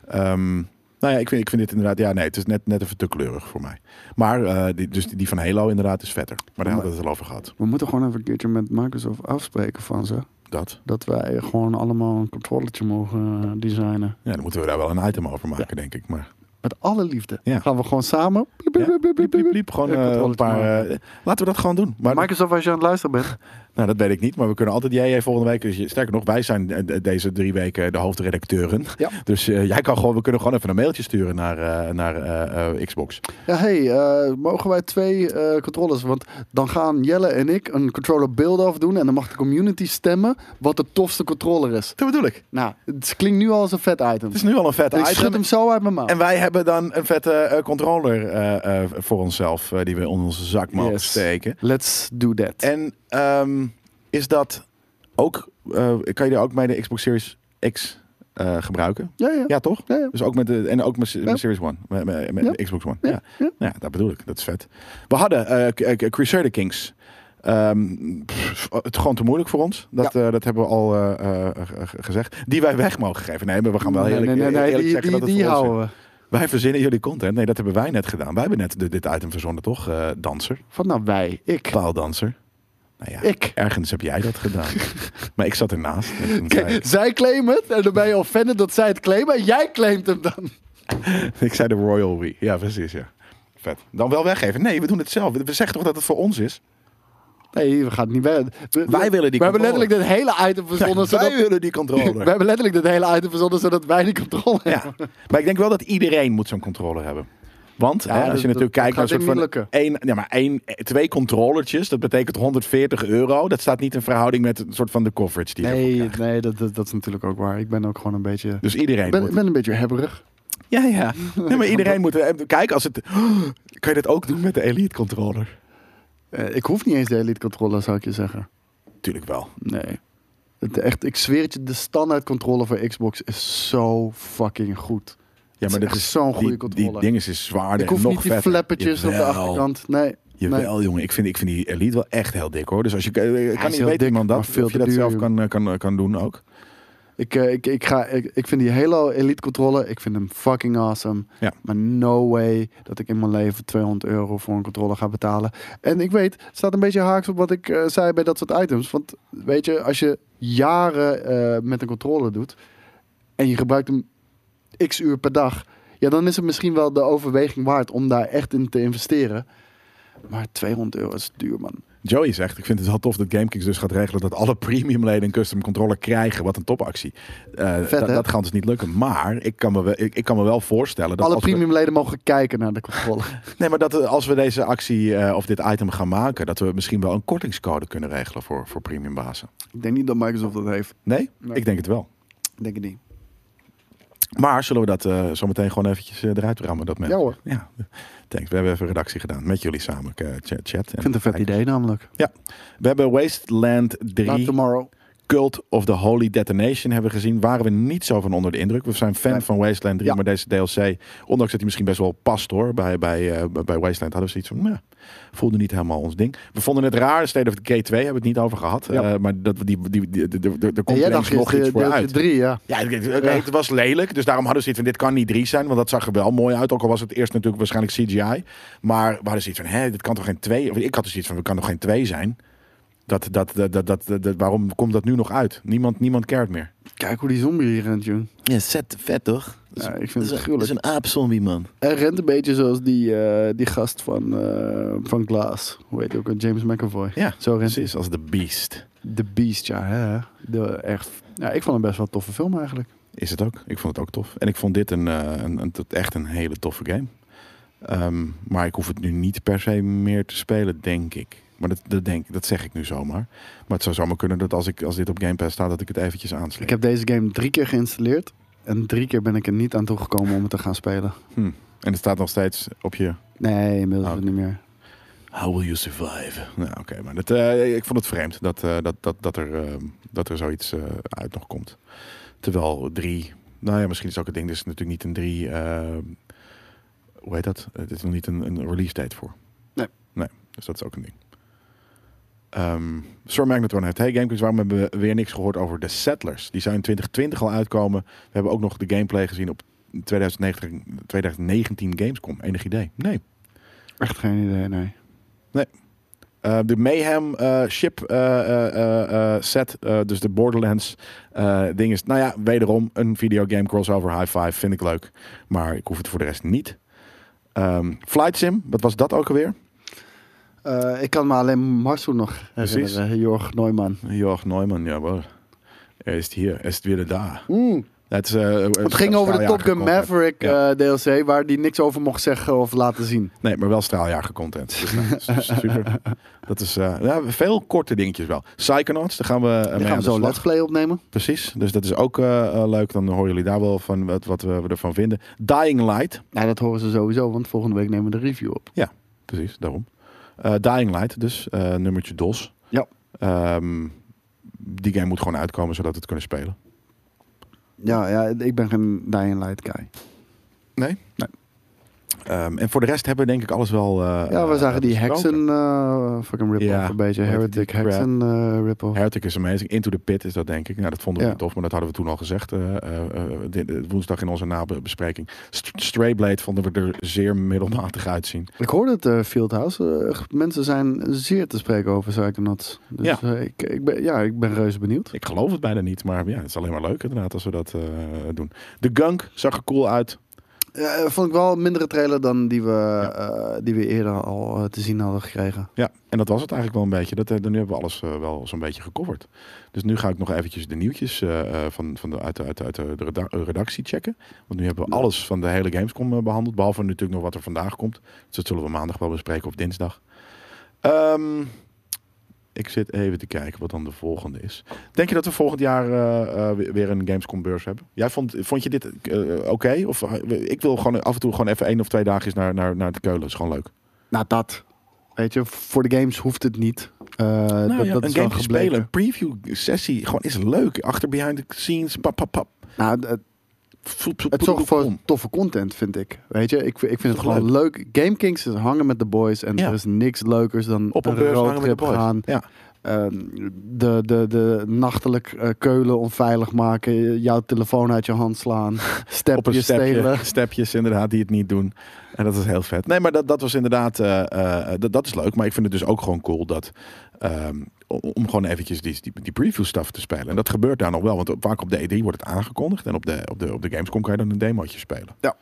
S1: Ehm, nou ja, ik vind, ik vind dit inderdaad... Ja, nee, het is net, net even te kleurig voor mij. Maar eh, die, dus die die van Halo inderdaad is vetter. Maar daar hadden we het al over gehad.
S2: We moeten gewoon even een keertje met Microsoft afspreken van ze.
S1: Dat.
S2: Dat wij gewoon allemaal een controllertje mogen eh, designen.
S1: Ja, dan moeten we daar wel een item over maken, denk ik. Maar
S2: Met alle liefde.
S1: Ja.
S2: Gaan we gewoon samen. bliep, bliep,
S1: Ja,
S2: bliep, bliep,
S1: bliep, bliep,
S2: bliep.
S1: bliep, gewoon
S2: Een eh,
S1: eh, een
S2: controletje
S1: paar... eh, laten we dat gewoon doen. Maar,
S2: Microsoft, als je aan het luisteren bent.
S1: nou, dat weet ik niet. Maar we kunnen altijd... Jij, jij volgende week... Dus je- sterker nog, wij zijn eh, de- deze drie weken de hoofdredacteuren.
S2: Ja.
S1: Dus eh, jij kan gewoon... We kunnen gewoon even een mailtje sturen naar, eh, naar eh, eh, Xbox.
S2: Ja, hey, eh, mogen wij twee eh, controllers? Want dan gaan Jelle en ik een controller build af doen. En dan mag de community stemmen wat de tofste controller is.
S1: Dat bedoel ik.
S2: Nou, het klinkt nu al als een vet item.
S1: Het is nu al een vette
S2: En ik
S1: item.
S2: schud hem zo uit mijn mouw.
S1: En wij hebben dan een vette eh, controller eh, eh, voor onszelf, eh, die we onder onze zak mogen
S2: Yes.
S1: steken.
S2: Let's do that.
S1: En ehm, is dat ook, eh, kan je er ook mee de Xbox Series X eh, gebruiken?
S2: ja, ja.
S1: Ja, toch?
S2: Ja, ja.
S1: Dus ook met de, en ook met, met Series One, met, met- met
S2: Ja.
S1: de Xbox One. Ja.
S2: Ja,
S1: Ja.
S2: ja.
S1: dat bedoel ik, dat is vet. We hadden eh, K- eh, Crusader Kings. Ehm, pff, het is gewoon te moeilijk voor ons. Dat, eh, dat hebben we al eh, eh, eh, gezegd. Die wij weg mogen geven. Nee, maar we gaan wel
S2: nee,
S1: eerlijk,
S2: nee, nee, nee,
S1: eerlijk
S2: die,
S1: zeggen
S2: die,
S1: dat het
S2: die
S1: voor ons is.
S2: houden we.
S1: Wij verzinnen jullie content. Nee, dat hebben wij net gedaan. Wij hebben net de- dit item verzonnen, toch? eh, danser.
S2: Van nou wij, ik.
S1: Paaldanser. Nou ja,
S2: Ik.
S1: ergens heb jij dat gedaan. maar ik zat ernaast. En toen zei
S2: Kijk,
S1: ik,
S2: zij claimen het en dan ben je offended dat zij het claimen en jij claimt hem dan.
S1: ik zei de Royal We. Ja, precies, ja. Vet. Dan wel weggeven. Nee, we doen het zelf. We zeggen toch dat het voor ons is?
S2: Nee, we gaan het niet weg. We,
S1: Wij willen die
S2: We
S1: controle.
S2: hebben letterlijk dit hele item verzonnen
S1: Nee,
S2: zodat...
S1: wij willen die
S2: We
S1: controller.
S2: hebben letterlijk dit hele item verzonnen zodat wij die controle
S1: ja.
S2: hebben.
S1: Maar ik denk wel dat iedereen moet zo'n controller hebben. Want hè, als je
S2: dat-
S1: natuurlijk
S2: dat-
S1: kijkt
S2: dat
S1: naar
S2: gaat
S1: soort van
S2: denk ik niet
S1: één, ja, maar één, twee controllertjes, dat betekent 140 euro. Dat staat niet in verhouding met een soort van de coverage die je ervoor
S2: Nee,
S1: krijgt.
S2: nee dat, dat, dat is natuurlijk ook waar. Ik ben ook gewoon een beetje...
S1: Dus iedereen
S2: Ik ben,
S1: moet
S2: ik ben een beetje hebberig.
S1: Ja, ja. Nee, maar iedereen moet... eh, Kijk, als het... Kan je dit ook doen met de Elite Controller?
S2: Eh, ik hoef niet eens de Elite Controller, zou ik je zeggen.
S1: Tuurlijk wel.
S2: Nee. Het, echt, ik zweer het je, de standaard controller voor Xbox is zo fucking goed.
S1: Ja,
S2: is
S1: maar dit
S2: echt
S1: is
S2: zo'n goede
S1: die- Die
S2: controller.
S1: ding is dus zwaarder
S2: ik hoef
S1: en nog
S2: niet die
S1: vetter.
S2: flappertjes op de
S1: Jawel.
S2: achterkant. Nee. nee.
S1: Jawel, jongen. Ik vind, ik vind die Elite wel echt heel dik, hoor. Dus als je... eh,
S2: heel
S1: Kan niet weten,
S2: dik,
S1: iemand
S2: maar
S1: dat...
S2: veel
S1: Of je
S2: te
S1: dat
S2: duur,
S1: zelf
S2: jongen.
S1: kan, eh, kan, eh, kan doen ook.
S2: Ik, eh, ik, ik, ga, ik, ik vind die Halo Elite controller, ik vind hem fucking awesome.
S1: Ja.
S2: Maar no way dat ik in mijn leven 200 euro voor een controller ga betalen. En ik weet, het staat een beetje haaks op wat ik eh, zei bij dat soort items. Want weet je, als je jaren eh, met een controller doet en je gebruikt hem x uur per dag. Ja, dan is het misschien wel de overweging waard om daar echt in te investeren. Maar 200 euro is duur, man.
S1: Joey zegt, ik vind het wel tof dat GameKings dus gaat regelen dat alle premium leden een custom controller krijgen. Wat een topactie. Eh,
S2: Vet,
S1: dat-
S2: hè?
S1: dat gaat dus niet lukken. Maar ik kan me wel, ik, ik kan me wel voorstellen dat
S2: Alle
S1: als we-
S2: premium leden mogen kijken naar de controller.
S1: Nee, maar dat eh, als we deze actie eh, of dit item gaan maken, dat we misschien wel een kortingscode kunnen regelen voor, voor premium bazen.
S2: ik denk niet dat Microsoft dat heeft.
S1: Nee?
S2: Nee.
S1: Ik denk het wel.
S2: Ik denk het niet.
S1: Maar zullen we dat eh zometeen gewoon eventjes eh, eruit rammen? Dat mensen?
S2: Ja, hoor.
S1: Ja, thanks. We hebben even redactie gedaan met jullie samen, eh, cha- chat.
S2: Ik vind het een vet idee namelijk.
S1: Ja, we hebben Wasteland 3
S2: Not tomorrow.
S1: Cult of the Holy Detonation hebben gezien, waren we niet zo van onder de indruk. We zijn fan
S2: Nee.
S1: van Wasteland 3,
S2: Ja.
S1: maar deze DLC, ondanks dat hij misschien best wel past hoor, bij, bij, eh, bij- bij Wasteland hadden we zoiets van, nou, voelde niet helemaal ons ding. We vonden het raar, State of Decay 2 hebben we het niet over gehad,
S2: Ja.
S1: Eh, maar dat, we die, die, die, die- die- er
S2: En
S1: komt
S2: jij
S1: ineens
S2: dacht
S1: nog iets
S2: gisteren
S1: voor
S2: deeltje
S1: uit.
S2: drie, ja.
S1: Ja, het, het- het- het was lelijk. Dus daarom hadden ze zoiets van, dit kan niet 3 zijn. Want dat zag er wel mooi uit. Ook al was het eerst natuurlijk waarschijnlijk CGI. Maar we hadden zoiets van, hè, dit kan toch geen 2? Of ik had dus iets van, we kan toch geen 2 zijn? Dat, dat, dat, dat, dat, dat- waarom komt dat nu nog uit? Niemand, niemand keert meer.
S2: Kijk hoe die zombie hier rent, jong.
S1: Ja, zet, vet toch?
S2: Ja, ik vind het gruwelijk.
S1: een aapzombie, man.
S2: Hij rent een beetje zoals die, eh, die gast van, eh, van Glass. Hoe heet hij ook? alweer? James McAvoy.
S1: Ja,
S2: Zo rent hij.
S1: precies. Als de beast.
S2: The Beast, ja. Hè? De, echt, ja, ik vond hem best wel een toffe film eigenlijk.
S1: Is het ook. Ik vond het ook tof. En ik vond dit een, eh, een, een- echt een hele toffe game. Ehm, maar ik hoef het nu niet per se meer te spelen, denk ik. Maar dat, dat, denk, dat zeg ik nu zomaar. Maar het zou zomaar kunnen dat als, ik, als dit op Game Pass staat, dat ik het eventjes aansluit.
S2: Ik heb deze game drie keer geïnstalleerd. En drie keer ben ik er niet aan toegekomen om het te gaan spelen.
S1: En het staat nog steeds op je...
S2: Nee, inmiddels
S1: Oh,
S2: niet meer.
S1: How will you survive? Nou, oké. maar dat, eh, ik vond het vreemd dat, eh, dat, dat, dat, er, eh, dat er zoiets eh, uit nog komt. Terwijl drie... Nou ja, misschien is ook het ding. Dit is natuurlijk niet een drie... eh, hoe heet dat? Het is nog niet een, een release date voor.
S2: Nee.
S1: Nee, dus dat is ook een ding. Ehm Sir Magnetron heeft... Hey Gamekids, waarom hebben we weer niks gehoord over The Settlers? Die zou in 2020 al uitkomen. We hebben ook nog de gameplay gezien op 2019, 2019 Gamescom. Enig idee? Nee.
S2: Echt geen idee, nee.
S1: Eh, de Mayhem eh, ship eh, eh, eh, eh, set, eh, dus de Borderlands eh, ding is, nou ja, wederom een videogame crossover high five, vind ik leuk. Maar ik hoef het voor de rest niet. Ehm, Flight Sim, wat was dat ook alweer?
S2: Eh, ik kan me alleen Marcel nog
S1: Precies.
S2: herinneren. eh, Jorg Neumann.
S1: Jorg Neumann, jawel. Er is hier, er is weer daar. Het, is, eh,
S2: Mm. Het ging over de
S1: straaljager
S2: Top Gun
S1: content.
S2: Maverick
S1: Ja.
S2: eh, DLC, waar die niks over mocht zeggen of laten zien.
S1: Nee, maar wel straaljager content. Dus, nou, dat is super. Dat is eh, ja, veel korte dingetjes wel. Psychonauts, daar gaan we, eh,
S2: Dan
S1: mee
S2: gaan
S1: aan
S2: we
S1: de
S2: zo
S1: slag.
S2: Let's Play opnemen.
S1: Precies, dus dat is ook eh, eh, leuk. Dan horen jullie daar wel van wat, wat we, we ervan vinden. Dying Light.
S2: Nee, Nou, dat horen ze sowieso, want volgende week nemen we de review op.
S1: Ja, precies, daarom. Eh, Dying Light, dus eh, nummertje DOS.
S2: Ja.
S1: Ehm, die game moet gewoon uitkomen zodat we het kunnen spelen.
S2: Ja, ja ik ben geen Dying Light guy.
S1: Nee? Nee. Ehm, en voor de rest hebben we denk ik alles wel. eh,
S2: Ja, we
S1: eh,
S2: zagen die
S1: besproken.
S2: Hexen eh, fucking rip-off
S1: Ja,
S2: een beetje.
S1: hoe heet
S2: Heretic
S1: die crap?
S2: Hexen eh rip-off.
S1: Hertic is amazing. Into the Pit is dat, denk ik. Nou, dat vonden we
S2: Ja.
S1: niet tof, maar dat hadden we toen al gezegd. eh, eh, eh, dit- eh, woensdag in onze nabespreking. St Stray Blade vonden we er zeer middelmatig uitzien.
S2: Ik hoorde het, eh, Fieldhouse. Eh, mensen zijn zeer te spreken over Psychonauts. Dus
S1: Ja.
S2: eh, ik, ik ben, ja, ik ben reuze benieuwd.
S1: Ik geloof het bijna niet, maar ja, het is alleen maar leuk inderdaad als we dat eh, doen. De gunk zag er cool uit.
S2: Eh, vond ik wel een mindere trailer dan die we, eh, die we eerder al eh, te zien hadden gekregen.
S1: Ja, en dat was het eigenlijk wel een beetje. Dat, eh, nu hebben we alles eh, wel zo'n beetje gecoverd. Dus nu ga ik nog eventjes de nieuwtjes eh, eh, van, van de, uit, de- uit, de- uit de reda- eh, redactie checken. Want nu hebben we alles van de hele Gamescom eh, behandeld. Behalve natuurlijk nog wat er vandaag komt. Dus dat zullen we maandag wel bespreken of dinsdag. Ehm, ik zit even te kijken wat dan de volgende is. Denk je dat we volgend jaar eh, eh, weer een Gamescom beurs hebben? Jij vond, vond je dit eh, oké? Of eh, ik wil gewoon af en toe gewoon even één of twee dagjes naar, naar, naar de Keulen. Is gewoon leuk.
S2: Nou, dat. Weet je, voor de games hoeft het niet. Eh, dat,
S1: Nou, ja,
S2: dat
S1: een
S2: is wel
S1: game
S2: gebleken.
S1: spelen, een preview sessie, gewoon is leuk. Achter behind the scenes, pap, pap, pap.
S2: Nou, het-
S1: Voep, voep,
S2: het
S1: voep,
S2: zorgt voor
S1: voep,
S2: toffe content, vind ik. Weet je, ik, ik vind het
S1: toch
S2: gewoon leuk. Game Kings is hangen met de boys en
S1: Ja.
S2: er is niks leukers dan
S1: Op een beurs hangen met de
S2: roadtrip
S1: boys.
S2: gaan.
S1: Ja,
S2: Eh, de, de, de nachtelijk eh, keulen onveilig maken, jouw telefoon uit je hand slaan,
S1: op een
S2: stepjes stelen.
S1: stepje, stepjes inderdaad die het niet doen. En dat is heel vet. Nee, maar dat, dat was inderdaad, eh, eh, dat, dat is leuk. Maar ik vind het dus ook gewoon cool dat, ehm, o- om gewoon eventjes die, die, die preview stuff te spelen. En dat gebeurt daar nog wel, want vaak op de E3 wordt het aangekondigd. En op de, op de, op de Gamescom kan je dan een demootje spelen.
S2: Ja.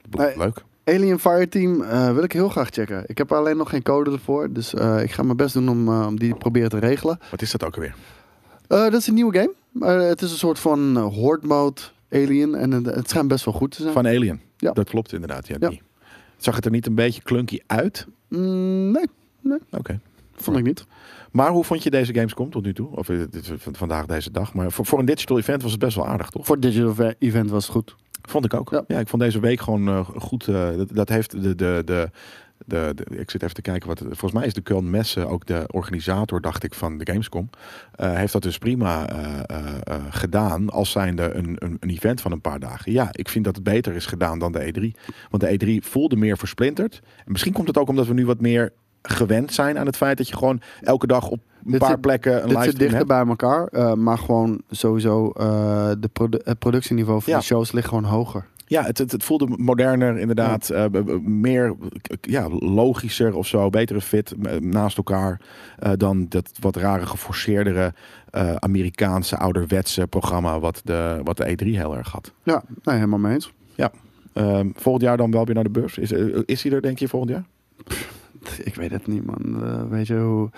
S1: Dat blijft
S2: Nee.
S1: Leuk.
S2: Alien Fireteam eh, wil ik heel graag checken. Ik heb alleen nog geen code ervoor, dus eh, ik ga mijn best doen om, eh, om die te proberen te regelen.
S1: Wat is dat ook alweer?
S2: Eh, dat is een nieuwe game. maar het is een soort van eh, horde mode Alien en het, het schijnt best wel goed te zijn.
S1: Van Alien.
S2: Ja.
S1: Dat klopt inderdaad. Ja,
S2: Ja.
S1: die. Zag het er niet een beetje clunky uit?
S2: Mm, nee,
S1: Oké.
S2: vond ik niet.
S1: Maar hoe vond je deze Gamescom tot nu toe? Of eh, dit is van- vandaag deze dag. Maar voor, voor een digital event was het best wel aardig, toch?
S2: Voor het digital event was het goed.
S1: Vond ik ook. Ja,
S2: Ja.
S1: ik vond deze week gewoon eh, goed. eh, dat, dat heeft de, de, de, De, de- ik zit even te kijken wat. Volgens mij is de Köln Messe ook de organisator, dacht ik, van de Gamescom. eh, heeft dat dus prima eh, eh, eh, gedaan als zijnde een, een, een event van een paar dagen. Ja, ik vind dat het beter is gedaan dan de E3. Want de E3 voelde meer versplinterd. En misschien komt het ook omdat we nu wat meer gewend zijn aan het feit dat je gewoon elke dag op een
S2: Dit
S1: paar
S2: zit-
S1: plekken een
S2: Dit
S1: live
S2: zit dichter bij elkaar, eh, maar gewoon sowieso eh, de produ- het productieniveau van
S1: Ja.
S2: de shows ligt gewoon hoger.
S1: Ja, het, het, het voelde moderner inderdaad. eh, b- b- meer k- ja, logischer of zo. Betere fit m- naast elkaar. eh, dan dat wat rare geforceerdere eh, Amerikaanse ouderwetse programma. Wat de, wat de E3 heel erg had.
S2: Ja, nee, helemaal mee eens.
S1: Ehm, volgend jaar dan wel weer naar de beurs. Is, eh, is hij er denk je volgend jaar?
S2: Ik weet het niet, man. Eh, weet je hoe...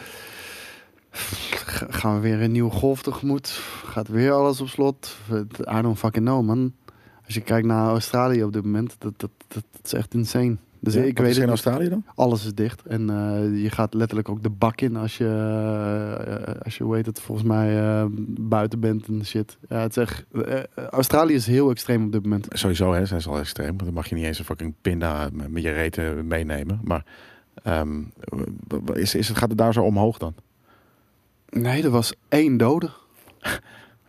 S2: Ga- Gaan we weer een nieuwe golf tegemoet? Gaat weer alles op slot? I don't fucking know, man. Als je kijkt naar Australië op dit moment, dat, dat, dat, dat is echt insane. Dus
S1: Ja,
S2: ik
S1: wat
S2: weet
S1: is er
S2: het
S1: in
S2: niet.
S1: Australië dan?
S2: Alles is dicht. En eh, je gaat letterlijk ook de bak in als je, eh, eh, als je weet het, volgens mij eh, buiten bent en shit. Ja, het is echt, eh, eh, Australië is heel extreem op dit moment.
S1: Sowieso hè, zijn ze al extreem. Want dan mag je niet eens een fucking pinda met met je reten meenemen. Maar ehm, w- w- is, is het, gaat het daar zo omhoog dan?
S2: Nee, er was één dode.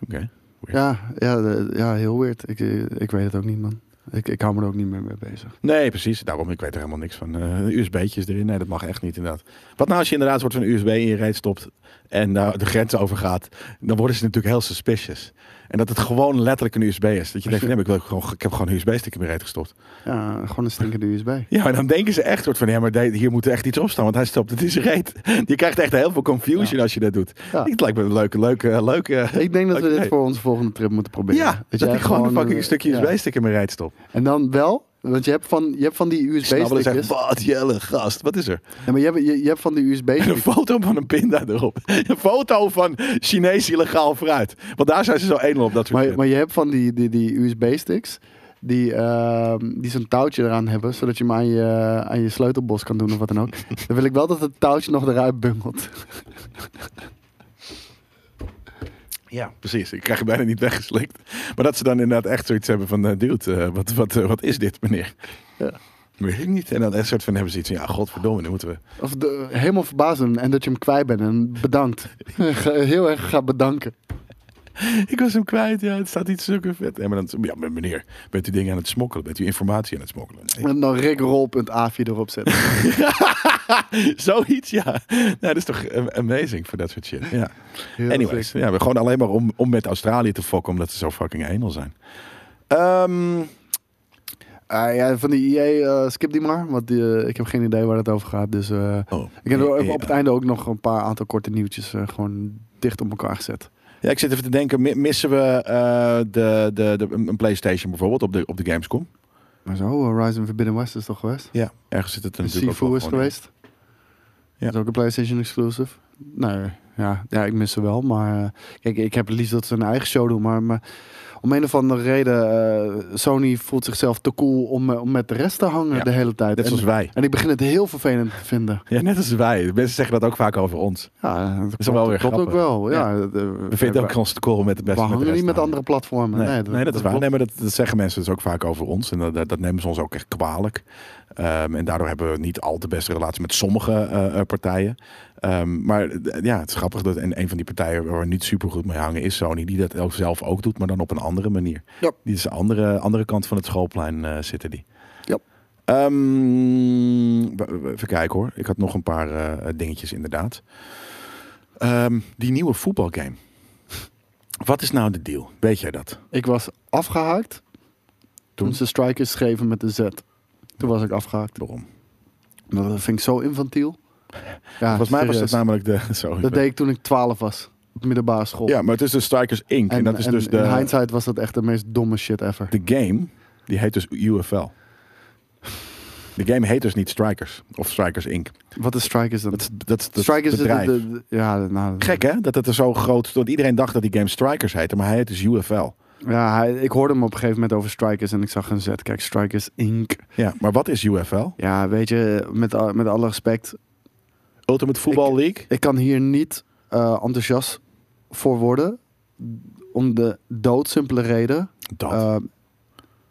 S1: Oké.
S2: Ja, ja, de- ja heel weird. Ik, eh, ik weet het ook niet, man. Ik, ik hou me er ook niet meer mee bezig.
S1: Nee, precies. Daarom, ik weet er helemaal niks van. Eh, USB'tjes erin, nee, dat mag echt niet inderdaad. Wat nou als je inderdaad een soort van USB in je reet stopt en daar de grens overgaat, dan worden ze natuurlijk heel suspicious. En dat het gewoon letterlijk een USB is. Dat je denkt, van, nee, maar ik, wil gewoon, ik heb gewoon een USB-stick in mijn reet gestopt.
S2: Ja, gewoon een stinkende USB.
S1: Ja, en dan denken ze echt soort van, ja, maar de- hier moet er echt iets op staan, want hij stopt het in zijn reet. Je krijgt echt heel veel confusion als je dat doet.
S2: Ja.
S1: Het lijkt me een leuke, leuke, leuke...
S2: Ik denk dat we
S1: Oké.
S2: dit voor onze volgende trip moeten proberen.
S1: ja, dat,
S2: jij
S1: ik gewoon een fucking
S2: eh,
S1: stukje
S2: ja.
S1: USB-stick in mijn reet stop.
S2: En dan wel, want je hebt van, je hebt van die
S1: Snabbelen zegt,
S2: USB-stickers.
S1: wat jelle gast, wat is er?
S2: Ja, maar je hebt, je, je hebt van die
S1: En een
S2: USB-stickers.
S1: foto van een pinda erop. Een foto van Chinees illegaal fruit. Want daar zijn ze zo edel op, dat soort
S2: Maar,
S1: dingen.
S2: maar je hebt van die, die, die USB-sticks die, ehm, die zo'n touwtje eraan hebben, zodat je hem aan je, aan je sleutelbos kan doen of wat dan ook. dan wil ik wel dat het touwtje nog eruit bungelt.
S1: Ja, precies. Ik krijg je bijna niet weggeslikt. Maar dat ze dan inderdaad echt zoiets hebben van... eh, dude, eh, wat, wat, eh, wat is dit, meneer?
S2: Ja.
S1: Weet ik niet. En dan echt soort van hebben ze iets van... Ja, godverdomme, nu moeten we...
S2: Of de, helemaal verbazen en dat je hem kwijt bent en bedankt. Heel erg gaat bedanken.
S1: Ik was hem kwijt, ja, het staat iets zulke vet. En maar dan, ja, maar meneer, bent u dingen aan het smokkelen? Bent u informatie aan het smokkelen? Nee.
S2: En dan rickrol.avi erop zetten.
S1: Zoiets, ja. Nou, dat is toch eh, amazing voor dat soort shit. Ja.
S2: Heel
S1: Anyways,
S2: sick.
S1: ja, we gewoon alleen maar om, om met Australië te fokken, omdat ze zo fucking enel zijn. Ehm,
S2: Ah, ja, van die EA, eh, skip die maar, want die, eh, ik heb geen idee waar het over gaat. Dus eh,
S1: oh,
S2: ik heb er
S1: eh, eh,
S2: op het einde ook nog een paar aantal korte nieuwtjes eh, gewoon dicht op elkaar gezet.
S1: ja, ik zit even te denken, mi- missen we eh, de, de, de, een een PlayStation bijvoorbeeld op de, op de Gamescom?
S2: Maar zo, eh, Horizon Forbidden West is toch geweest?
S1: Ja. Ergens zit het er
S2: En
S1: natuurlijk ook wel
S2: Sifu is
S1: gewoon in.
S2: geweest.
S1: Ja.
S2: Dat is ook een PlayStation exclusive. Nou ja, ja ik mis ze wel. Maar eh, kijk, ik heb het liefst dat ze een eigen show doen. Maar, maar om een of andere reden, eh, Sony voelt zichzelf te cool om, eh, om met de rest te hangen
S1: Ja,
S2: de hele tijd.
S1: Net
S2: en,
S1: zoals wij.
S2: en ik begin het heel vervelend te vinden.
S1: Ja, net als wij. Mensen zeggen dat ook vaak over ons.
S2: Ja, dat klopt,
S1: wel weer
S2: klopt ook
S1: grappig.
S2: wel. Ja, eh,
S1: We vinden ook ons te cool met de
S2: we
S1: beste. met de
S2: hangen
S1: rest
S2: niet met
S1: aan.
S2: andere platformen.
S1: Nee,
S2: Nee,
S1: nee, dat, is waar.
S2: klopt.
S1: Nee, maar dat, dat zeggen mensen dus ook vaak over ons. En dat, dat, dat nemen ze ons ook echt kwalijk. Ehm, en daardoor hebben we niet al te beste relatie met sommige eh, eh, partijen. Ehm, maar eh, ja, het is grappig dat en een van die partijen waar we niet super goed mee hangen is Sony. Die dat ook zelf ook doet, maar dan op een andere manier.
S2: Ja.
S1: Die is de andere, andere kant van het schoolplein eh, zitten die.
S2: Ja.
S1: Ehm, w- w- even kijken hoor. Ik had nog een paar eh, dingetjes inderdaad. Ehm, die nieuwe voetbalgame. Wat is nou de deal? Weet jij dat?
S2: Ik was afgehaakt toen,
S1: Toen?
S2: ze strikers schreven met de Z. Toen was ik afgehaakt.
S1: Waarom?
S2: Dat vind ik zo infantiel. Ja,
S1: Volgens mij was
S2: serieus.
S1: dat namelijk de. Sorry.
S2: Dat deed ik toen ik 12 was. Op middelbare school.
S1: ja, maar het is de Strikers Inc. En, dat is dus de,
S2: in hindsight was dat echt de meest domme shit ever.
S1: de game. Die heet dus UFL. De game heet dus niet Strikers of Strikers Inc.
S2: Wat is Strikers dan?
S1: Dat is dat, is- dat
S2: Strikers is
S1: bedrijf.
S2: de, de- Ja, nou,
S1: Gek hè, dat het er zo groot... Want iedereen dacht dat die game Strikers heette, maar hij heet dus UFL.
S2: ja hij, ik hoorde hem op een gegeven moment over Strikers en ik zag een Z. Kijk, Strikers Inc.
S1: Ja, maar wat is UFL?
S2: Ja, weet je, met, al- met alle respect.
S1: Ultimate Football League?
S2: Ik kan hier niet eh, enthousiast voor worden. Om de doodsimpele reden.
S1: Dat.
S2: Ehm,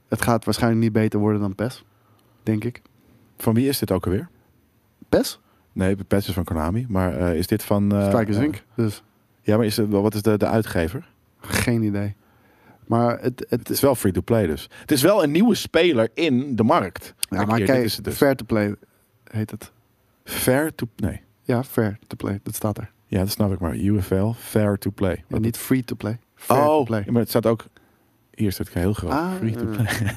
S2: het gaat waarschijnlijk niet beter worden dan PES. Denk ik.
S1: Van wie is dit ook alweer?
S2: PES?
S1: Nee, Pets is van Konami. Maar eh, is dit van... eh,
S2: Strikers
S1: eh,
S2: Inc. Dus
S1: ja, maar is het, wat is de, de uitgever?
S2: geen idee. Maar het, het,
S1: Het is wel free-to-play dus. Het is wel een nieuwe speler in de markt.
S2: ja, maar
S1: hier,
S2: kijk,
S1: dit is het dus.
S2: fair to play heet het.
S1: Fair to... Nee.
S2: Ja, fair to play. Dat staat er.
S1: Ja, dat snap ik maar. UFL, fair to play.
S2: En niet free to play. Fair to
S1: oh,
S2: play.
S1: ja, maar het staat ook... Hier staat heel groot.
S2: Ah,
S1: free to
S2: eh.
S1: play.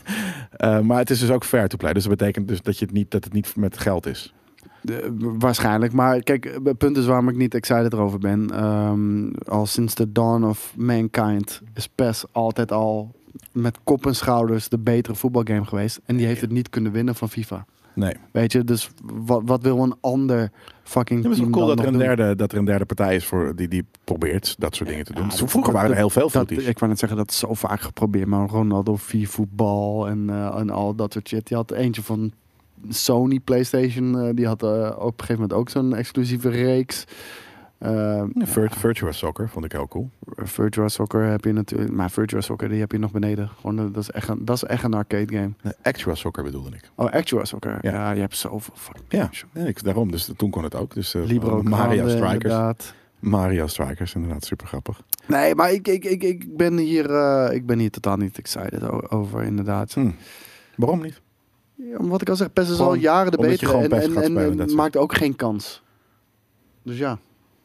S1: Eh, maar het is dus ook fair to play. Dus dat betekent dus dat, je het, niet, dat het niet met geld is.
S2: De- waarschijnlijk. Maar kijk, het punt is waarom ik niet excited erover ben. Ehm, al sinds de dawn of mankind is PES altijd al met kop en schouders de betere voetbalgame geweest. En die heeft het niet kunnen winnen van FIFA.
S1: Nee.
S2: Weet je, dus wat, wat wil een ander fucking
S1: Ja, maar het is
S2: team
S1: wel cool
S2: dan
S1: dat er,
S2: nog
S1: een
S2: doen?
S1: derde, dat er een derde partij is voor die, die probeert dat soort dingen te doen.
S2: Ja,
S1: Zo
S2: dat-
S1: Vroeger waren er heel veel
S2: Dat,
S1: footies.
S2: ik wou net zeggen, dat is zo vaak geprobeerd. Maar Ronaldo, vier voetbal en, eh, en al dat soort shit. Die had eentje van Sony PlayStation. eh, die had eh, op een gegeven moment ook zo'n exclusieve reeks. Eh,
S1: Vir- Virtua Soccer vond ik heel cool.
S2: Virtual Soccer heb je natuurlijk. Maar Virtual Soccer die heb je nog beneden. Gewoon, eh, dat, is echt een, dat is echt een arcade game.
S1: Nee, Actual Soccer bedoelde ik.
S2: Oh, Actual Soccer.
S1: Ja.
S2: Ja, je hebt zoveel fucking
S1: Ja,
S2: shit.
S1: nee, ik, daarom. Dus toen kon het ook. Dus, eh,
S2: Libro
S1: Mario
S2: Grande,
S1: Strikers.
S2: inderdaad.
S1: Mario Strikers, inderdaad. Super grappig.
S2: Nee, maar ik, ik, ik, ik, ben hier, eh, ik ben hier totaal niet excited o- over, inderdaad.
S1: Hm. Waarom niet?
S2: Ja, maar wat ik al zeg, PES is
S1: Gewoon
S2: al jaren de
S1: omdat je
S2: betere.
S1: gewoon
S2: En,
S1: PES
S2: en,
S1: gaat
S2: en-
S1: spelen,
S2: en
S1: that's it.
S2: maakt ook geen kans. Dus ja.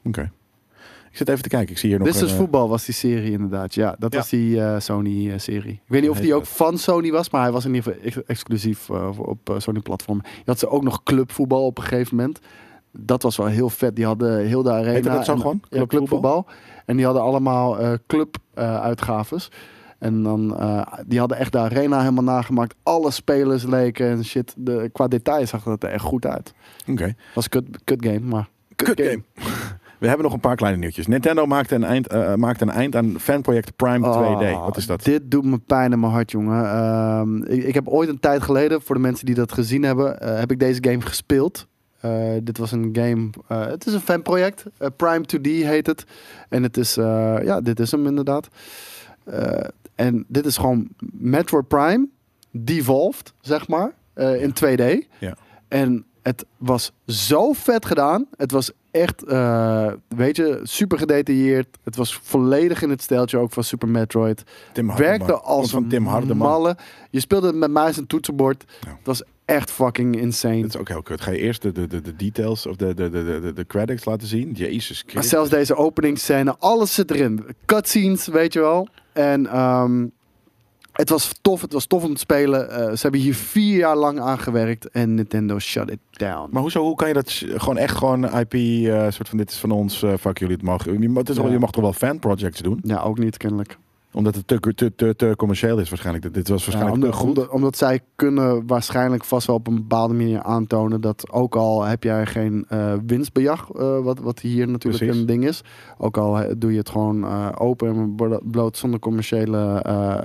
S1: Oké. Ik zit even te kijken. Ik zie hier nog
S2: This
S1: een,
S2: is dus
S1: eh,
S2: voetbal was die serie inderdaad. Ja, dat
S1: Ja.
S2: was die eh, Sony-serie. ik weet niet of
S1: Heet
S2: die ook
S1: dat.
S2: van Sony was, maar hij was in ieder geval ex- exclusief eh, voor- op eh, Sony-platform. Je had ze ook nog clubvoetbal op een gegeven moment. Dat was wel heel vet. Die hadden heel de arena.
S1: Heette dat zo
S2: en-
S1: gewoon?
S2: Ja,
S1: Clubvoetbal?
S2: clubvoetbal. En die hadden allemaal eh, club-uitgaves. en dan, eh, die hadden echt de arena helemaal nagemaakt. Alle spelers leken en shit. De, qua detail zag dat er echt goed uit.
S1: Oké.
S2: Was kut, kut game, maar...
S1: Kut game. We hebben nog een paar kleine nieuwtjes. Nintendo maakt een eind, eh, maakt een eind aan fanproject Prime
S2: Oh,
S1: 2D. Wat is dat?
S2: Dit doet me pijn in mijn hart, jongen. Ehm, ik, ik heb ooit een tijd geleden, voor de mensen die dat gezien hebben, eh, heb ik deze game gespeeld. Eh, dit was een game. eh, het is een fanproject. Eh, Prime 2D heet het. En het is, eh, ja, dit is hem inderdaad. Eh, en dit is gewoon Metroid Prime, devolved, zeg maar, eh, in 2D.
S1: Ja.
S2: En het was zo vet gedaan. Het was echt, eh, weet je, super gedetailleerd. Het was volledig in het stijltje ook van Super Metroid.
S1: Tim Hardeman.
S2: Werkte als
S1: Komt van Tim
S2: een
S1: Hardeman.
S2: malle. Je speelde het met muis en toetsenbord.
S1: Ja.
S2: Het was echt fucking insane.
S1: Dat is ook heel kut. Ga je eerst de, de, de, de details of de, de, de, de, de- de credits laten zien? Jezus
S2: Maar
S1: Christus.
S2: zelfs deze openingsscène, alles zit erin. Cutscenes, weet je wel. En ehm, het was tof, het was tof om te spelen. Eh, ze hebben hier vier jaar lang aan gewerkt en Nintendo shut it down.
S1: Maar hoezo, hoe kan je dat sh- gewoon echt gewoon IP, eh, soort van dit is van ons, eh, fuck jullie, het mag. Je, mag- het is wel-
S2: Ja.
S1: je mag toch wel fanprojects doen?
S2: Ja, ook niet kennelijk.
S1: Omdat het te, te, te, te commercieel is waarschijnlijk. Dit- Dit was
S2: Ja,
S1: waarschijnlijk
S2: omdat,
S1: te goed.
S2: omdat, omdat zij kunnen waarschijnlijk vast wel op een bepaalde manier aantonen dat ook al heb jij geen eh, winstbejag, eh, wat, wat hier natuurlijk
S1: Precies.
S2: een ding is. Ook al eh, doe je het gewoon eh, open en blo- bloot zonder commerciële eh,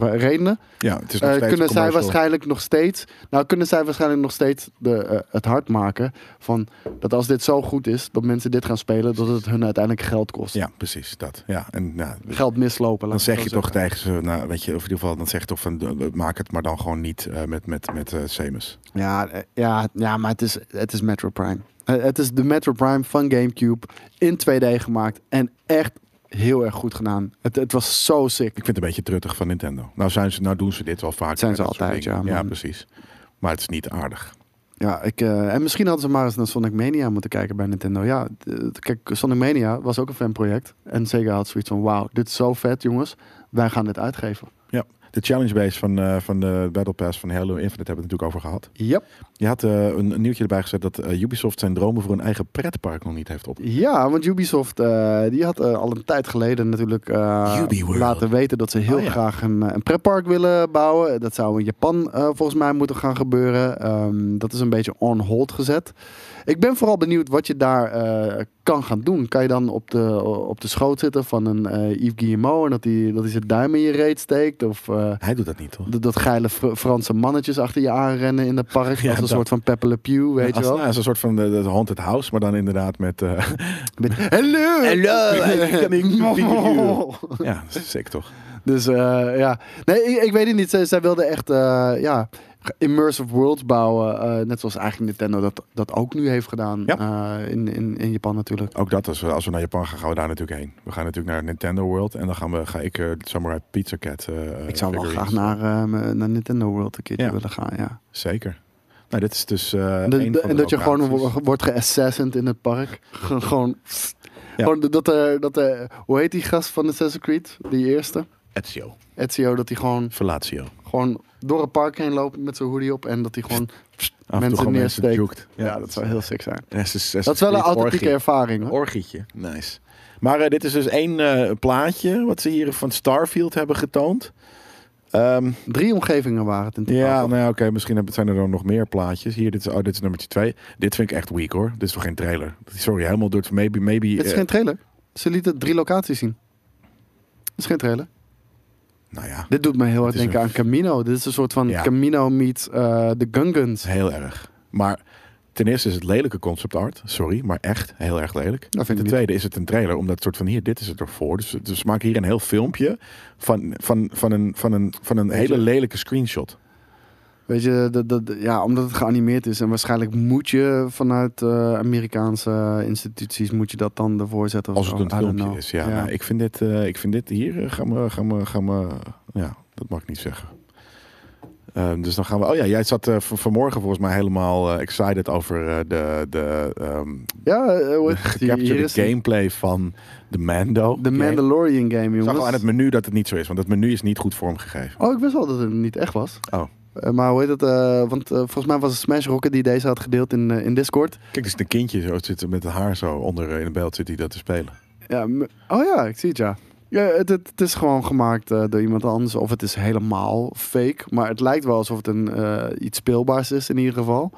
S2: eh, redenen.
S1: Ja, het is nog
S2: Eh,
S1: steeds
S2: kunnen zij
S1: commercial.
S2: waarschijnlijk nog steeds. Nou, kunnen zij waarschijnlijk nog steeds de, eh, het hard maken. Van dat als dit zo goed is, dat mensen dit gaan spelen, dat het hun uiteindelijk geld kost.
S1: Ja, precies, dat. Ja, en nou,
S2: Geld mislopen.
S1: dan
S2: laat ik
S1: zeg
S2: het
S1: je
S2: zo
S1: toch
S2: zeggen.
S1: tegen ze, nou, weet je, of in ieder geval, dan zeg je toch van, eh, maak het maar dan gewoon niet eh, met, met, met eh Seamus.
S2: Ja, eh, ja, ja, maar het is, het is Metro Prime. Eh, Het is de Metro Prime van GameCube in 2D gemaakt. En echt heel erg goed gedaan. Het, het was zo sick.
S1: Ik vind het een beetje truttig van Nintendo. Nou, zijn ze, nou doen ze dit wel vaak.
S2: Zijn ze altijd, ja,
S1: Ja,
S2: maar-
S1: precies. Maar het is niet aardig.
S2: Ja, ik, eh, en misschien hadden ze maar eens naar Sonic Mania moeten kijken bij Nintendo. Ja, d- eh, kijk, Sonic Mania was ook een fanproject. En Sega had zoiets van, wauw, dit is zo vet jongens. Wij gaan dit uitgeven.
S1: Ja, de challenge base van, eh, van de Battle Pass van Halo Infinite hebben we het natuurlijk over gehad.
S2: Yep.
S1: Je had eh, een, een nieuwtje erbij gezet dat eh, Ubisoft zijn dromen voor een eigen pretpark nog niet heeft op.
S2: Ja, want Ubisoft eh, die had eh, al een tijd geleden natuurlijk eh,
S1: Ubiworld.
S2: laten weten dat ze heel
S1: Oh, ja.
S2: graag een, eh, een pretpark willen bouwen. Dat zou in Japan eh, volgens mij moeten gaan gebeuren. Ehm, dat is een beetje on hold gezet. Ik ben vooral benieuwd wat je daar eh, kan gaan doen. Kan je dan op de, op de schoot zitten van een eh Yves Guillemot en dat hij, dat hij zijn duim in je reet steekt? Of eh,
S1: Hij doet dat niet, toch?
S2: dat, dat geile Fr- Franse mannetjes achter je aanrennen in het park?
S1: Ja,
S2: als een
S1: dat.
S2: soort van Pepe Le Pew, weet
S1: als,
S2: je wel?
S1: nou, als een soort van de, de Haunted House, maar dan inderdaad met... eh,
S2: Met, Hello!
S1: Hello, I'm coming to you.
S2: Hello!
S1: ja, dat is sick toch?
S2: Dus eh, ja. Nee, ik, ik weet het niet. Zij, zij wilden echt eh, ja, immersive worlds bouwen. eh, net zoals eigenlijk Nintendo dat, dat ook nu heeft gedaan.
S1: Ja.
S2: eh, in, in, in Japan natuurlijk.
S1: Ook dat, als we, als we naar Japan gaan, gaan we daar natuurlijk heen. We gaan natuurlijk naar Nintendo World en dan gaan we, ga ik eh, Samurai Pizza Cat. eh,
S2: Ik zou wel
S1: figurines.
S2: graag naar, eh, m- naar Nintendo World een keertje
S1: Ja.
S2: willen gaan, ja.
S1: Zeker. Nou, dit is dus. eh,
S2: En dat-
S1: één van de
S2: en dat je gewoon
S1: attracties.
S2: wo- wordt geassassined in het park. Ge- gewoon,
S1: Ja.
S2: gewoon dat er, dat er... Hoe heet die gast van Assassin's Creed? Die eerste.
S1: Ezio.
S2: Ezio, dat hij gewoon,
S1: Fellatio.
S2: gewoon door het park heen loopt met zijn hoodie op. En dat hij gewoon
S1: Af en toe
S2: mensen
S1: gewoon mensen
S2: neersteekt.
S1: jukt.
S2: ja, dat zou heel sick zijn.
S1: Dat is,
S2: Dat is wel een authentieke
S1: orgie.
S2: ervaring. hoor.
S1: orgietje. Nice. Maar eh, dit is dus één eh, plaatje wat ze hier van Starfield hebben getoond. Ehm,
S2: Drie omgevingen waren het in totaal.
S1: ja,
S2: toch?
S1: nou ja, oké, misschien hebben- zijn er dan nog meer plaatjes. Hier, dit is, oh, dit is nummertje twee. Dit vind ik echt weak hoor. Dit is toch geen trailer? Sorry, helemaal door het maybe, maybe.
S2: Dit is
S1: eh,
S2: geen trailer. Ze lieten drie locaties zien. Dit is geen trailer.
S1: nou ja,
S2: Dit doet me heel hard
S1: is
S2: denken
S1: een-
S2: aan Camino. Dit is een soort van
S1: Ja.
S2: Camino meets eh, de Gun Guns.
S1: heel erg. Maar ten eerste is het lelijke concept art. Sorry, maar echt heel erg lelijk.
S2: Dat vind ik
S1: ten
S2: niet.
S1: tweede is het een trailer, omdat het soort van hier, dit is het ervoor. Dus, dus ze maken hier een heel filmpje van, van, van een, van een, van een hele
S2: je-
S1: lelijke screenshot.
S2: Weet je, dat, dat, ja, omdat het geanimeerd is. En waarschijnlijk moet je vanuit eh, Amerikaanse instituties... moet je dat dan ervoor zetten. of
S1: Als het
S2: zo.
S1: een
S2: Oh, I don't
S1: filmpje
S2: know.
S1: is, ja. Nou, ik, vind dit, eh, ik vind dit hier, eh, gaan we, gaan we, gaan we, ja, dat mag ik niet zeggen. Ehm, dus dan gaan we, oh ja, jij zat eh, van, vanmorgen volgens mij helemaal eh, excited over eh, de, de ehm
S2: Ja, eh, hoe heet het? Hier- hier
S1: captured
S2: is de
S1: gameplay van de Mando.
S2: de Mandalorian game,
S1: Ik
S2: jongens.
S1: zag al aan het menu dat het niet zo is, want het menu is niet goed vormgegeven.
S2: Oh, ik wist wel dat het niet echt was.
S1: Oh.
S2: Eh, maar hoe heet het? eh, want eh, volgens mij was het Smash Rocket die deze had gedeeld in, eh, in Discord.
S1: Kijk, er zit een kindje zo, het zit met het haar zo onder eh, in de beeld zit hij dat te spelen.
S2: Ja, m- oh ja, ik zie het ja. ja het, het, het is gewoon gemaakt eh, door iemand anders. Of het is helemaal fake. Maar het lijkt wel alsof het een, eh, iets speelbaars is in ieder geval.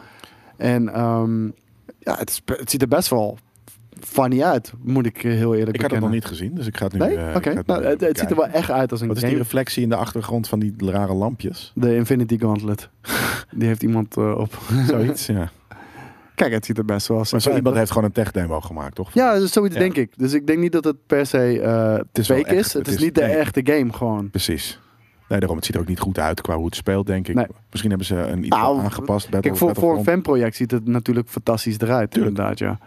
S2: En ehm, ja, het, is- het ziet er best wel funny uit, moet ik eh, heel eerlijk
S1: Ik had het nog
S2: bekennen.
S1: niet gezien, dus ik ga het nu.
S2: Nee?
S1: eh, ik
S2: Oké.
S1: ga het nu
S2: Nou, het, het ziet er
S1: bekijken.
S2: wel echt uit als een
S1: Wat is
S2: game.
S1: die reflectie in de achtergrond van die rare lampjes?
S2: De Infinity Gauntlet. die heeft iemand eh, op.
S1: Zoiets, ja.
S2: Kijk, het ziet er best wel als
S1: Maar zo iemand heeft gewoon een tech demo gemaakt, toch?
S2: Ja, dus zoiets
S1: Ja.
S2: denk ik. Dus ik denk niet dat het per se eh
S1: is wel
S2: fake
S1: echt.
S2: is. Het, is, niet de
S1: nee.
S2: echte game gewoon.
S1: Precies. Nee, daarom. Het ziet er ook niet goed uit qua hoe het speelt, denk ik.
S2: Nee.
S1: Misschien hebben ze een iets
S2: Nou,
S1: wat aangepast. Battle,
S2: Kijk, voor, voor een
S1: Battlefront.
S2: fanproject ziet het natuurlijk fantastisch eruit.
S1: Tuurlijk.
S2: Inderdaad, ja.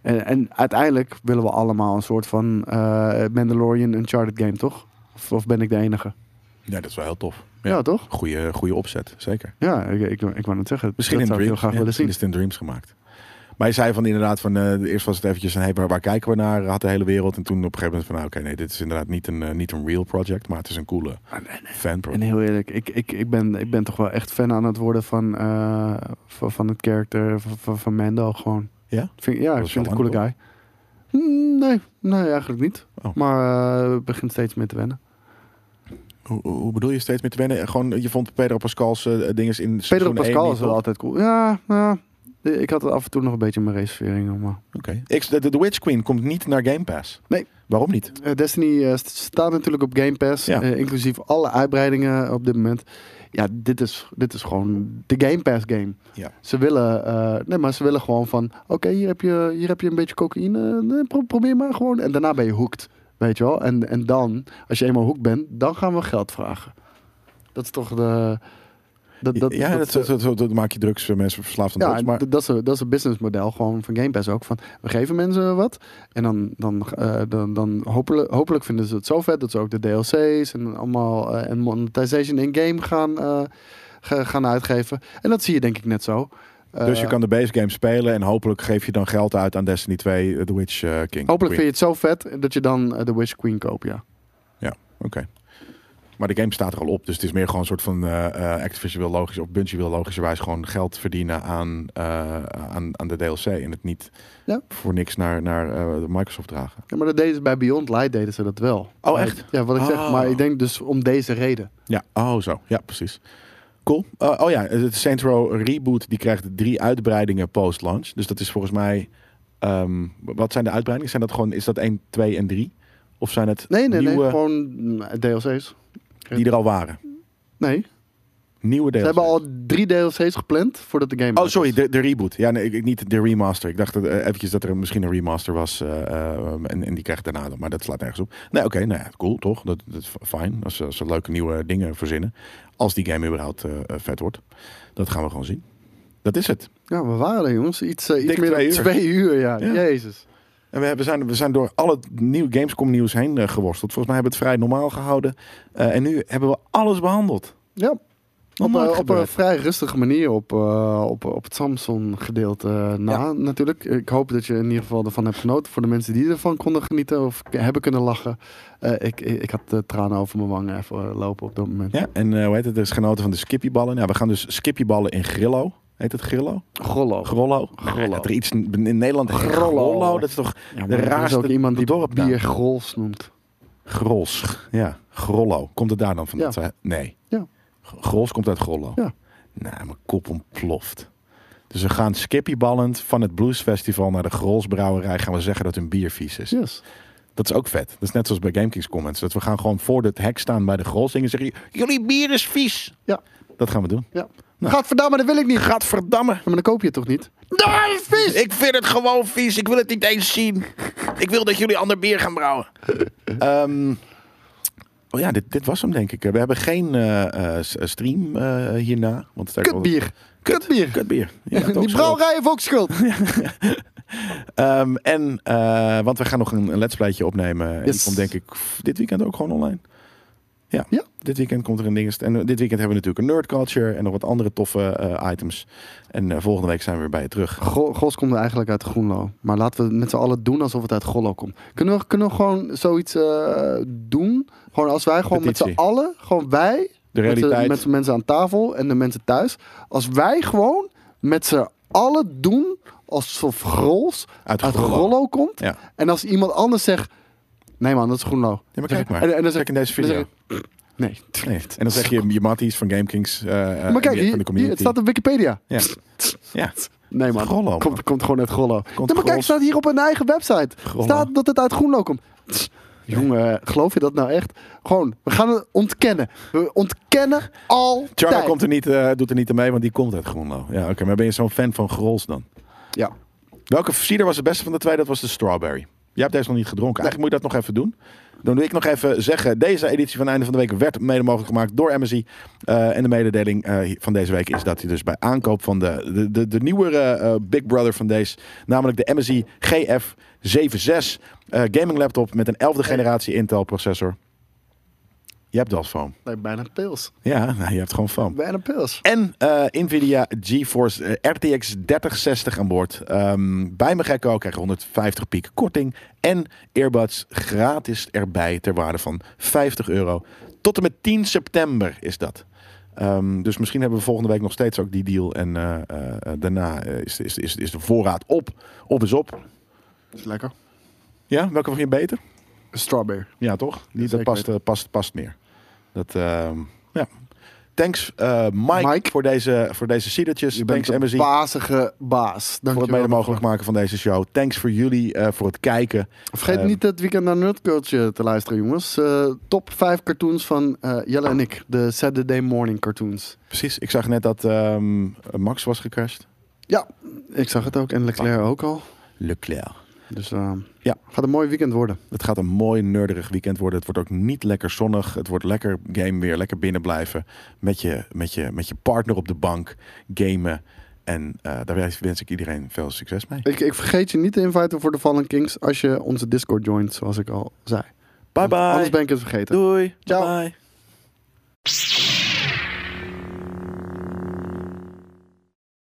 S2: En, en uiteindelijk willen we allemaal een soort van eh Mandalorian Uncharted game, toch? Of, of ben ik de enige?
S1: Ja, dat is wel heel tof.
S2: Ja, toch?
S1: Goeie, goeie opzet, zeker.
S2: Ja, ik, ik, ik wou net zeggen.
S1: Misschien
S2: dat
S1: in
S2: zou ik heel
S1: Dreams.
S2: graag
S1: Ja,
S2: willen
S1: misschien
S2: zien.
S1: is het in Dreams gemaakt. Maar je zei van inderdaad, van, eh, eerst was het eventjes een hey, waar, waar kijken we naar, had de hele wereld. En toen op een gegeven moment van, nou, oké, nee, dit is inderdaad niet een, eh, niet een real project, maar het is Ah, een coole fan
S2: En heel eerlijk, ik, ik, ik, ben, ik ben toch wel echt fan aan het worden van, eh, van, van het karakter van, van, van Mando gewoon.
S1: Ja?
S2: Vind, ja, ik
S1: is
S2: vind
S1: wel
S2: het een coole guy. Mm, Nee, nee, eigenlijk niet.
S1: Oh.
S2: Maar eh, het begint steeds meer te wennen.
S1: Hoe, hoe hoe bedoel je steeds meer te wennen? Gewoon, je vond Pedro Pascal's eh, dinges in
S2: Pedro
S1: seizoen één
S2: Pascal
S1: niet
S2: is wel
S1: top?
S2: altijd cool. Ja, ja, ik had af en toe nog een beetje mijn reserveringen. Maar...
S1: Oké. Ik- De, de Witch Queen komt niet naar Game Pass.
S2: Nee.
S1: Waarom niet?
S2: Eh, Destiny eh, st- staat natuurlijk op Game Pass,
S1: Ja.
S2: eh, inclusief alle uitbreidingen op dit moment. Ja, dit is, dit is gewoon de Game Pass game.
S1: Ja.
S2: Ze willen, eh, nee, maar ze willen gewoon van, oké, hier, heb je- hier heb je een beetje cocaïne, eh, pro- probeer maar gewoon. En daarna ben je hooked, weet je wel. En, en dan, als je eenmaal hooked bent, dan gaan we geld vragen. Dat is toch de... Dat, dat,
S1: ja, dat, dat,
S2: ze-
S1: dat, dat maak je drugs, eh, mensen verslaafd aan
S2: ja,
S1: drugs. Maar
S2: d- dat is, een- dat is een businessmodel gewoon van Game Pass ook. Van, we geven mensen wat en dan, dan, eh, dan, dan hopelijk, hopelijk vinden ze het zo vet dat ze ook de DLC's en allemaal eh, en monetization in-game gaan, eh, ga- gaan uitgeven. En dat zie je denk ik net zo. Eh,
S1: dus je kan de base game spelen en hopelijk geef je dan geld uit aan Destiny 2, eh, The Witch eh, King.
S2: Hopelijk vind
S1: Queen.
S2: je het zo vet dat je dan eh, de Wish Queen koopt, ja.
S1: Oké. Maar de game staat er al op, dus het is meer gewoon een soort van eh, eh, Activision wil logisch of Bungie wil logischerwijs gewoon geld verdienen aan, eh, aan, aan de DLC en het niet
S2: Ja.
S1: voor niks naar, naar eh, Microsoft dragen.
S2: ja. Maar dat deden ze bij Beyond Light deden ze dat wel.
S1: Oh,
S2: Maar-
S1: echt?
S2: Ja, wat ik zeg.
S1: Oh.
S2: Maar ik denk dus om deze reden.
S1: Ja, oh zo. Ja, precies. Cool. Eh, oh ja, de Saints Row Reboot die krijgt drie uitbreidingen post-launch. Dus dat is volgens mij... ehm, wat zijn de uitbreidingen? Zijn dat gewoon, is dat 1, 2 en 3? Of zijn het
S2: Nee, nee,
S1: nieuwe
S2: nee. Gewoon mm, DLC's.
S1: die er al waren?
S2: Nee.
S1: Nieuwe deel.
S2: Ze hebben al drie DLC's gepland voordat de game
S1: Oh,
S2: uit
S1: sorry,
S2: is.
S1: de, de reboot. Ja, nee, ik- ik- niet de remaster. Ik dacht dat, eh, eventjes dat er misschien een remaster was. eh, eh, en, en die krijgt daarna dan. Maar dat slaat nergens op. Nee, oké. nou ja, cool, toch? Dat, dat is fijn. Als, ze- als ze leuke nieuwe dingen verzinnen. Als die game überhaupt eh, eh, vet wordt. Dat gaan we gewoon zien. Dat is het.
S2: Ja, we waren er jongens. Iets, eh, iets
S1: Dik
S2: meer dan
S1: twee uur.
S2: twee uur, ja.
S1: Ja.
S2: Jezus.
S1: En we, hebben, zijn, we zijn door al het nieuw Gamescom nieuws heen eh, geworsteld. Volgens mij hebben we het vrij normaal gehouden. Eh, en nu hebben we alles behandeld.
S2: Ja,
S1: Nog nooit
S2: op, eh, op een
S1: gebeurd.
S2: vrij rustige manier op, eh, op, op het Samsung gedeelte eh, na natuurlijk. Ik hoop dat je in ieder geval ervan hebt genoten. Voor de mensen die ervan konden genieten of k- hebben kunnen lachen. Eh, ik, ik, ik had de tranen over mijn wangen even eh, lopen op dat moment.
S1: Ja, en eh, hoe heet het? Er is genoten van de skippyballen. Nou, we gaan dus skippyballen in Grillo. Heet het Grillo?
S2: Grollo.
S1: Grollo.
S2: Grollo.
S1: Dat er iets in Nederland heet
S2: Grollo.
S1: Grollo. Dat is toch de
S2: Ja, maar er is
S1: raarste
S2: ook iemand die
S1: dorp
S2: bier grols noemt.
S1: Grols. Ja, Grollo. Komt het daar dan vandaan? Nee.
S2: Ja.
S1: G- Grols komt uit Grollo.
S2: Ja.
S1: Nou, mijn kop ontploft. Dus we gaan skippyballend van het Blues Festival naar de Grolsbrouwerij. Gaan we zeggen dat hun bier vies is.
S2: Yes.
S1: Dat is ook vet. Dat is net zoals bij GameKings Comments. Dat we gaan gewoon voor het hek staan bij de Grols. En zeggen, jullie bier is vies.
S2: Ja.
S1: Dat gaan we doen.
S2: ja.
S1: Nou.
S2: Gadverdamme, dat wil ik niet. Ja,
S1: Gadverdamme.
S2: Maar dan koop je het toch niet?
S1: Nee, vies! Ik vind het gewoon vies. Ik wil het niet eens zien. Ik wil dat jullie ander bier gaan brouwen. Ehm, oh ja, dit, dit was hem denk ik. We hebben geen eh, eh, s- stream eh, hierna. Want het is eigenlijk wel-
S2: Kutbier. Kutbier.
S1: Kutbier. Ja, het ook
S2: die brouwerij heeft ook schuld.
S1: schuld. Ehm, en, eh, want we gaan nog een, een let's playtje opnemen. En die
S2: Yes.
S1: komt denk ik f- dit weekend ook gewoon online. Ja,
S2: Ja.
S1: dit weekend komt er een ding. En eh, dit weekend hebben we natuurlijk een nerd culture en nog wat andere toffe eh, items. En eh, volgende week zijn we weer bij je terug.
S2: Go- Gos komt eigenlijk uit Groenlo. Maar laten we met z'n allen doen alsof het uit Gollo komt. Kunnen we, kunnen we gewoon zoiets eh, doen? Gewoon als wij gewoon met
S1: Petitie.
S2: z'n allen, gewoon wij,
S1: De
S2: met de-
S1: realiteit.
S2: met de mensen aan tafel en de mensen thuis. Als wij gewoon met z'n allen doen alsof Grols
S1: Uit
S2: uit,
S1: Grollo.
S2: Grollo. komt.
S1: Ja.
S2: En als iemand anders zegt, nee man, dat is Groenlo.
S1: Ja, maar kijk maar.
S2: En, en dan zeg
S1: Kijk in deze
S2: dan zeg
S1: video.
S2: ik, nee.
S1: Nee. En dan zeg je je matties van GameKings eh eh,
S2: Maar
S1: die- van
S2: kijk, hier,
S1: de
S2: hier,
S1: community.
S2: het staat op Wikipedia.
S1: Ja. ja.
S2: Nee, man.
S1: Grollo, man.
S2: Komt, komt gewoon uit Grollo. Nee, maar kijk,
S1: Grols.
S2: staat hier op hun eigen website.
S1: Grollo.
S2: Staat dat het uit Groenlo komt. Tss, Jongen, geloof je dat nou echt? Gewoon, we gaan het ontkennen. We ontkennen al.
S1: Charlo komt er niet, eh, doet er niet aan mee, want die komt uit Groenlo. Ja, oké. Maar ben je zo'n fan van Grols dan?
S2: Ja.
S1: Welke cider was het beste van de twee? Dat was de strawberry. Jij hebt deze nog niet gedronken. Eigenlijk moet je dat nog even doen. Dan wil ik nog even zeggen, deze editie van Einde van de Week werd mede mogelijk gemaakt door MSI. Eh, en de mededeling eh, van deze week is dat hij dus bij aankoop van de, de, de, de nieuwere eh, Big Brother van deze, namelijk de MSI GF76 eh gaming laptop met een 11e generatie Intel processor. Je hebt dat van.
S2: Nee, bijna pils.
S1: Ja, nou, je hebt gewoon van.
S2: Bijna pils.
S1: En eh, Nvidia GeForce eh, RTX 3060 aan boord. Ehm, bij mijn gekko krijg je 150 piek korting. En earbuds gratis erbij ter waarde van 50 euro. Tot en met 10 september is dat. Ehm, dus misschien hebben we volgende week nog steeds ook die deal. En eh, eh, eh, daarna eh, is, is, is, is de voorraad op. Op is op.
S2: Is lekker.
S1: Ja, welke vond je beter?
S2: Strawberry.
S1: Ja, toch? Die, dat
S2: Zeker
S1: past, eh, past, past meer. Dat, ehm, ja. Thanks eh, Mike,
S2: Mike.
S1: voor deze, voor deze cidertjes.
S2: Je
S1: Thanks
S2: bent een
S1: MSI
S2: bazige baas. Dank
S1: voor
S2: je
S1: het mede
S2: wel.
S1: mogelijk maken van deze show. Thanks voor jullie, eh, voor het kijken.
S2: Vergeet
S1: Eh,
S2: niet het weekend naar Nerdculture te luisteren, jongens. Eh, top 5 cartoons van eh, Jelle en ik. De Saturday morning cartoons.
S1: Precies, ik zag net dat ehm, Max was gecrashed.
S2: Ja, ik zag het ook. En Leclerc ook al.
S1: Leclerc.
S2: Dus eh,
S1: Ja.
S2: gaat een mooi weekend worden.
S1: Het gaat een mooi nerderig weekend worden. Het wordt ook niet lekker zonnig. Het wordt lekker game weer, lekker binnen blijven. Met je, met je, met je partner op de bank gamen. En eh, daar wens ik iedereen veel succes mee.
S2: Ik, ik vergeet je niet te inviten voor de Fallen Kings als je onze Discord joint, zoals ik al zei.
S1: Bye bye.
S2: Anders ben ik het vergeten.
S1: Doei.
S2: Ciao.
S1: Bye.